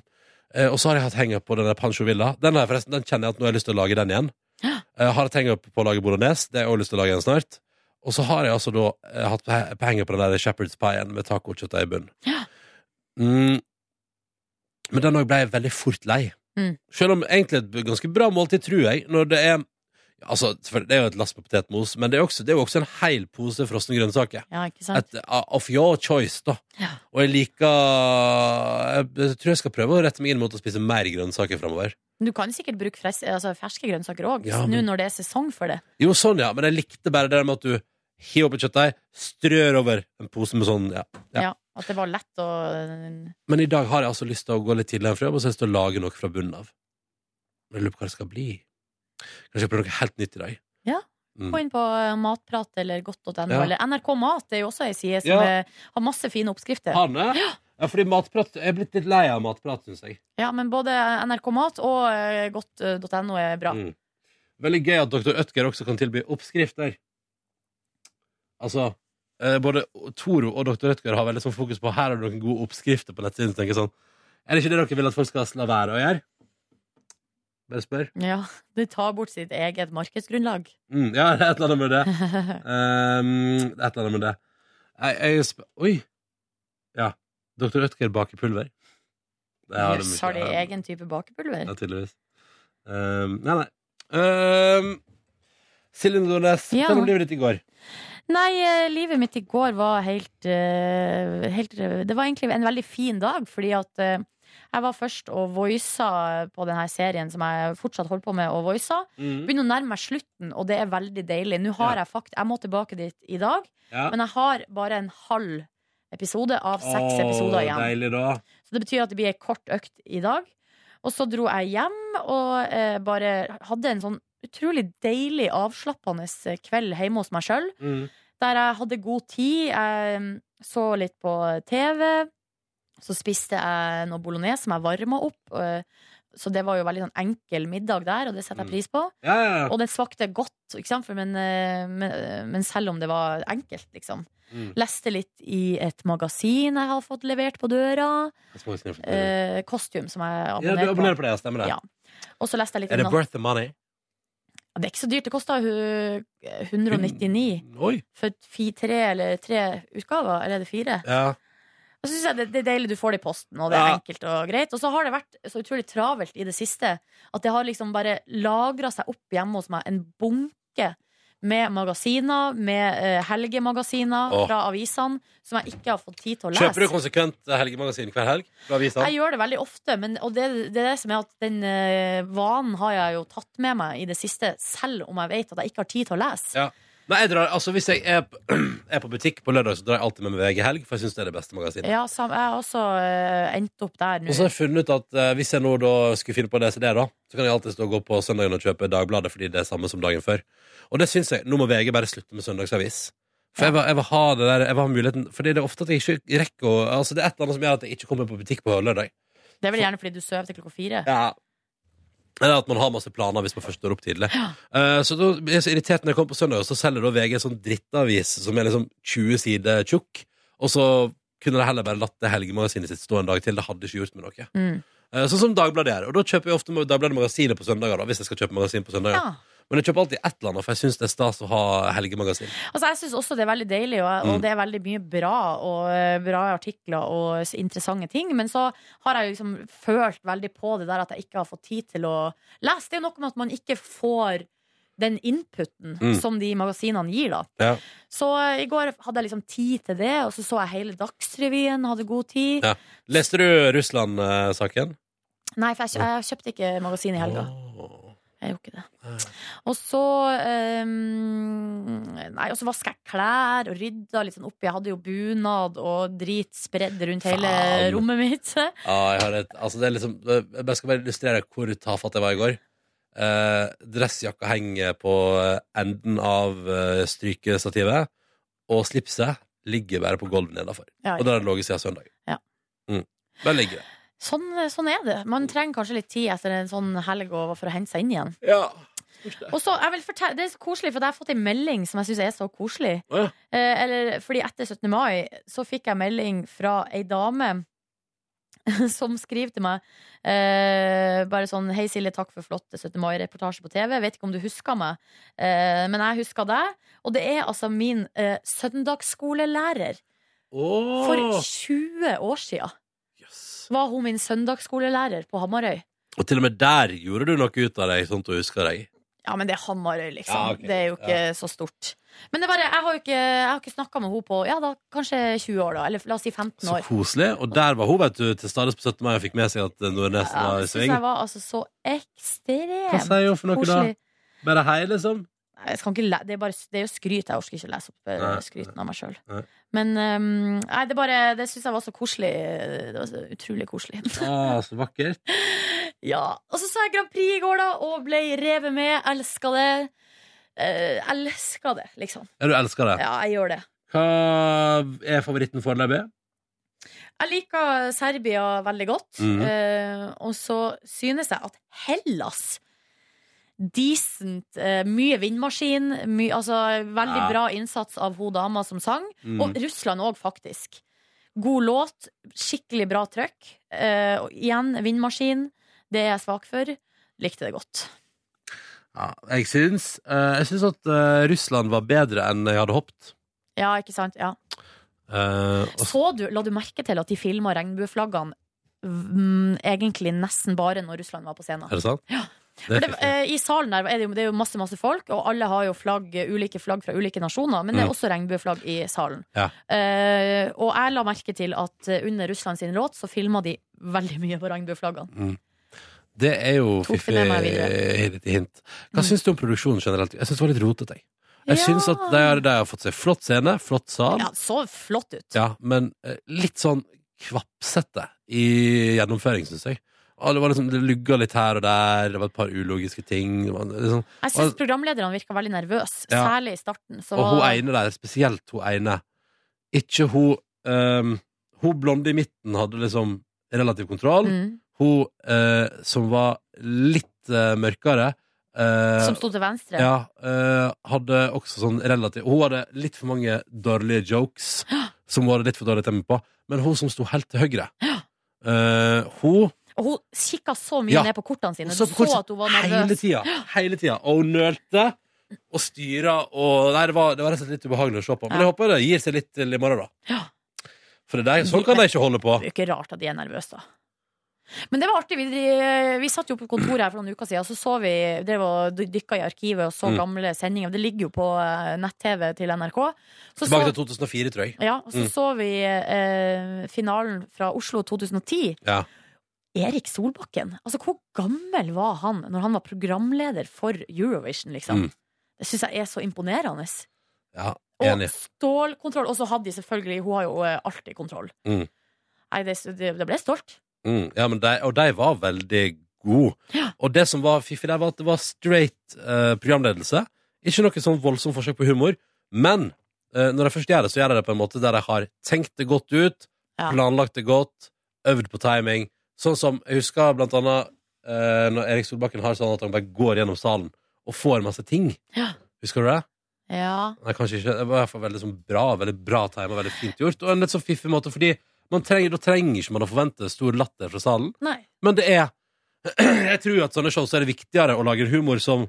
B: eh, Og så har jeg hatt henger på den der Pancho Villa. Den, har jeg forresten, den kjenner jeg at nå har jeg lyst til å lage den igjen. Jeg har et henger på å lage bolognese. Det har jeg også lyst til å lage igjen snart. Og så har jeg altså da eh, hatt he- henger på den der shepherd's pie-en med tacokjøttdeig i bunnen. Mm. Men den òg ble jeg veldig fort lei.
C: Mm.
B: Selv om egentlig et ganske bra måltid, tror jeg, når det er Altså, selvfølgelig, det er jo et lass med potetmos, men det er, også, det er jo også en hel pose frosne grønnsaker.
C: Ja, ikke sant?
B: Et, uh, of your choice, da. Og jeg liker jeg, jeg tror jeg skal prøve å rette meg inn mot å spise mer grønnsaker framover.
C: Du kan sikkert bruke fres- altså ferske grønnsaker òg,
B: Ja,
C: nå
B: men-
C: når det er sesong for det.
B: Jo, sånn, ja, men jeg likte bare det der med at du hiver opp et kjøttdeig, strør over en pose med sånn, ja.
C: Ja.
B: ja.
C: at det var lett å eh,
B: Men i dag har jeg altså lyst til å gå litt tidligere fra jobb, og så har jeg lyst til å lage noe fra bunnen av. Men jeg lurer på hva det skal bli. Kanskje jeg prøver noe helt nytt i dag.
C: Ja.
B: Mm.
C: Gå inn på eh, Matprat eller godt.no.
B: Ja.
C: Eller NRK Mat er jo også ei side som
B: Ja.
C: eh, har masse fine oppskrifter.
B: Hanne? Ja, fordi matprat, jeg er blitt litt lei av matprat, synes jeg.
C: Ja, men både NRK Mat og eh, godt.no er bra.
B: Mm. Veldig gøy at Dr. Ødger også kan tilby oppskrifter. Altså, eh, både Toro og Dr. Ødger har veldig sånn fokus på her har du noen gode oppskrifter på nettsiden. så tenker jeg sånn, Er det ikke det dere vil at folk skal la være å gjøre? Bare spør.
C: Ja, Det tar bort sitt eget markedsgrunnlag.
B: Mm, ja, det er et eller annet med det. Ehm, det er et eller annet med det. Jeg, jeg sp Oi! Ja. Dr. Ødger baker pulver. Det har de
C: Jøss,
B: ikke.
C: har de egen type bakepulver?
B: Ja, tydeligvis. Ehm, nei, nei. Ehm, Silje Nordnes,
C: Ja.
B: fortell om livet ditt i går.
C: Nei, eh, livet mitt i går var helt, eh, helt Det var egentlig en veldig fin dag, fordi at eh, jeg var først og voisa på denne serien som jeg fortsatt holder på med å voisa.
F: Mhm.
B: Mm.
C: Begynner å nærme meg slutten, og det er veldig deilig. Nå har
F: Ja.
C: Jeg fakt Jeg må tilbake dit i dag,
B: Ja.
C: men jeg har bare en halv episode av seks
B: Åh,
C: episoder igjen.
B: Deilig, da.
C: Så det betyr at det blir ei kort økt i dag. Og så dro jeg hjem og eh, bare hadde en sånn utrolig deilig, avslappende eh, kveld hjemme hos meg sjøl.
B: Mm.
C: Der jeg hadde god tid. Jeg mm, så litt på TV. Så spiste jeg noe bolognese som jeg varma opp. eh, Så det var jo veldig sånn enkel middag der, og det
B: Mm.
C: setter jeg pris på.
B: Ja, ja, ja.
C: Og den smakte godt, ikke sant? For, men, eh, men, men selv om det var enkelt, liksom.
B: Mm.
C: Leste litt i et magasin jeg har fått levert på døra.
B: Jeg skal faktisk fortelle.
C: Eh, Costume, som jeg
B: ja,
C: abonnerer
B: du abonnerer på det, ja. Stemmer det.
C: Ja. Og så leste jeg litt
B: Er det
C: natt-
B: worth the money?
C: Ja, Det er ikke så dyrt. Det kosta 199
B: Oi.
C: for fi- tre eller tre utgaver. Eller er det fire?
B: Ja.
C: Og så synes jeg det, det er deilig du får det i posten, og det er
B: Ja.
C: enkelt og greit. Og så har det vært så utrolig travelt i det siste at det har liksom bare lagra seg opp hjemme hos meg en bunke med magasiner, med eh, helgemagasiner
B: Åh.
C: fra avisene, som jeg ikke har fått tid til å lese.
B: Kjøper du konsekvent eh, helgemagasin hver helg? Fra avisa?
C: Jeg gjør det veldig ofte, men, og det, det er det som er at den eh, vanen har jeg jo tatt med meg i det siste, selv om jeg vet at jeg ikke har tid til å lese.
B: Ja. Nei, jeg drar, altså Hvis jeg er, p- er på butikk på lørdag, så drar jeg alltid med meg VG Helg, for jeg syns det er det beste magasinet.
C: Ja, sam, jeg har også eh, endt opp der
B: Og
C: nå.
B: så har jeg funnet ut at eh, hvis jeg nå da skulle finne på å lese det, da, så kan jeg alltid stå og gå på søndagen og kjøpe Dagbladet fordi det er samme som dagen før. Og det syns jeg. Nå må VG bare slutte med søndagsavis. For jeg, vil, jeg vil ha det der, jeg vil ha muligheten Fordi det er ofte at jeg ikke rekker å Altså Det er et eller annet som gjør at jeg ikke kommer på butikk på lørdag.
C: Det er vel gjerne fordi du sover til klokka fire.
B: Ja. Eller at man har masse planer hvis man først står opp tidlig. Eh, så da ble jeg så irritert når jeg kom på søndag, og så selger da VG en sånn drittavis som er liksom 20 sider tjukk, og så kunne de heller bare latt det helgemagasinet sitt stå en dag til. Det hadde ikke gjort meg noe.
F: Mm.
B: Eh, Sånn som Dagbladet gjør. Og da kjøper jeg ofte Dagbladet Magasinet på søndager. da, hvis jeg skal kjøpe magasin på søndager.
C: Ja.
B: Men jeg kjøper alltid ett eller annet, for jeg syns det er stas å ha helgemagasin.
C: Altså, jeg syns også det er veldig deilig, og,
B: Mm.
C: og det er veldig mye bra, og eh, bra artikler og s- interessante ting. Men så har jeg jo liksom følt veldig på det der at jeg ikke har fått tid til å lese. Det er jo noe med at man ikke får den inputen
B: Mm.
C: som de magasinene gir, da.
B: Ja.
C: Så eh, i går hadde jeg liksom tid til det, og så så jeg hele Dagsrevyen, hadde god tid.
B: ja. Leste du eh, Russland-saken?
C: Nei, for jeg, kjø- jeg kjøpte ikke magasin i helga. Jeg gjorde ikke det. Og så eh, Nei, og så vaska jeg klær og rydda litt sånn opp. Jeg hadde jo bunad og drit spredd rundt hele
B: Faen.
C: rommet mitt.
B: Ja, jeg har et, altså det er liksom Jeg bare skal bare illustrere hvor tafatt jeg var i går. Eh, dressjakka henger på eh, enden av eh, strykestativet, og slipset ligger bare på gulvet nedafor.
C: Ja, ja.
B: Og der har det ligget siden søndag.
C: Ja.
B: Mm. Der ligger det.
C: Sånn, sånn er det. Man trenger kanskje litt tid etter en sånn helg og for å hente seg inn igjen. Og så, jeg vil fortelle, Det er så koselig, for jeg har fått en melding som jeg syns er så koselig.
B: Å, ja.
C: Eh, eller, fordi etter 17. mai så fikk jeg melding fra ei dame som skriver til meg eh, bare sånn Hei, Silje, takk for flott 17. mai-reportasje på TV. Jeg vet ikke om du husker meg, eh, men jeg husker deg. Og det er altså min eh, søndagsskolelærer.
B: Åh.
C: For 20 år sia var hun min søndagsskolelærer på Hamarøy.
B: Og til og med der gjorde du noe ut av deg, sånn at du husker deg.
C: Ja, men det er Hamarøy, liksom.
B: Ja, ok.
C: Det er jo ikke
B: Ja.
C: så stort. Men det er bare, jeg har jo ikke, jeg har ikke snakka med henne på ja, da, kanskje 20 år, da. Eller la oss si 15
B: Så
C: år.
B: koselig. Og der var hun, vet du, til stades på 17. mai og fikk med seg at eh, Nordnesen
C: Ja,
B: var
C: det
B: i
C: synes
B: sving.
C: jeg var altså så ekstremt
B: Hva sier hun for noe da?
C: koselig.
B: Bare hei, liksom?
C: Nei, Jeg skal ikke le det, er bare, det er jo skryt. Jeg orker ikke å lese opp eh,
B: Nei.
C: skryten av meg sjøl.
B: Nei.
C: Men ehm, nei, det, bare, det syns jeg var så koselig. Det var så utrolig koselig.
B: Ah, så vakkert.
C: ja. Og så sa jeg Grand Prix i går, da, og ble revet med. Elska det. Uh, Elska det, liksom.
B: Ja, du elsker det.
C: Ja, jeg gjør det.
B: Hva er favoritten foreløpig?
C: Jeg liker Serbia veldig godt.
B: Mhm.
C: eh, og så synes jeg at Hellas Decent. eh, mye vindmaskin. My, altså, veldig
K: Ja.
C: bra innsats av hun dama som sang.
B: Mm.
K: Mhm.
C: Og Russland òg, faktisk. God låt. Skikkelig bra trøkk. Eh, og igjen, vindmaskin. Det er jeg svak for. Likte det godt.
B: Ja, jeg syns, eh, jeg syns at eh, Russland var bedre enn jeg hadde håpet.
C: Ja, ikke sant? Ja.
B: Eh, og s-
C: Så du, La du merke til at de filma regnbueflaggene mm, egentlig nesten bare når Russland var på scenen?
B: er det sant? Ja.
C: For det, eh, I salen der er det, jo, det er jo masse masse folk, og alle har jo flagg, ulike flagg fra ulike nasjoner. Men det
B: Mm.
C: er også regnbueflagg i salen.
B: ja.
C: Eh, og jeg la merke til at eh, under Russland sin låt så filma de veldig mye på regnbueflaggene.
B: Mm. Det er jo
C: Tok det
B: fiffig
C: med meg Mm.
B: lite hint. Hva syns du om produksjonen generelt? Jeg syns det var litt rotete. Jeg, jeg
C: Ja.
B: syns at de har, de har fått seg flott scene, flott sal,
C: Ja, det så flott ut.
B: ja, men eh, litt sånn kvapsete i gjennomføring, syns jeg. Og det var liksom, det lugga litt her og der, det var et par ulogiske ting. det var Liksom.
C: Jeg syns programlederne virka veldig nervøse,
B: Ja.
C: særlig i starten. Så
B: Og hun
C: var-
B: ene der, spesielt hun ene Ikke hun ehm, Hun blonde i midten hadde liksom relativ kontroll
C: Mm.
B: Hun eh, som var litt eh, mørkere eh,
C: Som sto til venstre.
B: Ja, eh, hadde også sånn relativ Hun hadde litt for mange dårlige jokes Som hun hadde litt for dårlig tempo på Men hun som sto helt til høyre eh, Hun
C: Og hun kikka så mye
B: Ja.
C: ned på kortene sine. Du
B: Så
C: så,
B: på kortene
C: at hun var
B: hele
C: nervøs.
B: tida. Hele tida. Og hun nølte og styra og Nei, det var, det var rett og slett litt ubehagelig å se på. Men
C: Ja.
B: jeg håper det gir seg litt til i morgen, da. For det der, sånn kan de ikke holde på.
C: Det er jo ikke rart at de er nervøse, da. Men det var artig. Vi, dri- vi satt jo på kontoret her for noen uker siden, og så så vi Det var dykka i arkivet og så
B: Mm.
C: gamle sendinger. Det ligger jo på eh, nett-TV til NRK. Så
B: Tilbake
C: så-
B: til 2004, tror jeg.
C: Ja, og så
B: Mm.
C: så vi eh, finalen fra Oslo 2010.
B: Ja.
C: Erik Solbakken. Altså, hvor gammel var han når han var programleder for Eurovision, liksom?
B: Mm.
C: Det syns jeg er så imponerende.
B: ja
C: Og
B: enig.
C: stålkontroll. Og så hadde de selvfølgelig Hun har jo eh, alltid kontroll.
B: Mm.
C: Nei, det, det, det ble jeg stolt.
B: Mm. Ja, men de, og de var veldig gode. Og det som var fiffig der, var at det var straight eh, programledelse. Ikke noe sånn voldsomt forsøk på humor, men eh, når de først gjør det, så gjør de det på en måte der de har tenkt det godt ut, planlagt det godt, øvd på timing. Sånn som jeg husker blant annet eh, når Erik Solbakken har sånn at han bare går gjennom salen og får masse ting.
C: Ja.
B: Husker du det?
C: Ja.
B: Nei, kanskje ikke. Det var i hvert fall veldig sånn bra, veldig bra time og veldig fint gjort. Og en litt sånn fiffig måte, fordi man trenger, da trenger ikke man å forvente stor latter fra salen.
C: Nei.
B: Men det er Jeg tror at sånne show så er det viktigere å lage humor som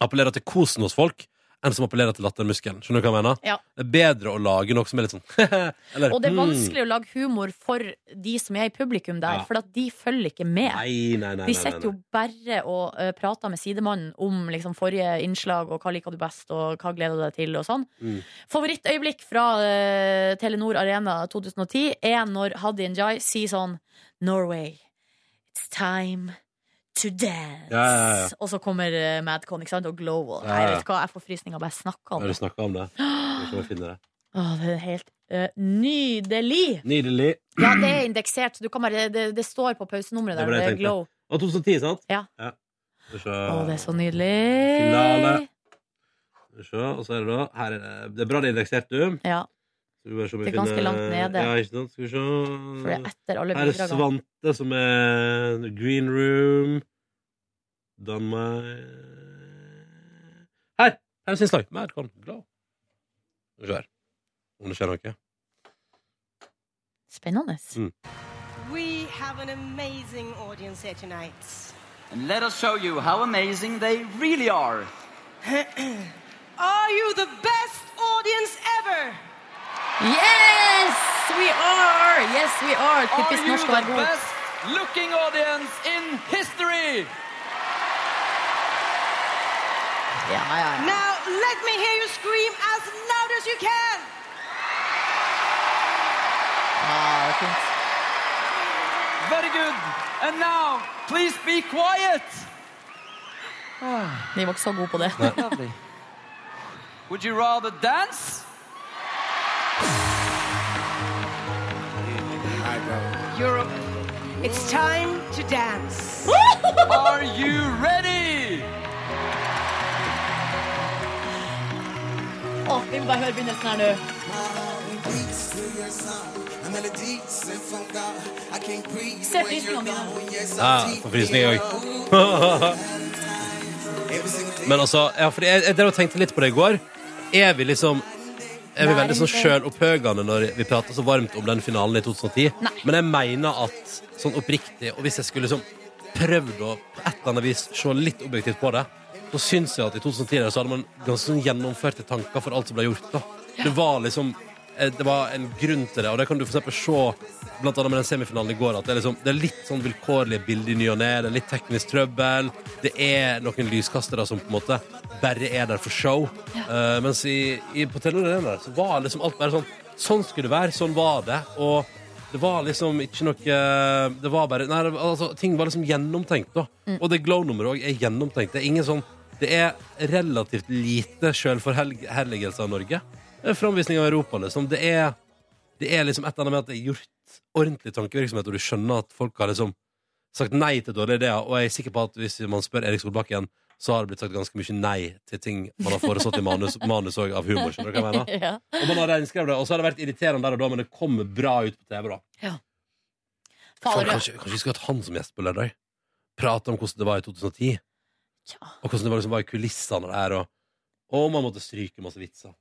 B: appellerer til kosen hos folk, enn som appellerer til lattermuskelen. Skjønner du hva jeg mener?
C: Ja.
B: Det er bedre å lage noe som er litt sånn eller,
C: Og det er
B: «Hmm».
C: vanskelig å lage humor for de som er i publikum der,
B: Ja.
C: for at de følger ikke med.
B: Nei, nei, nei.
C: de
B: nei, nei,
C: sitter jo bare og eh, prater med sidemannen om liksom, forrige innslag og hva liker du best, og hva gleder du deg til, og sånn.
B: Mm.
C: Favorittøyeblikk fra eh, Telenor Arena 2010 er når Hadi Njay sier sånn Norway, it's time to dance.
B: Ja, ja, ja.
C: Og så kommer eh, Madcon ikke sant? og Glowal.
B: Ja, ja.
C: Nei, vet du hva, jeg får frysninger bare jeg snakker
B: Har
C: om
B: du
C: det.
B: snakka om det? Skal vi se om jeg finner det.
C: Å, det er helt eh, nydelig!
B: Nydelig.
C: Ja, det er indeksert. Du kan bare, det, det står på pausenummeret
B: Det
C: der.
B: var
C: Det,
B: det jeg
C: er Glow.
B: tenkte. Og 2010, sant?
C: Ja.
B: Skal vi se.
C: Å, det er sånn. så nydelig.
B: Eh, Finale. Skal vi se, og så er det da her er det, det er bra det er indeksert, du.
C: Ja,
B: Skal vi bare se om
C: Det er
B: jeg
C: ganske
B: finner-
C: langt nede.
B: Ja, ikke sant? Skal vi
C: for det er
B: se.
C: etter alle
B: Her Mm. er
C: bidragene.
B: Svante, som er Green Room. Danmark Her! Her er innslag. Mer kom. Glad. Skal vi se her. Om det skjer noe.
C: Spennende.
B: Mm.
K: We have an amazing audience here tonight.
L: And let us show you how amazing they really are.
K: Are you the best audience ever?
C: Yes, we are! Yes, we are! Typisk norsk å være god.
L: looking audience in history?
C: Ja, ja, ja.
K: Now let me hear you scream as loud as you can.
C: Ah, det er fint.
L: Very good. And now, please be quiet.
C: De var ikke så gode på det.
L: Lovely. Would you rather dance?
K: Europe, it's time to dance.
L: Are you ready?
C: Å, vi må bare høre begynnelsen her nå. Se frysningene mine.
B: Ja, Ah, for frysninger òg. Men altså, ja, for jeg, jeg drev og tenkte litt på det i går. Er vi liksom Er vi
C: Nei,
B: veldig sånn
C: det-
B: sjølopphøgende når vi prater så varmt om den finalen i 2010? Men jeg mener at sånn oppriktig, og hvis jeg skulle liksom prøvd å på et eller annet vis se litt objektivt på det, så syns jeg at i 2010 der så hadde man ganske sånn gjennomførte tanker for alt som ble gjort. da. Det var liksom eh, det var en grunn til det, og det kan du for eksempel se blant annet med den semifinalen i går, at det er, liksom, det er litt sånn vilkårlige bilder i ny og ne, det er litt teknisk trøbbel, det er noen lyskastere som på en måte bare er der for show, Eh, mens i, i, på Telenor Arena der, så var liksom alt bare sånn, sånn skulle det være, sånn var det, og det var liksom ikke noe Det var bare Nei, det, var- altså, ting var liksom gjennomtenkt, da. Og det Glow-nummeret òg er gjennomtenkt. Det er ingen sånn Det er relativt lite sjølforherligelse av Norge. Det er Framvisning av Europa, liksom. Det er, det er liksom et eller annet med at det er gjort ordentlig tankevirksomhet, og du skjønner at folk har liksom sagt nei til dårlige ideer. Og jeg er sikker på at hvis man spør Erik Solbakken, så har det blitt sagt ganske mye nei til ting man har foreslått i manus manus òg, av humor. Skjønner du hva jeg mener?
C: Ja.
B: Og man har renskrevet det, og så har det vært irriterende der og da, men det kommer bra ut på TV, da. Faen,
C: Fader,
B: kanskje, kanskje vi skulle hatt han som gjest på lørdag? Prate om hvordan det var i 2010. Og hvordan det var, liksom, var i kulissene der, og, og man måtte stryke masse vitser.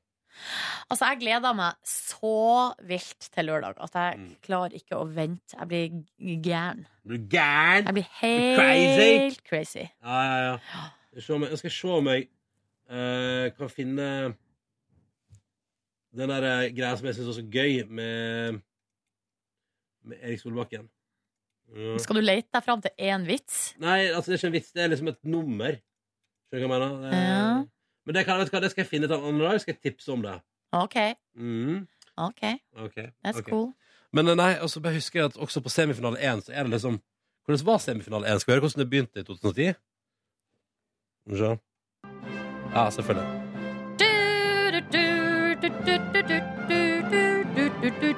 C: Altså, jeg gleder meg så vilt til lørdag at jeg
B: Mm.
C: klarer ikke å vente. Jeg blir g- gæren.
B: Blir du gæren?
C: Jeg blir
B: Blir
C: helt
B: du crazy?
C: crazy. crazy.
B: Ja, ja, ja. Jeg skal se om jeg, jeg, skal se om jeg eh, kan finne den der eh, greia som jeg syns var så gøy med, med Erik Solbakken. Ja.
C: Skal du lete deg fram til én vits?
B: Nei, altså det er ikke en vits, det er liksom et nummer. Skjønner du hva jeg mener? Det er-
C: Ja.
B: Men det, kan, vet du hva, det skal jeg finne ut av en annen dag. Skal jeg tipse om det.
C: OK.
B: Mm.
C: OK.
B: Ok,
C: That's
B: ok.
C: cool.
B: Men eh, nei, altså, bare husker jeg at også på semifinale 1 så er det liksom Hvordan var semifinale 1? Skal vi høre hvordan det begynte i 2010? Skal vi se. Ja, selvfølgelig.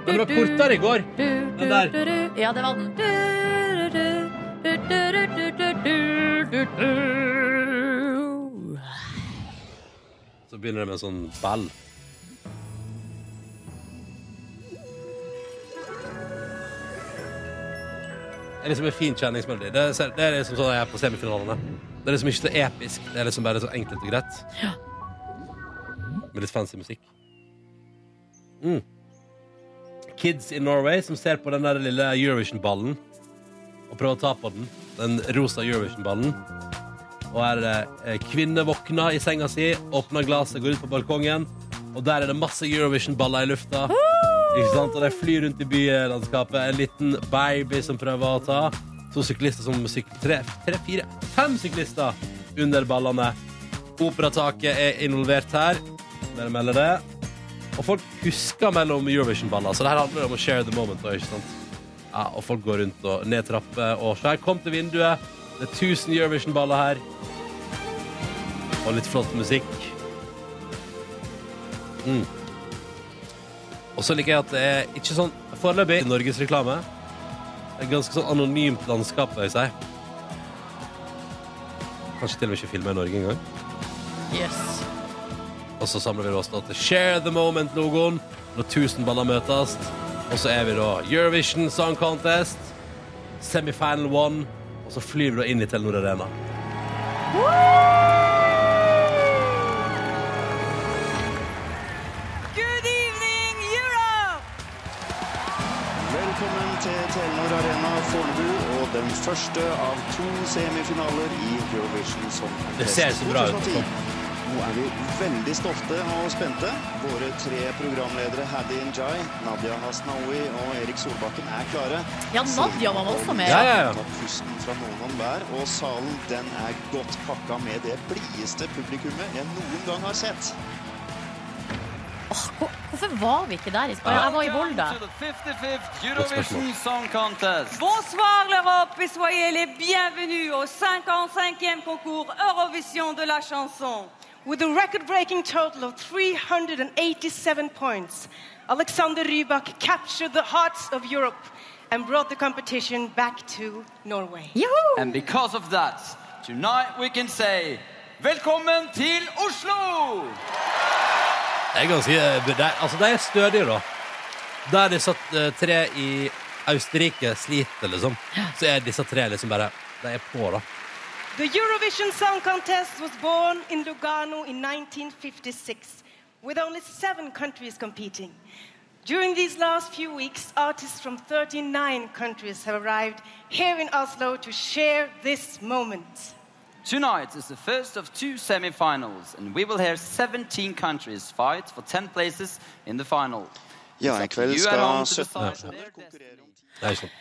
C: Den
B: var kortere i går. Den der.
C: Ja, det var den.
B: Så begynner det med en sånn ball. Det er liksom en fin kjenningsmelodi. Det er, det er liksom sånn jeg er på semifinalene. Det er liksom ikke så episk. Det er liksom bare så enkelt og greit. Med litt fancy musikk. Mm. Kids in Norway som ser på den der lille Eurovision-ballen og prøver å ta på den. Den rosa Eurovision-ballen. Og her er det eh, kvinne våkner i senga si, åpner glasset, går ut på balkongen, og der er det masse Eurovision-baller i lufta. Ikke sant? Og de flyr rundt i bylandskapet. En liten baby som prøver å ta. To syklister som syk tre, tre, fire, fem syklister under ballene. Operataket er involvert her. Dere melder det. Og folk husker mellom Eurovision-baller, så det her handler om å share the moment. da, Ikke sant? Ja, og folk går rundt og ned trapper og svær. Kom til vinduet. Det er 1000 Eurovision-baller her. Og litt flott musikk. Mm. Og så liker jeg at det er ikke sånn foreløpig norgesreklame. Et ganske sånn anonymt landskap, vil jeg si. Kanskje til og med ikke filma i Norge engang.
C: Yes.
B: Og så samler vi råstoff til Share the Moment-logoen når 1000 baller møtes. Og så er vi da Eurovision Song Contest, semifinal one, og så flyr vi da inn i Telenor Arena.
F: Good evening, Europe!
G: Velkommen til Telenor Arena Fornebu og den første av to semifinaler i Eurovision Song Contest
B: Det ser så bra ut.
G: 2010. Nå er vi veldig stolte og spente. Våre tre programledere Hadi Njay, Nadia Hasnaoui og Erik Solbakken er klare.
C: Ja, Nadia var også med.
G: Ja, ja, ja. Tatt pusten fra noen om hver, og salen den er godt pakka med det blideste publikummet jeg noen gang har sett.
C: Hvorfor var vi ikke der? i- Å, ja, Jeg var i Volda.
L: Eurovision Song Contest.
M: Bonsoir l'Europe et soyez les bienvenus au 55e concours Eurovision de la chanson. With a record-breaking total of 387 points, Alexander Rybak captured the hearts of Europe and brought the competition back to Norway.
L: And because of that, tonight we can say Velkommen til Oslo!
B: Det er ganske det er, Altså, de er stødige, da. Der de satt eh, tre i Østerrike sliter, liksom, så er disse tre liksom bare De er på, da.
M: The Eurovision Song Contest was born in Lugano in 1956, with only seven countries competing. During these last few weeks, artists from 39 countries have arrived here in Oslo to share this moment.
L: Tonight is the first of two semifinals, and we will hear 17 countries fight for 10 places in the final.
G: Ja, i kveld
L: You
G: skal
L: are on to
G: 17
L: decide
G: personer
B: Det er ikke sant.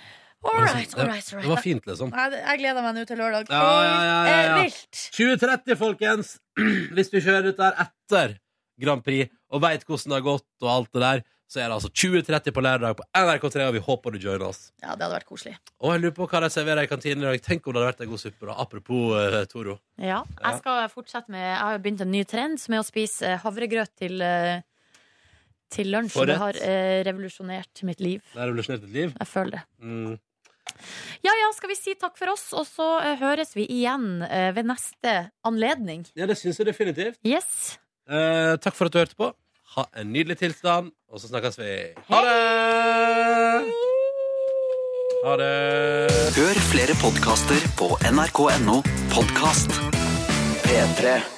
C: All right, all right, all right.
B: Det var fint, liksom.
C: Nei, det- Jeg gleder meg nå til lørdag.
B: Ja, ja, ja, ja, ja.
C: Eh, vilt.
B: 2030, folkens! Hvis du kjører ut der etter Grand Prix og veit hvordan det har gått, og alt det der, så er det altså 2030 på lørdag på NRK3, og vi håper du joiner oss.
C: Ja, det hadde vært koselig.
B: Og jeg lurer på hva de serverer i kantinen i dag. Tenk om det hadde vært en god suppe, da. Apropos eh, Toro.
C: Ja,
B: Ja.
C: jeg skal fortsette med Jeg har jo begynt en ny trend som er å spise eh, havregrøt til, eh, til lunsj.
B: Forrett.
C: Det har eh, revolusjonert mitt liv.
B: Det er revolusjonert et liv.
C: Jeg føler det.
B: Mm.
C: Ja ja, skal vi si takk for oss, og så eh, høres vi igjen eh, ved neste anledning.
B: Ja, det syns jeg definitivt.
C: Yes.
B: Eh, takk for at du hørte på. Ha en nydelig tilstand, og så snakkes vi. Ha det! Ha det.
E: Hør flere podkaster på nrk.no podkast. P3.